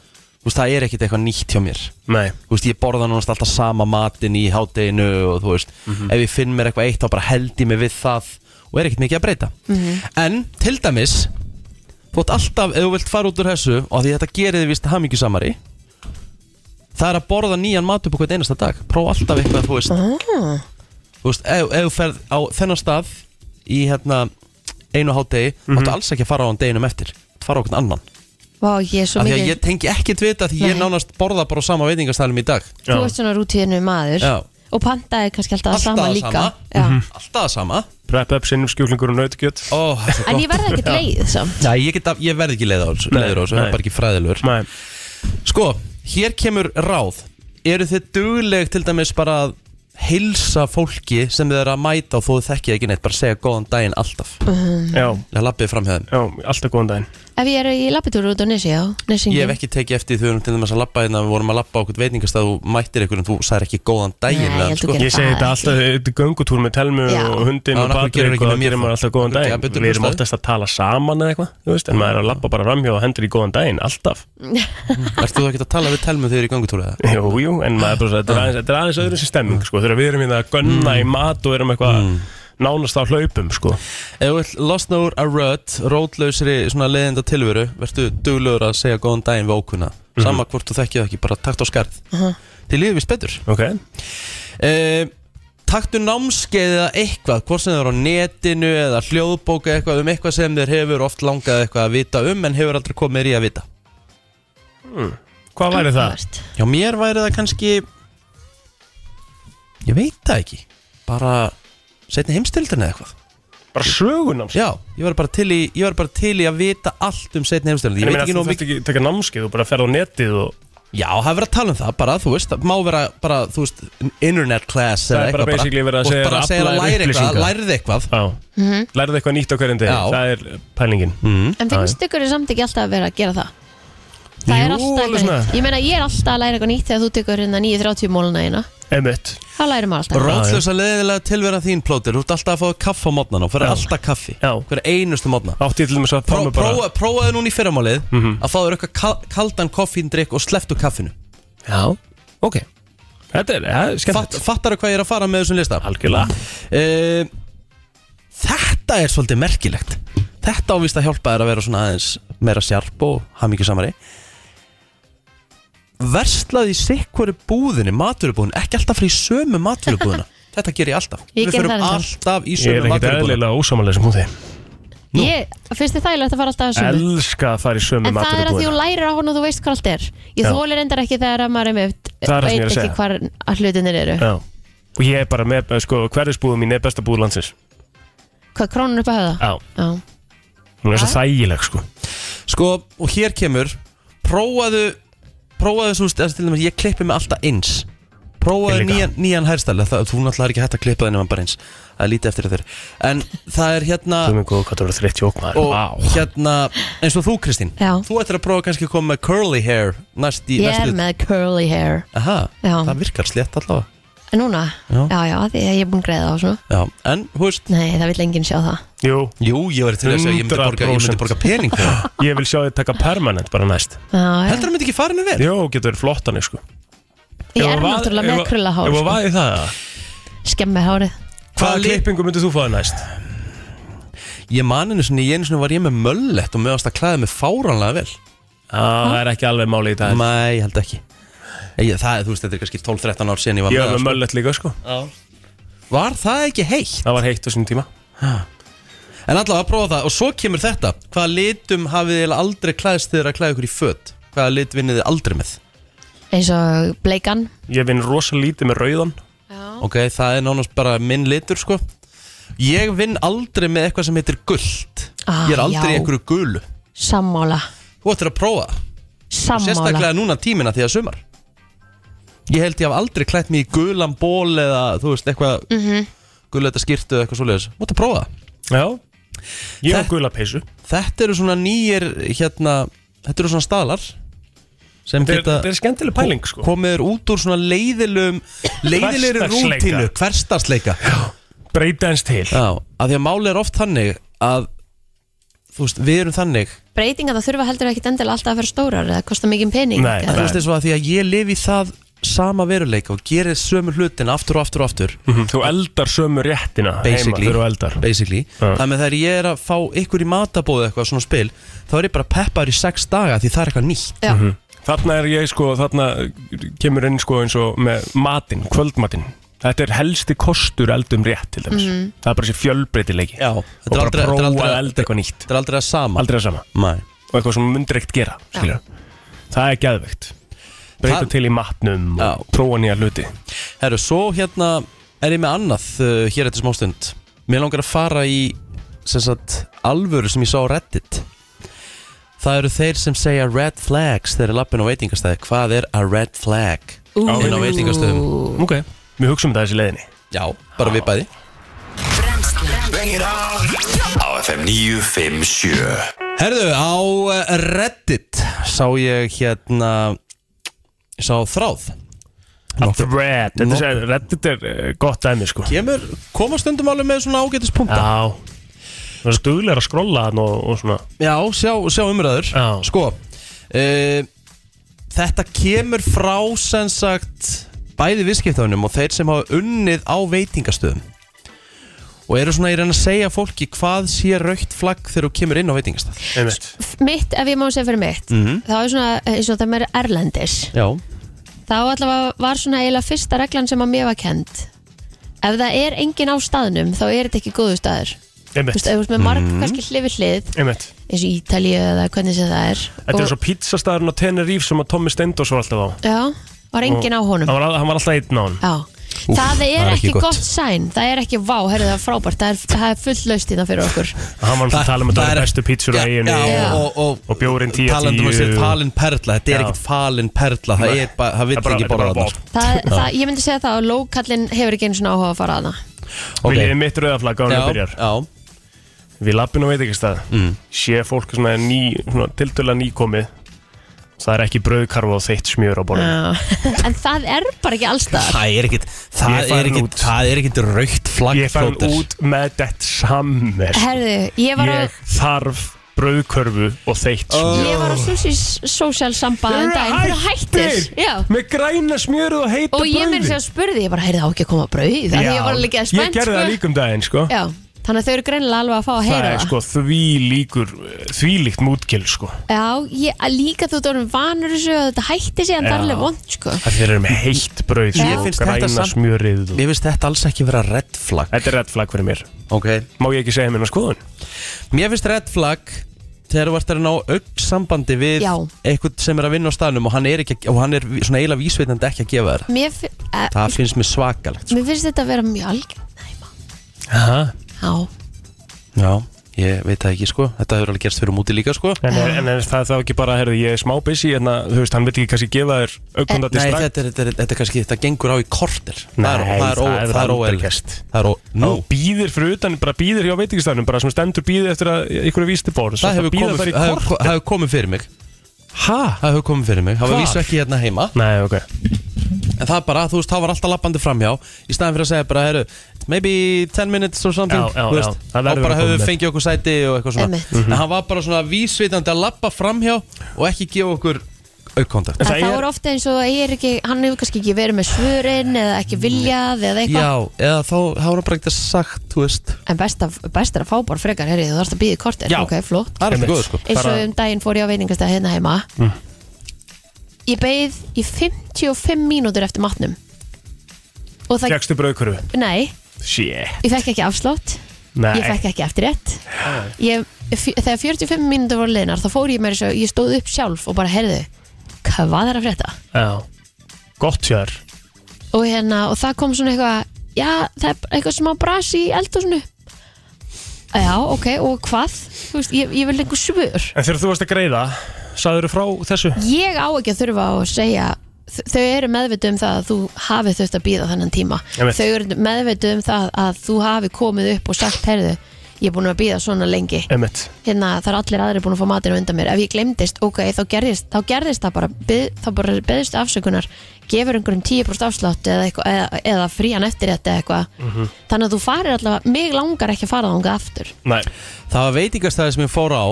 S4: Þú veist, það er ekkit eitthvað nýtt hjá mér
S1: Nei
S4: Þú veist, ég borða nánast alltaf sama matinn í hátdeinu Og þú veist,
S3: Mhm.
S4: ef ég finn mér eitthvað eitt Þá bara held ég mig við það Og er ekkit mikið að breyta
S3: Mhm.
S4: En til dæmis Þú átt alltaf, ef þú vilt fara út úr þessu Og af því þetta gerir þið vist hamingju samari Það er að borða nýjan mat upp á hvern einasta dag Prófa alltaf eitthvað, þú veist
S3: ah.
S4: Þú veist, ef, ef þú ferð á þennan stað Í hérna einu hátdegi mm -hmm.
S3: Mhm.
S4: Áttu alls ekki að fara á hann deginum eftir Þú fara á hvern annan
S3: Vá, ég er svo
S4: Af því að
S3: mikið
S4: ég tengi ekkit við þetta Því ég
S3: Nei.
S4: nánast borða bara á sama veitingastælum í dag
S3: Þú ert svona rútíðinu maður
S4: Já.
S3: Og pantaði kannski alltaf,
S4: Alltaf
S3: sama
S4: það
S3: líka
S4: sama. Mhm.
S3: Já.
S4: Alltaf það sama
S1: Prep up sinnum skjúklingur og nautkjöt
S4: Ó, það er svo
S3: En
S4: gott.
S3: ég verði ekkert leið samt
S4: Nei, ég, get, að- ég verð ekki leið á þessu,
S1: Nei,
S4: leiður á þessu, það
S1: nei.
S4: er bara ekki fræðilur
S1: Nei.
S4: Sko, hér kemur ráð Eru þið dugleg til dæmis bara að heilsa fólki sem þið eru að mæta og þú þekkið ekki neitt, bara segja góðan daginn alltaf
S3: Mhm.
S1: Já
S4: Það lappið fram hjá þeim
S1: Já, alltaf góðan daginn
S3: Ef ég er í lappitúru út á Nesi, já Nesingin.
S4: Ég hef ekki tekið eftir því þau erum til dæmis að lappa hérna, við vorum að lappa á okkur veitingastað og þú mættir ykkur en þú sagðir ekki góðan daginn
S3: Nei,
S4: við hann, sko.
S3: ég held þú gerir
S1: Ég segi þetta alltaf þetta er göngutúr með telmu
S3: Já.
S1: og hundin
S4: Já,
S1: og
S4: en af hverju gerirðu
S1: Patrik og
S4: ekki með
S1: það
S4: mér
S1: gerir maður
S4: þá?
S1: alltaf góðan
S4: Örugglega
S1: daginn
S4: betur
S1: Við erum
S4: hlustaði.
S1: oftast að tala saman eða eitthvað þú veist, en maður er að labba bara ramhjá og hendur í góðan daginn alltaf
S4: Erst þú ekki að tala við telmu þegar í gangutúru eða?
S1: Jú, jú, en maður er bara svo- þetta er aðeins, þetta er aðeins öðru sér
S4: Mm.
S1: stemming sko, þegar við erum hérna að gönna í mat og erum eitthvað nánast á hlaupum sko.
S4: Ef þú vill losna úr að rödd, rótlausri svona leiðinda tilveru, verður duglegur að segja góðan daginn við ókunna.
S1: Mhm.
S4: Sama hvort þú þekkið það ekki, bara takt á skarð.
S3: Mhm.
S4: Þið lífið vist betur.
S1: Okay.
S4: Eh, taktu námskeið eða eitthvað, hvort sem þið eru á netinu eða hljóðbóka eitthvað um eitthvað sem þér hefur oft langað eitthvað að vita um en hefur aldrei komið þér í að vita.
S1: hmm. Hvað væri það?
S4: Já, mér væri það kannski, ég veit það ekki, bara setni heimstildin eða eitthvað.
S1: Bara sögunam
S4: Já, ég var bara til í, ég var bara til í að vita allt um setni heimstyrlandi
S1: Ég
S4: Ég
S1: meina þú
S4: veit ekki nóg
S1: þarft
S4: mikið
S1: ekki að taka námskeið og bara ferð á netið og
S4: Já, það er verið að tala um það bara, þú veist, það má vera bara, þú veist, internet class
S1: Það
S4: eða
S1: er bara
S4: eitthvað
S1: basically verið að
S4: Og
S1: segja
S4: bara
S1: þér að
S4: segja
S1: afla
S4: að
S1: þér
S4: læra
S1: upplýsinga.
S4: eitthvað, læra eitthvað
S1: Já,
S3: Mhm.
S1: lærðu eitthvað nýtt á hverjum degi
S4: Já.
S1: Það er pælingin
S4: mm.
S3: En finnst ykkur samt ekki alltaf að vera að gera það? Það er alltaf
S1: alveg
S3: eitthvað
S1: svona.
S3: nýtt Ég meina ég er alltaf að læra eitthvað nýtt þegar þú tekur hérna 9.30 móluna eina
S1: Einmitt
S3: Það lærir maður alltaf
S4: Rótlösa leiðilega tilvera þín plótir, þú ert alltaf að fá kaff á mótnan og fyrir
S1: Já.
S4: alltaf kaffi
S1: Já.
S4: Fyrir einustu mótna
S1: Átti ég til þess að fá
S4: Pró,
S1: mig bara Mhm.
S4: prófa, Prófaðu núna í fyrramálið að fá þér eitthvað kal- kaldan koffíndrykk og slepptu kaffinu
S1: Já,
S4: ok
S1: Þetta er, ja, skemmt
S4: Fatt, Fattar hvað ég er að fara með þessum lista?
S1: Algjörlega
S4: Eh, Þetta er svolítið merkilegt Þetta ávist að hjálpa þér að vera svona aðeins meira sjarp og hamingjusamari Verslaði í sikkvöru búðinni, maturubúðinni Ekki alltaf fyrir sömu maturubúðina Þetta ger ég alltaf
S3: Ég
S4: Við
S3: geri það
S4: förum
S3: reyndar.
S4: alltaf
S1: Ég
S4: í
S1: er
S4: sömu
S1: ekkert
S4: maturubúðina
S1: eðlilega ósamalega sem hún þið
S3: Ég, finnst þið þægilegt að fara alltaf að sömu
S1: Elska að fara í sömu
S3: En það er að því þú
S1: maturubúðina
S3: lærir á hún og þú veist hvað allt er Ég
S1: Já.
S3: þóli reyndar ekki þegar að maður er með
S1: Það er það sem ég er
S3: Veit
S1: að
S3: ekki
S1: segja.
S3: hvar að hlutinir eru
S1: Já Og ég er bara með, sko, hverjusbúðum mín er besta búð landsins
S3: Hvað krónun upp að höfða?
S1: Já
S3: Já,
S1: Hún er svo þægileg, sko
S4: Sko, og hér kemur Prófaðu Prófaðu svo, þessi til dæmis, ég klippi mig alltaf eins Prófaðu
S1: Ég líka.
S4: nýjan, nýjan hærstæli Það, þú náttúrulega er ekki hægt að klippa þenni bara eins Það er lítið eftir þér En það er hérna
S1: Þú minn góð, hvað það voru þreytt jókmaður
S4: og hérna, eins og þú Kristín
S3: Já.
S4: þú ættir að prófa kannski að koma með curly hair næst í
S3: ég er
S4: næstu-
S3: með curly hair
S4: Aha,
S3: Já.
S4: það virkar slétt allavega
S3: En núna?
S4: Já.
S3: já, já því að ég er búin að greiða á svona
S4: Já, en, hú veist
S3: Nei, það vil enginn sjá það
S1: Jú,
S4: Jú ég var til þess að ég myndi borga, ég myndi borga pening fyrir það
S1: Ég vil sjá þið taka permanent bara næst
S3: já, já.
S4: Heldur það myndi ekki farinu vel?
S1: Jó, getur verið flottan sko.
S3: Ég
S1: Ef
S3: er
S1: að vað-
S3: náttúrulega með
S1: ef að-
S3: krullahár,
S1: Ef að
S3: sko.
S1: vaði það eða?
S3: Skemmir hárið
S1: Hvaða klippingu myndir þú fáið næst?
S4: Ég man einu sinni, ég einu sinni var ég með möllet og meðast að klæða mig fáránlega vel
S1: Ah, Það er ekki alveg máli í dag
S4: Nei, ég held ekki ég, Það er, þú veist, þetta er kannski 12-13 ár síðan ég var
S1: Ég
S4: með
S1: var með
S4: það,
S1: möllet líka sko
S4: sko. Var það ekki heitt?
S1: Það var heitt á sínum tíma
S4: En allavega að prófa það og svo kemur þetta Hvaða litum hafið þið eiginlega aldrei klæðst þegar að klæða ykkur í föt? Hvaða lit vinnið þið aldrei með?
S3: Eins og bleikan
S1: Ég vinn rosa lítið með rauðan
S4: Ok, það er nánast bara minn litur sko Ég vinn aldrei með eitthvað sem heitir gullt
S3: Ah,
S4: Ég er aldrei í
S3: já.
S4: einhverju gullu
S3: Sammála
S4: Þú ættir að prófa það. Og
S3: Sammála
S4: Sérstaklega núna tímina því að sumar Ég held ég haf aldrei klætt mig í gulan ból eða þú veist eitthvað mm
S3: Mhm.
S4: Gulletta skýrtu eða eitthvað svoleiðis Þú ættir að prófa það
S1: Já Ég var
S4: Þetta-
S1: gula peysu
S4: Þetta eru svona nýjir hérna Þetta eru svona staðlar sem
S1: Þetta er-
S4: geta
S1: þetta er skemmtileg pæling, sko.
S4: komið þér út úr svona leiðilegum
S1: Hversdagsleika.
S4: leiðilegri rútínu hverstarsleika
S1: Breyta eins til
S4: Já, að því að máli er oft þannig að þú veist, við erum þannig
S3: Breytinga það þurfa heldur ekki endilega alltaf að vera stórar eða kosta mikið pening
S1: Nei,
S4: að
S3: eða-
S4: þú veist eins og að því að ég lifi í það sama veruleika og gerir sömu hlutin aftur og aftur og aftur
S1: Mhm, Þú eldar sömu réttina heima
S4: basically,
S1: Þegar þú eldar
S4: basically.
S1: Já.
S4: þannig að þegar ég er að fá ykkur í matabóðu eitthvað svona spil, þá er ég bara peppar í sex daga því það er eitthvað nýtt
S3: Já.
S1: Mhm. Þarna er ég sko, þarna kemur inn sko eins og með matinn, kvöldmatinn Þetta er helsti kostur eldum rétt til dæmis
S3: Mhm.
S1: Það er bara sér fjölbreytilegi
S4: Já,
S1: Og bara
S4: þetta er
S1: prófa
S4: aldrei,
S1: að elda eitthvað nýtt
S4: þetta er aldrei að sama
S1: Aldrei að sama
S4: Nei.
S1: Og eitthvað sem þú myndir ekkert gera skilur. Það er geðveikt Breyta
S4: Það-
S1: til í matnum
S4: Já.
S1: og prófa nýja hluti
S4: Herru, svo hérna er ég með annað uh, hér eftir smástund Mér langar að fara í sem sagt, alvöru sem ég sá á Reddit Það eru þeir sem segja red flags þegar er lappin á veitingastæði Hvað er a red flag?
S3: Ú.
S4: Inn á veitingastöðum
S1: Ok Við hugsaum þetta þessi leiðinni
S4: Já, bara við bæði
S2: Á FM 957
S4: Herðu, á uh, Reddit sá ég hérna ég sá þráð
S1: A thread Þetta er, Reddit er eh, gott dæmi sko
S4: Kemur, koma stundum alveg með svona ágætispunkta
S1: Já Það er stuðlega að skrolla hann og, og svona
S4: Já, sjá, sjá umræður
S1: Já.
S4: Sko uh, Þetta kemur frá sem sagt bæði viðskiptaunum og þeir sem hafa unnið á veitingastöðum og eru svona í reyna að segja fólki hvað sé raukt flagg þegar þú kemur inn á veitingastöð
S1: Einmitt
S3: Mitt, ef ég má segja fyrir mitt
S4: Mhm.
S3: Þá er svona, eins og það meira erlendis
S4: Já
S3: Þá allavega var svona eiginlega fyrsta reglan sem að mér var kend Ef það er engin á staðnum þá er þetta ekki góðu staður Þú veist,
S1: Einmitt
S3: ef þú veist með marg kannski hlifi hlið
S1: Einmitt
S3: eins og Ítalíu eða hvernig sem það er
S1: Þetta er
S3: Og-
S1: svo pítsastæðurinn á Tenerife sem að Tommy Steindors var alltaf á
S3: Já, var engin á honum
S1: Hann var, al- hann var alltaf einn á hann
S3: Já það er,
S4: það er ekki
S3: ekki
S4: gott.
S3: gott sæn, það er ekki vá, herrðu það er frábært, það er, það er fullt laust hérna fyrir okkur
S1: Hann var alltaf að tala um að það
S4: Það
S1: er
S4: er-
S1: bestu pítsur á
S4: Já,
S1: eiginu
S4: já, og- og-
S1: og bjórinn 10
S4: Talandum að sér falin perla, þetta er
S1: Já.
S4: ekkert falin perla það er bara, það vill
S1: bara- þetta
S4: ekki
S1: er bara
S4: borða þarna,
S1: vopn.
S4: sko.
S3: það, það, Ég myndi segja það að lókallinn hefur ekki einu svona áhuga að fara að það
S4: Ok.
S1: Viljið þið mitt rauðaflagg á hann að
S4: Já,
S1: byrjar
S4: já,
S1: Við lappin á veitingastæð mm. Sé fólk svona ný, svona tiltöla nýkomið Það er ekki brauðkarfa og þeitt smjör á borðinu
S3: En það er bara ekki allstaðar
S4: Það er ekkert
S1: Ég er
S4: Það er
S1: farin
S4: ekkert
S1: út.
S4: Það er ekkert raukt flagg
S1: Ég fann
S4: Plóter.
S1: út með þetta sammer
S3: Herðu, ég var á
S1: Ég þarf brauðkörfu og þeitt smjör
S3: Ég var á Susi Social samband en daginn fyrir hættir Já.
S1: Með græna smjöru og heita
S3: Og ég myndi segja að spurði, ég bara heyrði á ekki að koma brauð Það ég var líka spennt
S1: Ég gerði það
S3: sko.
S1: líka um daginn sko
S3: Já, þannig að þau eru greinilega alveg að fá að
S1: Það
S3: heyra
S1: er
S3: það,
S1: sko því líkur Því líkt mútgil sko
S3: Já, ég, að líka þú erum vanur þessu að þetta hætti sig en
S1: Já.
S3: það er alveg vond sko.
S1: Það þeir eru með heitt brauð
S4: Mér
S1: sko,
S4: finnst þetta
S1: Græna
S4: samt-
S1: smjörið og...
S4: Mér finnst þetta alls ekki vera red flagg
S1: Þetta er redd flagg fyrir mér
S4: Ok
S1: Má ég ekki segja minna skoðun?
S4: Mér finnst red flag þegar þú ert að ná augn sambandi við
S3: Já.
S4: eitthvað sem er að vinna á staðnum og hann er, ekki, og hann er svona eiginlega vísveitandi ekki að gefa þér
S3: Mér, fi- eh,
S4: Það finnst mér svakalegt sko.
S3: mér finnst þetta að vera mjög algjörn
S1: Aha.
S3: Já,
S4: Já, ég veit það ekki sko Þetta hefur alveg gerst fyrir múti líka sko
S1: En, er, en er það þá ekki bara, herðu, ég er smá busy en að, þú veist, hann veit ekki kannski gefa þér augkundati
S4: Nei,
S1: strax
S4: þetta, er, þetta, er, þetta er kannski, þetta gengur á í kortir
S1: Nei,
S4: það er,
S1: það
S4: ó-
S1: hefur
S4: það er
S1: aldrei
S4: óeðlilegt.
S1: gerst.
S4: Það er ó, nú,
S1: Nú býðir fyrir utan, bara býðir hjá veitingastæðnum bara sem stendur býðir eftir að ykkur er vísti bór
S4: það hefur
S1: býða
S4: komið,
S1: þar í
S4: það
S1: kort
S4: hefur, það hefur komið fyrir mig
S1: Hæ?
S4: Það hefur komið fyrir mig, það var
S1: Hvar?
S4: vísu ekki hérna heima
S1: Nei, ok
S4: En það bara, þú veist, þá var alltaf lappandi framhjá Í staðan fyrir að segja bara, heru, maybe 10 minutes or something
S1: Já, já,
S4: þú
S1: já, það
S4: Þá
S1: verður
S4: bara
S1: að koma
S4: höfum við
S1: með.
S4: fengið okkur sæti og eitthvað svona
S1: Einmitt. Mhm.
S4: En hann var bara svona vísvitandi að lappa framhjá Og ekki gefa okkur aukkontakt
S3: En það er ofta eins og ég er ekki, hann hefur kannski ekki verið með svörin eða ekki viljað eða eitthvað.
S4: Já, eða þá þá var hann bara ekkert sagt, þú veist
S3: En best, af, best er að fá bara frekar, herri, þú þarfst að býða kortir.
S4: Já.
S3: Ok, flott.
S4: Það er alltaf góður, sko.
S3: Eins og
S4: Bara-
S3: um daginn fór ég á veiningastæð hérna heima.
S4: Mm.
S3: Ég beið í 55 mínútur eftir matnum. Og það,
S1: Fjekkstu brauðkurfu?
S3: nei,
S1: Shit
S3: ég fekk ekki afslátt.
S1: Nei.
S3: Ég fekk ekki eftirrétt. ég, f- þegar 45 mínútur voru leinar þá fór ég mér svo, ég stóð upp sjálf og bara heyrðu, hvað er að frétta?
S1: Já Gott sér
S3: og hérna, og það kom svona eitthvað já, það er bara eitthvað smá bras í eldhúsinu já, ok, og hvað þú veist, ég, ég vil lengur svör
S1: En þegar þú varst að greiða, sagður þú frá þessu?
S3: ég á ekki að þurfa að segja þ- þau eru meðvitu um það að þú hafi þurft að býða þennan tíma
S1: Einmitt.
S3: þau eru meðvitu um það að þú hafi komið upp og sagt, heyrðu, ég er búin að býða svona lengi
S1: Emmett
S3: hérna það er allir aðri búin að fá matinn á undan mér ef ég glemdist, ok, þá gerðist, þá gerðist það bara, byð, þá bara beðist afsökunar gefur einhverjum 10% afslátt eða, eitthva, eða, eða frían eftir þetta eða eitthvað
S1: Mhm.
S3: þannig að þú farir allavega, mig langar ekki að fara þangað aftur
S1: Nei.
S4: Það var veitingastæði sem ég fór á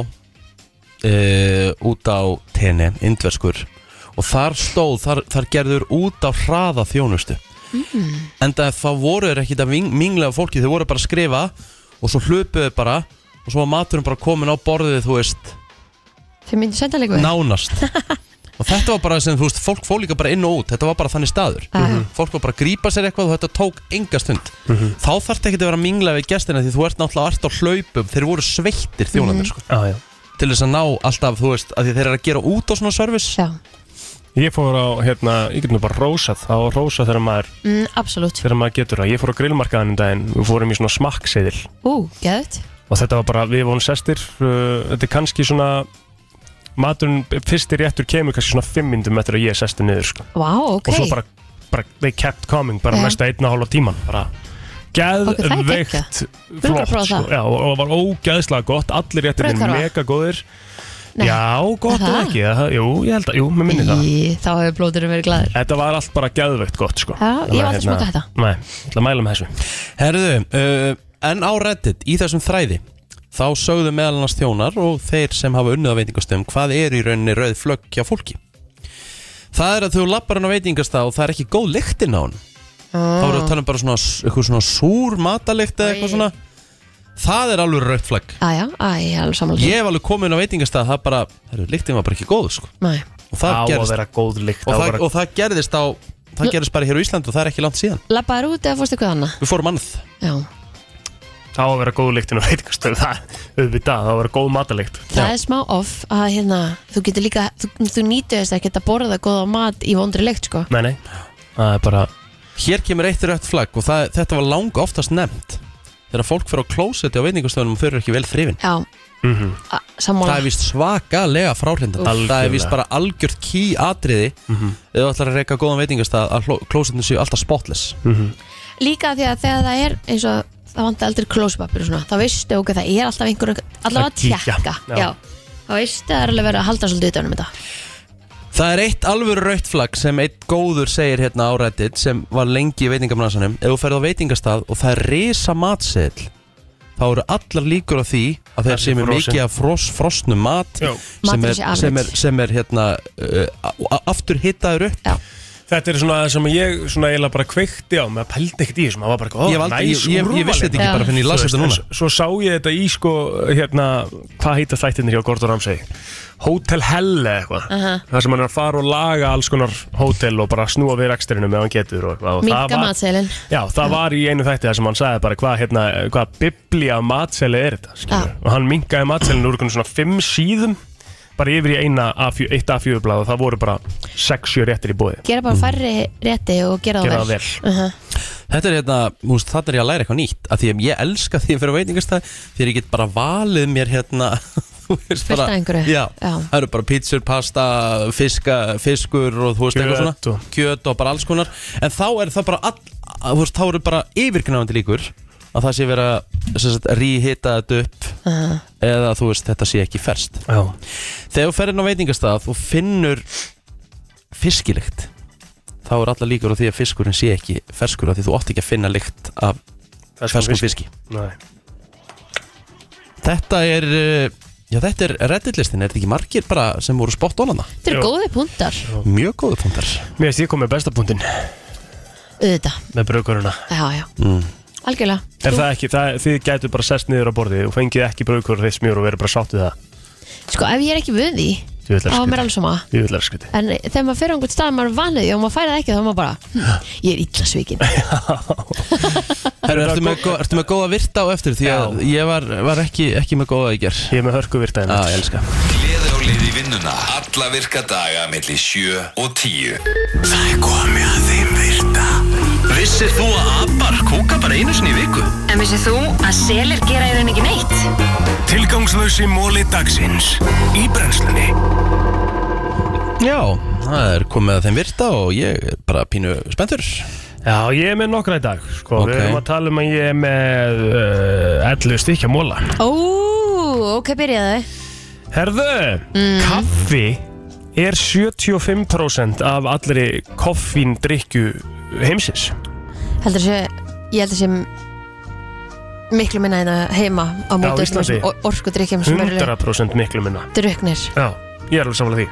S4: uh, út á tenni, indverskur og þar stóð, þar, þar gerður út á hraða þjónustu
S2: Mm.
S4: en það, það voru þeir ekkit að ving- mingla af fólki, þau voru bara að skrifa og svo hlupuðu bara og svo var maturinn bara komin á borðið, þú veist
S3: þau myndu senda leikur
S4: nánast og þetta var bara sem, þú veist, fólk fór líka bara inn og út þetta var bara þannig staður
S1: Ah.
S3: Mhm.
S4: fólk var bara að grípa sér eitthvað og þetta tók enga stund
S1: Mhm.
S4: þá þarf þetta ekki að vera að mingla við gestina því þú ert náttúrulega allt á hlaupum þeir voru sveittir þjónandir
S1: Mhm.
S4: sko.
S1: Já, já
S4: til þess að ná alltaf, þú veist, að því þeir eru að gera út á svona service
S3: Já.
S1: Ég fór á, hérna, ég get nú bara rósað Það var rósað þegar maður
S3: mm, absolutt,
S1: Þegar maður getur það Ég fór á grillmarkaðan um daginn Við fórum í svona smakkseðil
S3: ú, geðut
S1: Og þetta var bara, við vorum sestir uh, Þetta er kannski svona Maturinn, fyrsti réttur kemur kannski svona fimm myndum eftir að ég er sestur niður sko.
S3: vá, ok
S1: Og svo bara, bara, they kept coming Bara
S3: Já.
S1: næsta einna hálfa tíman Bara
S3: Ok, það er
S1: geðveikt
S3: geggjað. Við erum bara að
S1: flott
S3: prófa
S1: sko.
S3: það.
S1: Já, og og var ógeðslega gott allir réttir minn
S3: Brauðkarfa?
S1: mega góðir
S3: Nei.
S1: já, gott
S3: Er
S1: eða
S3: það?
S1: ekki það, jú, ég held að, jú, mér minni það
S3: Í, þá hefur blóðurinn verið glæður
S1: þetta var allt bara geðveikt gott sko.
S3: Já, ég var aldrei smakað þetta.
S1: nei, ég ætla að mæla með þessu
S4: Herðu, uh, en á Reddit í þessum þræði þá sögðu meðal annars þjónar og þeir sem hafa unnið á veitingastöðum hvað er í rauninni rauð flögg hjá fólki Það er að þú lappar hann á veitingastað og það er ekki góð lyktinn á hann Þá
S1: Ah.
S4: erum við að tala um bara svona eitthvað svona súr matalikt eða eitthvað svona Það er alveg rauð flögg
S3: aðja, aðja, alveg samanlega
S4: Ég hef alveg komin á veitingastað það bara, herru, lyktinn var bara ekki góð sko
S3: Nei.
S4: Og það
S1: Á að
S4: gerðist
S1: vera góð lykt, á
S4: og,
S1: að
S4: það-
S1: vera-
S4: og það gerðist á, það gerðist bara hér á Íslandi og það er ekki langt síðan
S3: Lappaður út eða fórstu eitthvað annað?
S4: Við fórum annað
S3: Já,
S1: þá að vera góð lyktinn og veitingastöð það, auðvitað, þá að vera góð matalikt
S3: það er smá off að hérna, þú getur líka, þú, þú nýtur þess að geta borða góða mat í vondri leikt sko.
S1: nei, nei, það er bara
S4: Hér kemur eitt rött flagg og það, þetta var langa oftast nefnt Þegar fólk fyrir á klósetti á veitingastöðunum og þau eru ekki vel þrifin
S3: Já,
S4: mm -hmm.
S3: a- sammála.
S4: Það er vist svakalega fráhrindan
S1: Úff.
S4: Það er vist bara algjört ký atriði mm -hmm. Ef þú ætlar að reyka góðan veitingastað að klósettin séu alltaf spotless mm -hmm.
S3: Líka því að þegar það er eins og það vant aldrei klósipapir og svona, þá veistu ok, það er alltaf einhver, allavega
S4: Að kíkja.
S3: tjekka.
S4: Já.
S3: Já. þá veistu að það er alveg verið að halda svolítið utanum þetta.
S4: Það er eitt alvöru rautt flagg sem eitt góður segir hérna á Reddit sem var lengi í veitingamransanum Ef þú ferð á veitingastað og það er risa matseðl þá eru allar líkur á því að þeir
S1: Það sé
S4: sem er
S1: frosið.
S4: mikið af fros, frosnum mat
S1: Já.
S4: sem
S1: Maturinn
S4: er,
S1: sé afrit.
S4: sem er, sem er hérna uh, a- a- aftur hittaður upp
S3: Já.
S1: Þetta er svona það sem ég svona eiginlega bara kveikti á með að pældi ekkert í þessum, það var bara
S4: Ég hef aldrei- ég- ég- ég vissi þetta ekki Já. bara fyrr en ég las
S1: Þú veist,
S4: þetta núna.
S1: en s- Svo sá ég þetta í sko, hérna, hvað heita þættinir hjá Gordon Ramsay? Hotel Hell eða eitthvað
S3: Aha.
S1: Það sem hann er að fara og laga alls konar hótel og bara snúa við rekstrinum ef hann getur og eitthvað og það
S3: Minka
S1: var-
S3: matseðlinn.
S1: Já, það var í einu þætti þar sem hann sagði bara hvað, hérna, hvað biblía matseli er þetta skilur. og hann minkaði matselin úr einhvern svona fimm síðum bara yfir í eina A4, eitt A4 blað og það voru bara 6-7 réttir í bóði
S3: Gera
S4: Mhm.
S3: bara færri rétti og gera það
S1: Gera það
S3: vel.
S1: vel.
S3: Uh-huh.
S4: Þetta er hérna, þú veist, þetta er ég að læra eitthvað nýtt af því að ég elska því að fyrir veitingastað því að ég get bara valið mér hérna þú veist,
S3: Fullt af einhverju.
S4: Já,
S3: Já.
S4: það eru bara pítsur, pasta, fiska, fiskur og þú veist eitthvað
S1: Kjöt
S4: svona Kjöt og bara alls konar En þá er það bara, all, að, þú veist, þá eru bara yfirgnafandi líkur að það sé vera ríhita þetta upp
S3: Uh-huh.
S4: eða þú veist þetta sé ekki ferskt
S1: Já.
S4: Þegar þú ferðin á veitingastað og finnur fiskilikt þá er allar líkur á því að fiskurinn sé ekki ferskur af því þú átt ekki að finna lykt af ferskum fiski.
S1: Nei.
S4: Þetta er, eh, já þetta er reddillistin, er þetta ekki margir bara sem voru spott onana?
S3: Þetta eru góði punktar
S4: Mjög góðu punktar.
S1: Mér veist ég kom með besta punktin
S3: Þetta,
S1: með braukuruna.
S3: já, já,
S4: Mm.
S3: algjörlega
S1: Er það ekki, það, þið gætu bara sest niður á borði og fengið ekki braukur þið smjör og verið bara sátt við það.
S3: Sko, ef ég er ekki vöð því
S1: Þú vil
S3: Á
S1: að
S3: mér um alveg sama
S1: Ég vil að skriti.
S3: En þegar maður fyrir á einhvern stað, maður er vanið því og maður færi það ekki, þá er maður bara, hm, ég er illa svikin.
S4: Herru, ertu, með, gó- ertu með góða virta á eftir því að ég var, var ekki, ekki með góða í ger
S1: Ég er með hörku virta
S4: Já, ég elska
S2: Gleði á leið í vinnuna Alla virka daga melli 7 og 10 Það er komið að þeim virta Vissir þú að abar kúka bara einu sinni í viku?
S11: En vissið þú að selir gera í raun ekki neitt?
S2: Tilgangslösi móli dagsins Í brennslunni
S4: Já, það er komið að þeim virta og ég er bara pínu spenntur Já,
S1: ég er með nokkra í dag sko.
S4: Ok.
S1: Við erum að tala um að ég er með uh, 11 stykkja móla.
S3: Ó, ok, byrjaði.
S1: Herðu,
S3: Mm.
S1: kaffi er 75% af allri koffíndrykju heimsins.
S3: Heldur þessi, ég heldur þessi miklu minna en að heima
S1: Já,
S3: á móti
S1: Íslandi.
S3: orkudrykkjum sem eru
S1: 100% miklu minna.
S3: druknir.
S1: Já, ég er alveg samlega því.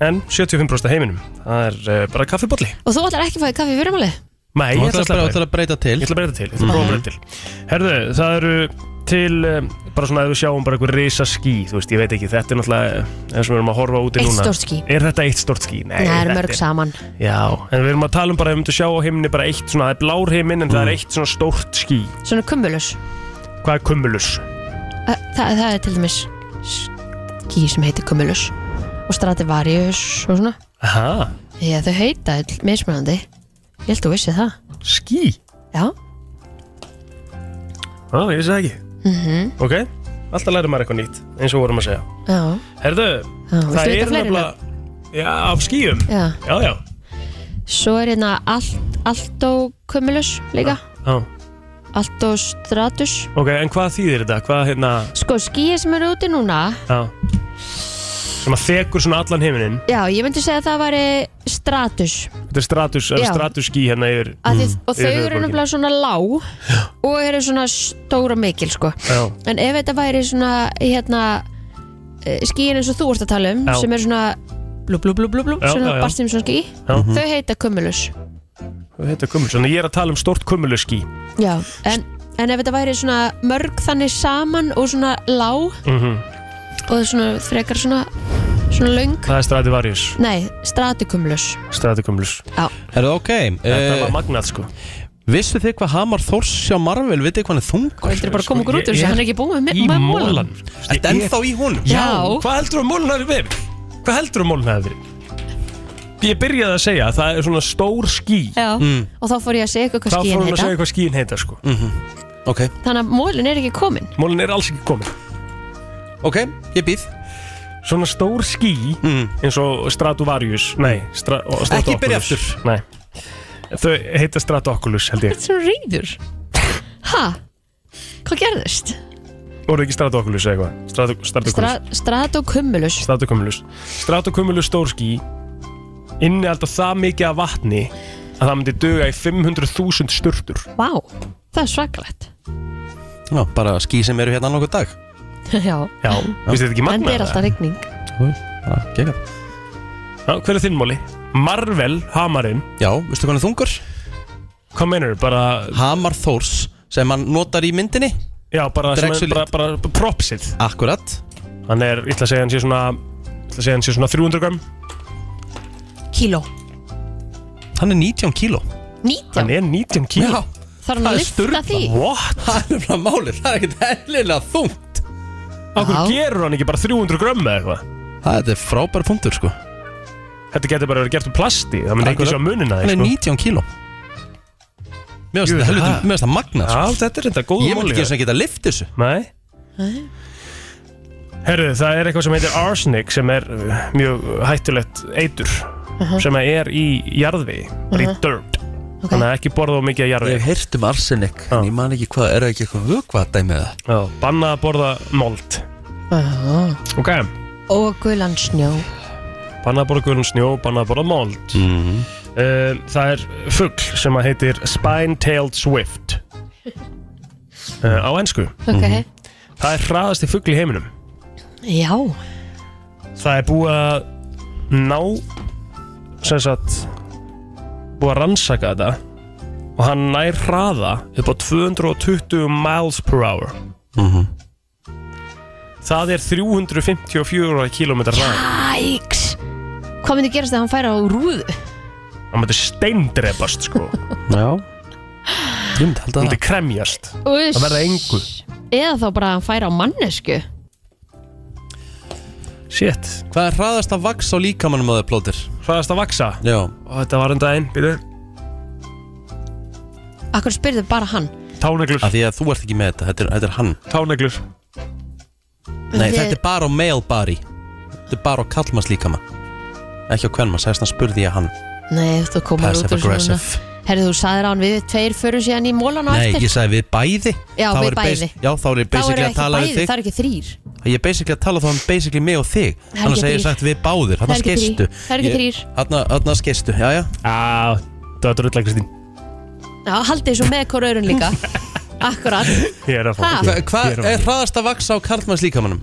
S1: En 75% af heiminum, það er uh, bara kaffibolli.
S3: Og þú ætlar ekki að fá þér kaffi í fyrirmáli?
S1: Nei, ég ætla
S4: Þú ætlar
S1: að
S4: bara-
S1: sleppa
S4: þú ætlar að breyta til Mhm.
S1: Ég ætla að breyta til, ég ætla að prófa að breyta til Herðu, það eru til um, bara svona ef við sjáum bara einhver risa ský þú veist, ég veit ekki, þetta er náttúrulega eh, eins og við erum að horfa úti
S3: Eitt
S1: núna
S3: stórt ský.
S1: Er þetta eitt stórt ský? Nei,
S3: Nei, það eru
S1: þetta
S3: mörg saman.
S1: Já, en við erum að tala um bara, ef við myndum sjá á heimni bara eitt svona, það er blár heiminn en
S4: Mm.
S1: það er eitt svona stórt ský
S3: Svona kumulus.
S1: Hvað er kumulus?
S3: Þa, það, það er til dæmis ský sem heitir kumulus og strativarius og svona.
S1: Aha,
S3: Já, þau heita all mismunandi. Ég held að þú vissi það.
S1: Ský?
S3: Já.
S1: á, ég vissi það ekki
S3: Mm -hmm.
S1: Ok, alltaf lærir maður eitthvað nýtt, eins og vorum að segja
S3: Já.
S1: Herðu,
S3: Já, viltu
S1: það
S3: vita
S1: er
S3: fleiri
S1: nefnilega Já, af skýjum
S3: Já.
S1: Já, já,
S3: Svo er hérna allt, allt og kumulus líka.
S1: já.
S3: Allt og stratus.
S1: Ok, en hvað þýðir þetta? Hvað hérna
S3: Sko, skýið sem eru úti núna,
S1: Já sem að þekur svona allan heiminin
S3: já, ég myndi segja að það væri stratus.
S1: þetta er stratus, er
S3: Já.
S1: stratus ský hérna yfir
S3: Af Því, og þau
S1: yfir
S3: eru
S1: höfuðborginni.
S3: nefnilega svona lág og eru svona stóra mikil, sko.
S1: Já.
S3: En ef þetta væri svona, hérna, eh, skýin eins og þú ert að tala um,
S1: Já.
S3: sem eru svona blú, blú, blú, blú, blú,
S1: Já, já,
S3: svona
S1: já.
S3: barstimsson ský,
S1: Já. Mhm.
S3: þau heita kumulus.
S1: þetta er kumul, svona ég er að tala um stórt kumulu ský
S3: Já, en, en ef þetta væri svona mörg þannig saman og svona lág og svona frekar svona, svona löng,
S1: það er strativarius
S3: nei, stratikumlus.
S1: stratikumlus
S3: Já.
S4: Er það ok?
S1: Þetta var magnað sko
S4: Vissu þið hvað Hamar Þórs hjá Marvel, vitið þið hvað hann er þungur?
S3: Vildir bara koma okkur út úr þessu, hann er ekki búið með,
S4: í
S3: með
S4: molan. Ertu ennþá í honum?
S3: Já.
S1: hvað heldur þú að mólun hafi verið? hvað heldur þú að mólun hafi verið? ég byrjaði að segja að það er svona stór ský
S3: Já, og þá fór ég að segja ykkur hvað
S1: þá fór hún
S3: skíin
S1: að segja
S3: heita.
S1: hvað skýin heita sko mm -hmm.
S4: ok
S3: Þannig að mólin er ekki komin.
S1: Mólin er alls ekki komin
S4: Ok, ég býð Mm,
S1: Svona stór ský eins og Stratovarius Nei, stra og-
S4: Ekki byrja
S1: Stratoculus. Nei Þau heita Stratoculus held ég
S3: Þetta er svona reyður. Ha? Hvað gerðist?
S1: Voru ekki Stratoculus eða eitthvað? Strato- Stratoculus
S3: Stra stratikumlus.
S1: Stratoculus Stratoculus stór ský inni alltaf það mikið af vatni að það myndi duga í 500.000 sturtur
S3: Vá, það er svakalegt.
S4: Já, bara ský sem eru hérna nokkuð dag
S3: Já.
S1: Já, finnst þetta ekki magnað?
S3: En það er alltaf rigning.
S4: Gekka
S1: Já, hver er þinn móli? Marvel, hamarinn
S4: Já, veistu hvað hann er þungur?
S1: Hvað meinar bara
S4: Hamar Þórs sem hann notar í myndinni
S1: Já, bara, sem er- bara, bara, bara propsið
S4: Akkurat
S1: Hann er, ég ætla að segja hann sé svona ég ætla að segja hann sé svona 300 gram
S3: Kíló.
S4: Hann er 19 kíló
S3: 19.
S1: Hann er 19 kíló
S4: Já,
S3: Þarf hann að lyfta því?
S1: What?
S4: Það er bara málið, það er ekkert hellilega þungt
S1: Akkur gerur hann ekki bara 300 grömm eða eitthvað?
S4: Það er frábæra punktur sko
S1: Þetta getur bara verið gert úr plasti Það myndi ekki
S4: Akkurat.
S1: sjá munina sko.
S4: Hann er 19 kíló Mér finnst
S1: Jú,
S4: þetta helviti,
S1: það-
S4: mér finnst það magna
S1: Já, þetta er þetta góð
S4: Ég myndi ekki sem geta lift þessu
S1: Nei Herru, það er eitthvað sem heitir arsenic sem er uh, mjög hættulegt eitur sem að er í jarðvegi bara í
S4: Mhm.
S1: dirt þannig að ekki borða of mikið af jarðvegi
S4: Ég heyrti um arsenik, en ég man ekki hvað, er það ekki eitthvað vökvað dæmið það?
S1: Já, banna að borða mold
S3: Já.
S1: Ok,
S3: Og gulan snjó.
S1: banna að borða gulum snjó banna að borða mold
S4: mm.
S1: Um, það er fugg sem að heitir Spine-tailed swift uh, á ennsku.
S3: Ok.
S1: Það er hraðasti fugg í heiminum.
S3: Já.
S1: Það er búið að ná sem sagt búið að rannsaka þetta og hann nær hraða upp á 220 miles per hour
S12: Mhm.
S1: Það er 354 km hraði
S3: Æks. Hvað myndi gerast þegar hann færa á rúðu?
S1: Það myndi steindrepast sko Já Ég myndi halda það Það myndi kremjast
S3: Uss.
S1: Það verða engu
S3: Eða þá bara að hann færa á mannesku?
S1: Shit
S4: Hvað er hraðast að vaksa á líkamannum að þau plótir?
S1: Hraðast að vaksa?
S4: Já
S1: Og þetta var um daginn, býtu
S3: Akkur spyrðu bara hann.
S1: Táneglur
S4: Því að þú ert ekki með þetta, þetta er, þetta er hann
S1: Táneglur
S4: Nei,
S3: Þið-
S4: þetta er bara á male body Þetta er bara á kallmanns líkamann Ekki á kvenmanns, þess vegna spurði ég hann
S3: Nei, þú komur út úr svona.
S4: Passive-aggressive.
S3: Herðu, þú sagðir á hann við tveir förum síðan í mólan á
S4: Nei,
S3: eftir.
S4: ég sagði við bæði
S3: Já,
S4: Þá
S3: við
S4: er
S3: bæði.
S4: bas- Já, þá er ég
S3: Þá eru
S4: basically að
S3: ekki
S4: tala við
S3: bæði,
S4: þig
S3: það eru ekki þrýr.
S4: Ég er basically að tala þá um basically mig og þig
S3: Það er
S4: Þannig
S3: ekki
S4: að ég
S3: þrír.
S4: sagt við báðir,
S3: Það
S4: hann
S3: er ekki
S4: skeistu
S3: þrír. Það er ekki þrír.
S4: Hann skeistu, já já
S1: Á, það er drullega Kristín
S3: Já, haldið svo með hvora öðrun líka. Akkurat.
S1: Ég er að fá
S3: Ha?
S1: Ég-
S4: Hvað
S1: ég að fá-
S4: er hraðast að vaksa á karlmanns líkamannum?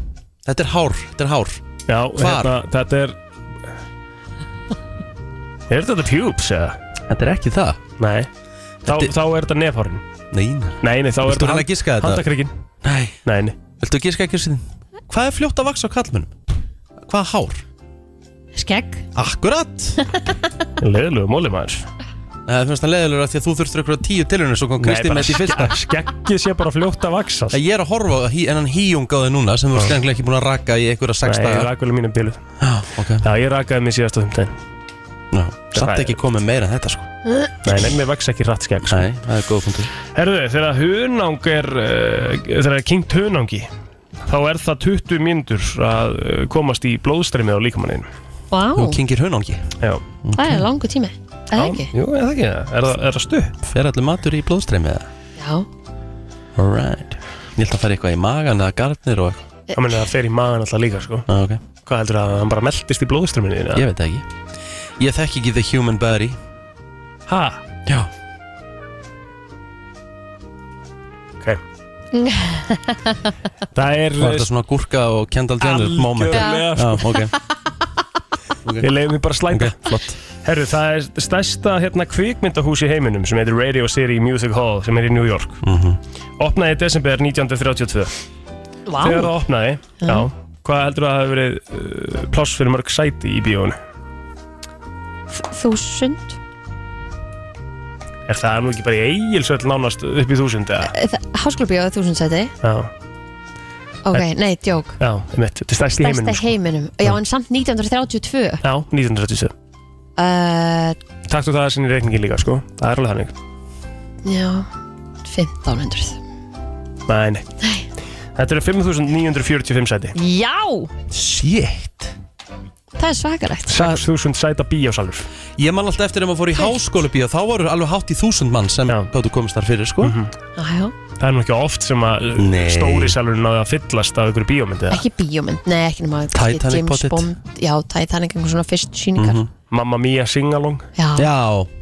S4: Þetta er hár, þetta er hár
S1: Já,
S4: Hvar?
S1: hérna, þetta er Er þetta pjúps eða?
S4: Þetta er ekki það
S1: Nei Þá, þá er þetta nefhárin
S4: Nei,
S1: nei, þá er
S4: Viltu reyna að
S1: hand-
S4: giska þetta?
S1: handakrikin
S4: Nei
S1: Nei, nei
S4: Viltu gíska ekki síðan? Hvað er fljótt að vaksa á kallmönnum? Hvað hár?
S3: Skegg.
S4: Akkurat
S1: Leðilegu móli maður
S4: Það finnst það leðilegur að því að þú þurftur ykkur að tíu tilhörnir Svo kom
S1: Nei,
S4: Kristi
S1: bara
S4: með þetta í fyrsta
S1: Skeggið sé bara fljótt að sko. vaksa
S4: Ég er að horfa á hí- en hann híjungaði núna Sem þú skenglega ekki búin að raka í einhverja sex
S1: Nei, ég
S4: dagar
S1: rakaði mínum bílu
S4: okay.
S1: Já, ég rakaði mér síðast á fimmtæðin
S4: Já, Samt ekki komið meira en þetta sko
S1: Nei, nei, mér vaks ekki rætt skegg sko.
S4: Nei, það er góð punktur
S1: Herðu, þegar hunang er uh, Þegar kynkt hunangi Þá er það 20 mínútur að uh, komast í blóðstreymi á líkamanninu
S3: Vá,
S4: kynkir hunangi
S1: Já
S3: það er langu tími. Er Það ekki?
S1: Jú, er það ekki það? Er það, er það stuð?
S4: Fer allir matur í blóðstreymið eða?
S3: Já.
S4: Alright Ég held að fara eitthvað í magan eða garnir og
S1: Það meni það fer í magan alltaf líka sko
S4: ah, okay.
S1: Hvað heldur að hann bara meldist í blóðströmminu þínu?
S4: Ég veit það ekki Ég þekki ekki the human body
S1: Ha?
S4: Já
S1: Ok Það er
S4: Var þetta svona gúrka og Kendall Jenner moment?
S1: Algjörlega,
S4: Já,
S1: sko.
S4: ok
S1: Ég leiði mér bara slæta Herru, það er stærsta hérna, kvikmyndahús í heiminum sem heitir Radio City Music Hall sem er í New York Mhm. Opnaði í desember 1932
S3: Vá.
S1: Þegar það opnaði, já Hvað heldur að það hafi verið uh, pláss fyrir mörg sæti í bíónu?
S3: Þúsund.
S1: Er það nú ekki bara í eigilsvöld nánast upp í þúsund eða?
S3: Eh, Háskólabíóð þúsundsæti.
S1: Já,
S3: Ok, nei, djók.
S1: já, einmitt, þetta er stærst í heiminum
S3: Stærsta
S1: sko.
S3: heiminum. Já, en samt 1932.
S1: Já, 1937
S3: Uh,
S1: Takktu það sinni reikningin líka sko, það er alveg þannig
S3: já, 1500.
S1: Nei, nei Þetta eru 5.945 sæti
S3: Já,
S4: Shit
S3: það er svakalegt.
S1: 6.000 sæta bíósalur
S4: Ég man alltaf eftir þegar maður fór í háskóla bíó Þá voru alveg hátt í þúsund mann sem gáttu komist þar fyrir sko
S1: Mhm.
S3: Jájá.
S1: Það er nú ekki oft sem að uh,
S4: Nei.
S1: stóri salurinn náði að fyllast af einhverju bíómyndi eða?
S3: Ekki bíómynd, nei, ekki nema kannski
S1: Titanic pottet. Mhm.
S3: Bond, já, Titanic, einhver svona fyrst síningar
S1: Mamma Mia Singalong
S3: Já.
S4: Já,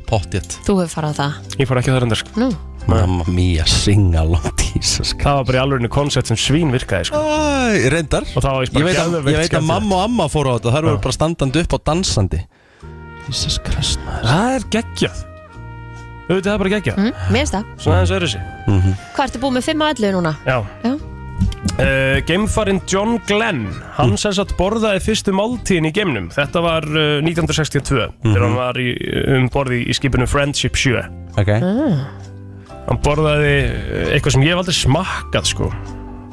S4: pottjett
S3: Þú hefur farað á það
S1: Ég fór ekki þar undar sko
S3: Nú.
S4: Mamma mía, singalong Jesus
S1: Það var bara í alveg koncept sem svín virkaði sko
S4: Æ, reyndar
S1: Og það var
S4: Ég veit, að, ég veit að mamma og amma fóru á þetta Þar voru
S1: Já.
S4: bara standandi upp og dansandi Jesus Christ maður.
S1: Það er geggjað Auðvitað það er bara geggjað
S3: mm, Mér finnst það
S1: Svona aðeins öðru sig
S3: Hvað ertu búið með 5 að 11 núna?
S1: Já,
S3: Já.
S1: Uh, Geimfarinn John Glenn Hann sem sagt borðaði fyrstu máltíðin í geimnum Þetta var uh, 1962 Þegar hann var í, um borði í skipinu Friendship 7
S4: Ok
S3: mm.
S1: Hann borðaði uh, eitthvað sem ég hef aldrei smakkað sko uh,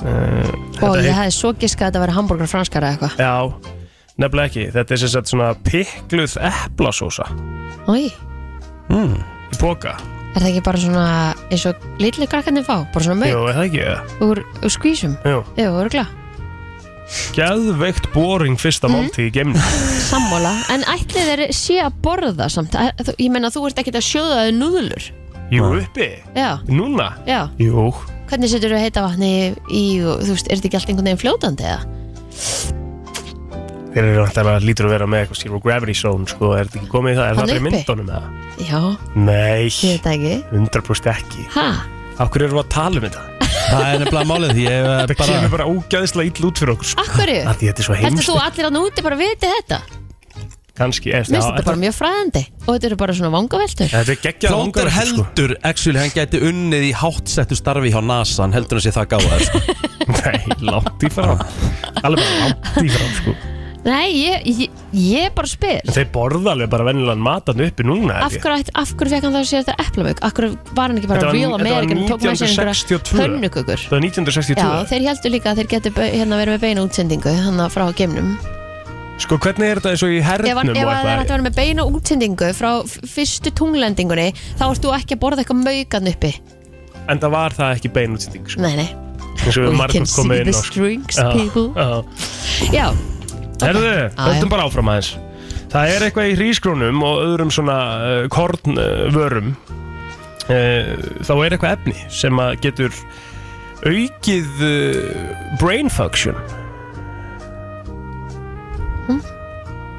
S3: Ó,
S1: þetta
S3: ég
S1: heit-
S3: hefði svo giskað að þetta verið hambúrgar franskar eða eitthvað
S1: Já, nefnilega ekki Þetta er sem sagt svona pikluð eplasósa
S3: Í,
S1: mm. Í boka
S3: er það ekki bara svona eins og litli krakkarnir fá? Bara svona
S1: Jú,
S3: mög
S1: er það ekki það?
S3: úr, úr skvísum?
S1: Jú,
S3: Jú, örgla
S1: geðveikt boring
S3: Mhm.
S1: fyrsta máltíð í geimnum
S3: Sammála, en ætli þeir sé að borða samt Æ, þú- Ég menna þú ert ekkert að sjóða þau núðlur
S1: Jú, uppi
S3: Já,
S1: Núna
S3: já
S1: Jú
S3: Hvernig setur þau heita vatni í, og, þú veist, er þetta ekki allt einhvern veginn fljótandi eða?
S1: Þeir eru náttúrulega lítur að vera með eitthvað Zero Gravity Zone sko, er þetta ekki komið í það? Er
S3: Þarna
S1: það fyrir
S3: uppi?
S1: myndunum eða?
S3: Já,
S1: Nei,
S3: ég veit það ekki
S1: 100% ekki
S3: Ha?
S1: Akkur erum við að tala um þetta?
S4: Það er nefnilega málið því ég eh,
S1: Það
S4: bara-
S1: kemur bara ógæðislega ill út fyrir okkur sko.
S3: Akkurju?
S1: Af Því þetta er svo
S3: Heldur
S1: heimst
S3: þú að allir að núti bara viti þetta?
S1: Kanski
S3: Mér finnst þetta bara mjög fræðandi Og þetta eru bara svona vangaveltur
S1: Þetta er geggjað
S4: Plóter
S1: vangaveltur, sko.
S4: heldur, actually, hann gæti unnið í háttsettu starfi hjá NASA Hann heldur hann sé það gáða sko.
S1: Nei, langt í frá Alveg bara langt í frá sko.
S3: Nei, ég, ég, ég bara spyr
S1: En þeir borða alveg bara venjulegan matan uppi núna
S3: Af hverju, ætti- af hverju fekk hann þá sér þetta eplamauk? Af hverju var hann ekki bara real American og Tók með sér einhverja pönnu
S1: pönnukökur Þetta var 1962
S3: Já, þeir heldur líka að þeir getur hérna verið með beina útsendingu Hanna frá geimnum
S1: Sko hvernig er þetta eins og í hernum
S3: Ef hann
S1: og
S3: ef að það er hægt að
S1: eitthvað
S3: vera með beina útsendingu Frá f- fyrstu tunglendingunni Þá ert þú ekki að borða eitthvað maukan uppi
S1: En það var það ekki bein útsending sko.
S3: Nei, nei
S1: eins og við
S3: We can
S1: margum
S3: see
S1: komið inn
S3: the
S1: á, sko.
S3: strings,
S1: Já,
S3: people.
S1: já.
S3: Já,
S1: Herðu,
S3: já.
S1: höldum bara áfram aðeins Það er eitthvað í hrísgrónum og öðrum svona uh, kornvörum uh, þá er eitthvað efni sem að getur aukið uh, brain function Þannig að
S3: Hm?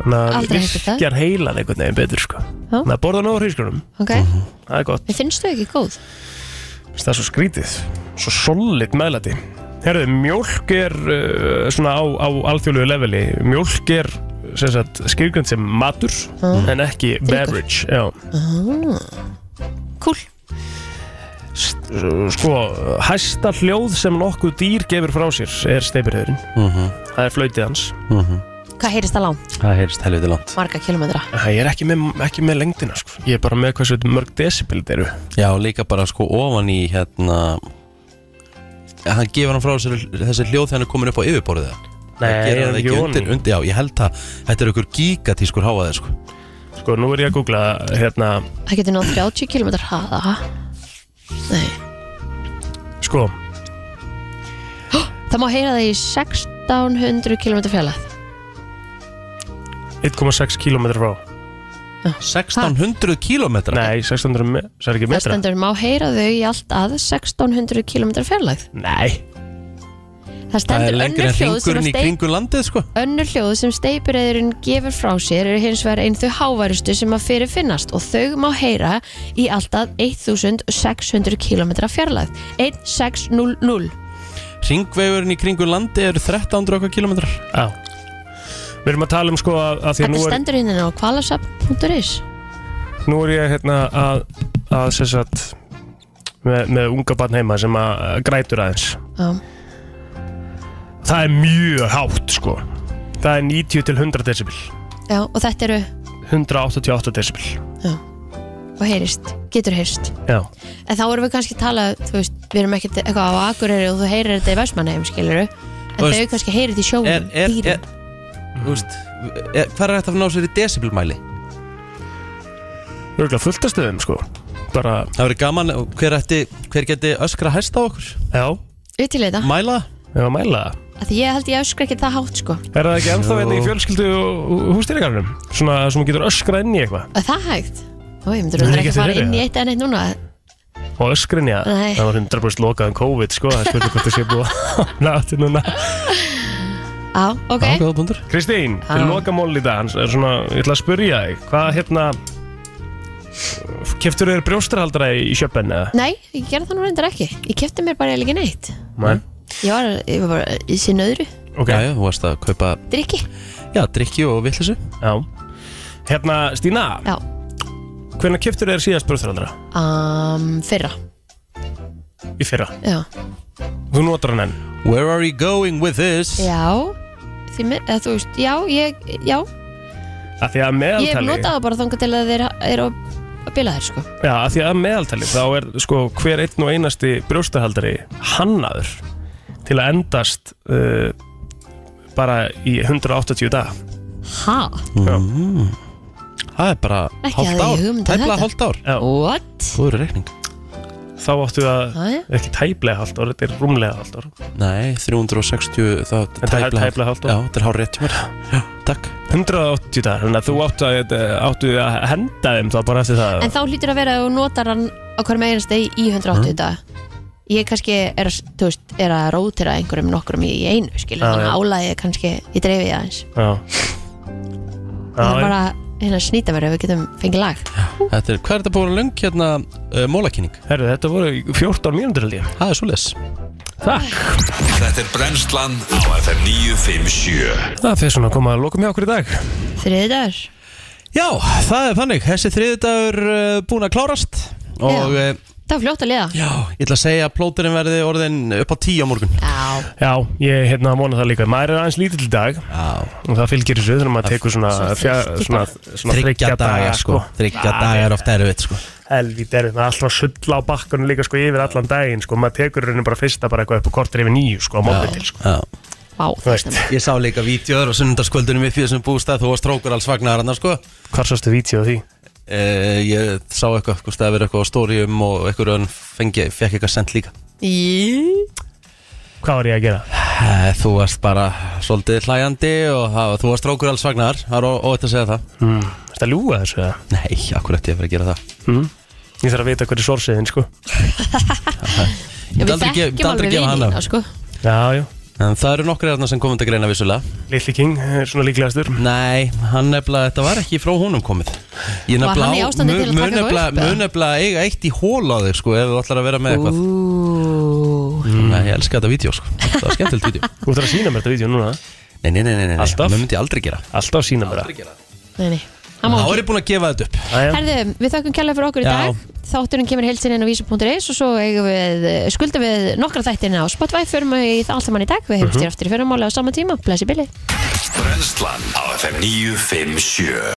S3: Aldrei heyrt þetta.
S1: virkjar heilað einhvern veginn betur sko
S3: Já.
S1: Þannig að borða nóg hrísgrónum
S3: ok
S1: Það er gott
S3: Mér finnst þau ekki góð
S1: það er svo skrítið svo solid meðlæti Herðu, mjólk er uh, svona á, á alþjóðlegu leveli mjólk er sem sagt, skilgjönd sem matur
S3: Mm.
S1: en ekki
S3: Drykkur.
S1: beverage já.
S3: ah. Cool
S1: sko, hæsta hljóð sem nokkuð dýr gefur frá sér er steipirhauðurinn
S4: Mhm.
S1: það er flautið hans
S3: Hvað heyrist það langt?
S4: Það heyrst helviti langt
S3: Marga kilometra
S1: ég er ekki með, ekki með lengdina sko. ég er bara með hversu mörg decibel þetta eru
S4: Já, líka bara sko ofan í hérna Hann gefur hann frá sér þessi hljóð þegar hann er komin upp á yfirborðið
S1: Nei,
S4: Það
S1: er
S4: gerir hann
S1: það
S4: ekki
S1: ekki ofan
S4: undir,
S1: í?
S4: undir Já, ég held það Þetta er ykkur gigatískur háaðið sko
S1: sko, nú er ég að googla hérna,
S3: Það getur náð 30 kilometra hraða Nei
S1: sko,
S3: Það má heyra það í 1600 km fjallæð
S1: 1,6 km frá
S4: 1600 km?
S1: Nei, 1600 me- það er ekki
S3: Það
S1: metra
S3: stendur má heyra þau í allt að 1600 km fjarlægð
S1: Nei
S3: Það stendur önnur hljóð, sem að steip,
S4: landið sko
S3: önnur hljóð sem steipireyðurinn gefur frá sér eru hins vegar einn þau háværustu sem að fyrir finnast og þau má heyra í allt að 1600 km fjarlægð 1600
S4: Ringvegurinn í kringu landið eru 1300 okkar kilometrar
S1: Já Við erum að tala um sko að, að því að
S3: Þetta
S1: nú er,
S3: stendur hinn á kvalasap.is
S1: nú er ég hérna að, að sem sagt með, með unga barn heima sem að að grætur aðeins
S3: Já.
S1: Það er mjög hátt sko Það er 90 til 100 decibel
S3: Já, og þetta eru
S1: 188 decibel
S3: og heyrist, getur heyrist
S1: Já
S3: En þá erum við kannski að tala, þú veist, við erum ekkert eitthvað á Akureyri og þú heyrir þetta í Vestmannheim, skilur En
S4: Þú veist,
S3: þau kannski heyrir þetta í sjónum,
S4: er, er, er,
S3: dýrum
S4: þú veist, er, Hvað er þetta að ná sér í decibelmæli?
S1: Örgulega fullt að stöðum sko Bara
S4: Það verður gaman, hver, ætti, hver geti öskra hæst á okkur?
S1: Já
S3: Við til þetta,
S4: Mæla?
S1: Já, mæla það
S3: að því ég held ég öskra ekki það hátt, sko
S1: Er það ekki ennþá hérna í fjölskyldu og hústýringarnum? Svona sem þú getur öskrað inn í eitthvað
S3: Er það hægt? Ó, ég myndur
S1: Nei,
S3: að
S1: ekki
S3: ekki að fara
S1: þeirri,
S3: inn í
S1: ja.
S3: eitt en eitt núna
S1: Og öskrin, já,
S3: Nei.
S1: það var 100% lokað um COVID, sko, það spurði hvort það sé búið að opna aftur núna.
S3: Á, ok
S4: Góða búndur.
S1: Kristín, til
S3: Já.
S1: lokamól í dag, hans er svona, ég ætla að spurja þig, hvað hérna, keftur þér brjóstarhaldara í sjöppen eða?
S3: Nei, ég gerði það nú reyndar ekki Ég kefti mér bara eiginlega ekki neitt
S1: Nei.
S3: Ég var, ég var bara í sinna öðru
S1: Ok.
S4: Já, já, þú varst að kaupa
S3: Drykki
S4: Já, drikki og villessu
S1: Já. Hérna, Stína,
S3: Já,
S1: hvernig keftur þér síðast brjóstarhaldara?
S3: um, fyrra
S1: Í fyrra.
S3: Já,
S1: Þú notar hann enn.
S4: Where are you going with this?
S3: já Því, með, eða, þú veist, já, ég, já
S1: Af því að
S3: Ég hef
S1: meðaltali,
S3: notað það bara þangað til að þeir eru að að bila þér sko
S1: já, af því að meðaltali, þá er, sko, hver einn og einasti brjóstarhaldari hannaður til að endast uh, bara í 180 daga.
S3: Ha?
S4: Mm. Það er bara
S3: Ekki
S4: hálft
S3: hafði ég
S4: ár
S3: hugmynd um
S4: Tæpla
S3: þetta.
S4: hálft ár
S1: Já.
S3: What?
S4: Góður reikning
S1: þá áttu að,
S3: Jæja.
S1: ekki tæplega halvt ár, þetta er rúmlega halvt ár
S4: Nei, 360 Það
S1: En það er tæplega hálft ár.
S4: Já, þetta er hár rétt hjá mér Já, takk
S1: 180 dagar, þannig að þú áttu að, áttu að henda þeim þá bara eftir það
S3: En þá hlýtur að vera að þú notar hann á hverjum einasta í 180 dag ég kannski er, að- þú veist, er að rótira einhverjum nokkrum í einu skilur,
S1: Já, já.
S3: þannig að álæði kannski ég dreifi það eins
S1: Já
S3: það er bara hérna snýtaveri ef við getum fengið lag
S4: Þetta er, hvað er þetta búin að löng hérna uh, mólakynning?
S1: Herru, þetta voru 14 mínútur held ég
S4: Það er svo les
S2: Þetta er brennslan á FM 957
S1: Það fyrir svona að koma að lokum hjá okkur í dag
S3: þriði dagur
S4: Já, það er þannig, þessi þriði dagur uh, búin að klárast Og
S3: Já.
S4: uh,
S3: það var fljótt að liða
S4: já, ég ætla að segja að plóturinn verði orðin upp á tíu á morgun
S3: Já.
S1: Já, ég hérna vona það líka Maður er aðeins lítill í dag
S4: Já.
S1: Og það fylgir þessu þegar maður tekur svona fjár- Svona, svona
S4: Þryggja daga sko Þryggja
S1: Það
S4: daga
S1: er
S4: er ofta erfitt sko
S1: Helvít erfið, maður er alltaf að sulla á bakkunum líka sko yfir allan daginn sko, maður tekur raunin bara fyrsta bara eitthvað upp á kortir yfir nýju sko á mótni til sko.
S4: Já
S3: Vá,
S1: Þú veist.
S4: Ég sá líka vídeoður á sunnundarskvöldunum í fyrir sem bústað Þú varst strókur alls vagnar hann sko Eh,
S1: Hvar sástu vídeo því?
S4: ég sá eitthvað, sko, það verið eitthvað á stórium og eitthvað hann fengi, fekk eitthvað sendt líka
S3: Í...
S1: Hvað var ég að gera?
S4: Eh, Þú varst bara svolítið hlæjandi og það, þú varst strókur alls vagnar Það er óvægt að segja það
S1: mm, Þetta ljúga þessu eða?
S4: Nei, akkur eftir ég að fara að gera það
S1: Mm. Ég þarf að vita hverju sorsiðin sko
S3: Já,
S4: Ég
S3: við
S4: myndi aldrei gefa-
S3: þekkjum
S4: myndi aldrei
S3: alveg
S4: gefa hann
S3: vinina
S4: af.
S3: sko.
S1: Já, já
S4: En það eru nokkri þarna sem komum til greina vissulega
S1: Lilli King er svona líklegastur
S4: Nei, hann nefnilega, þetta var ekki frá honum komið Ég
S3: Var hann í
S4: á-
S3: ástandi
S4: mun-
S3: til að taka
S4: mun
S3: eitthvað
S4: nefnilega-
S3: upp, eða?
S4: Mun nefnilega eiga eitt í hól á þig sko Ef þú ætlar að vera með eitthvað Mm.
S3: Ú.
S4: Nei, ég elska þetta vídeo sko Það var skemmtilegt vídeo
S1: Þú ætlar að sína mér þetta vídeo núna
S4: Nei, nei, nei, nei, nei.
S1: Alltaf.
S4: Mér myndi ég aldrei gera
S1: Alltaf sína mér
S4: það
S3: Nei, nei. Það má
S4: Þá
S3: ekki.
S4: er ég búin að gefa þetta upp
S1: Æja,
S3: Herðu, við þakkum kærlega fyrir okkur í
S4: Já.
S3: dag Þátturinn kemur heilsin inn á vísum.is og svo eigum við, skuldum við nokkra þættirna á Spotify, förum við í það allt saman í dag við heimstir aftur í fyrramáli á sama tíma, blessi billi
S2: Brennslan á FM 957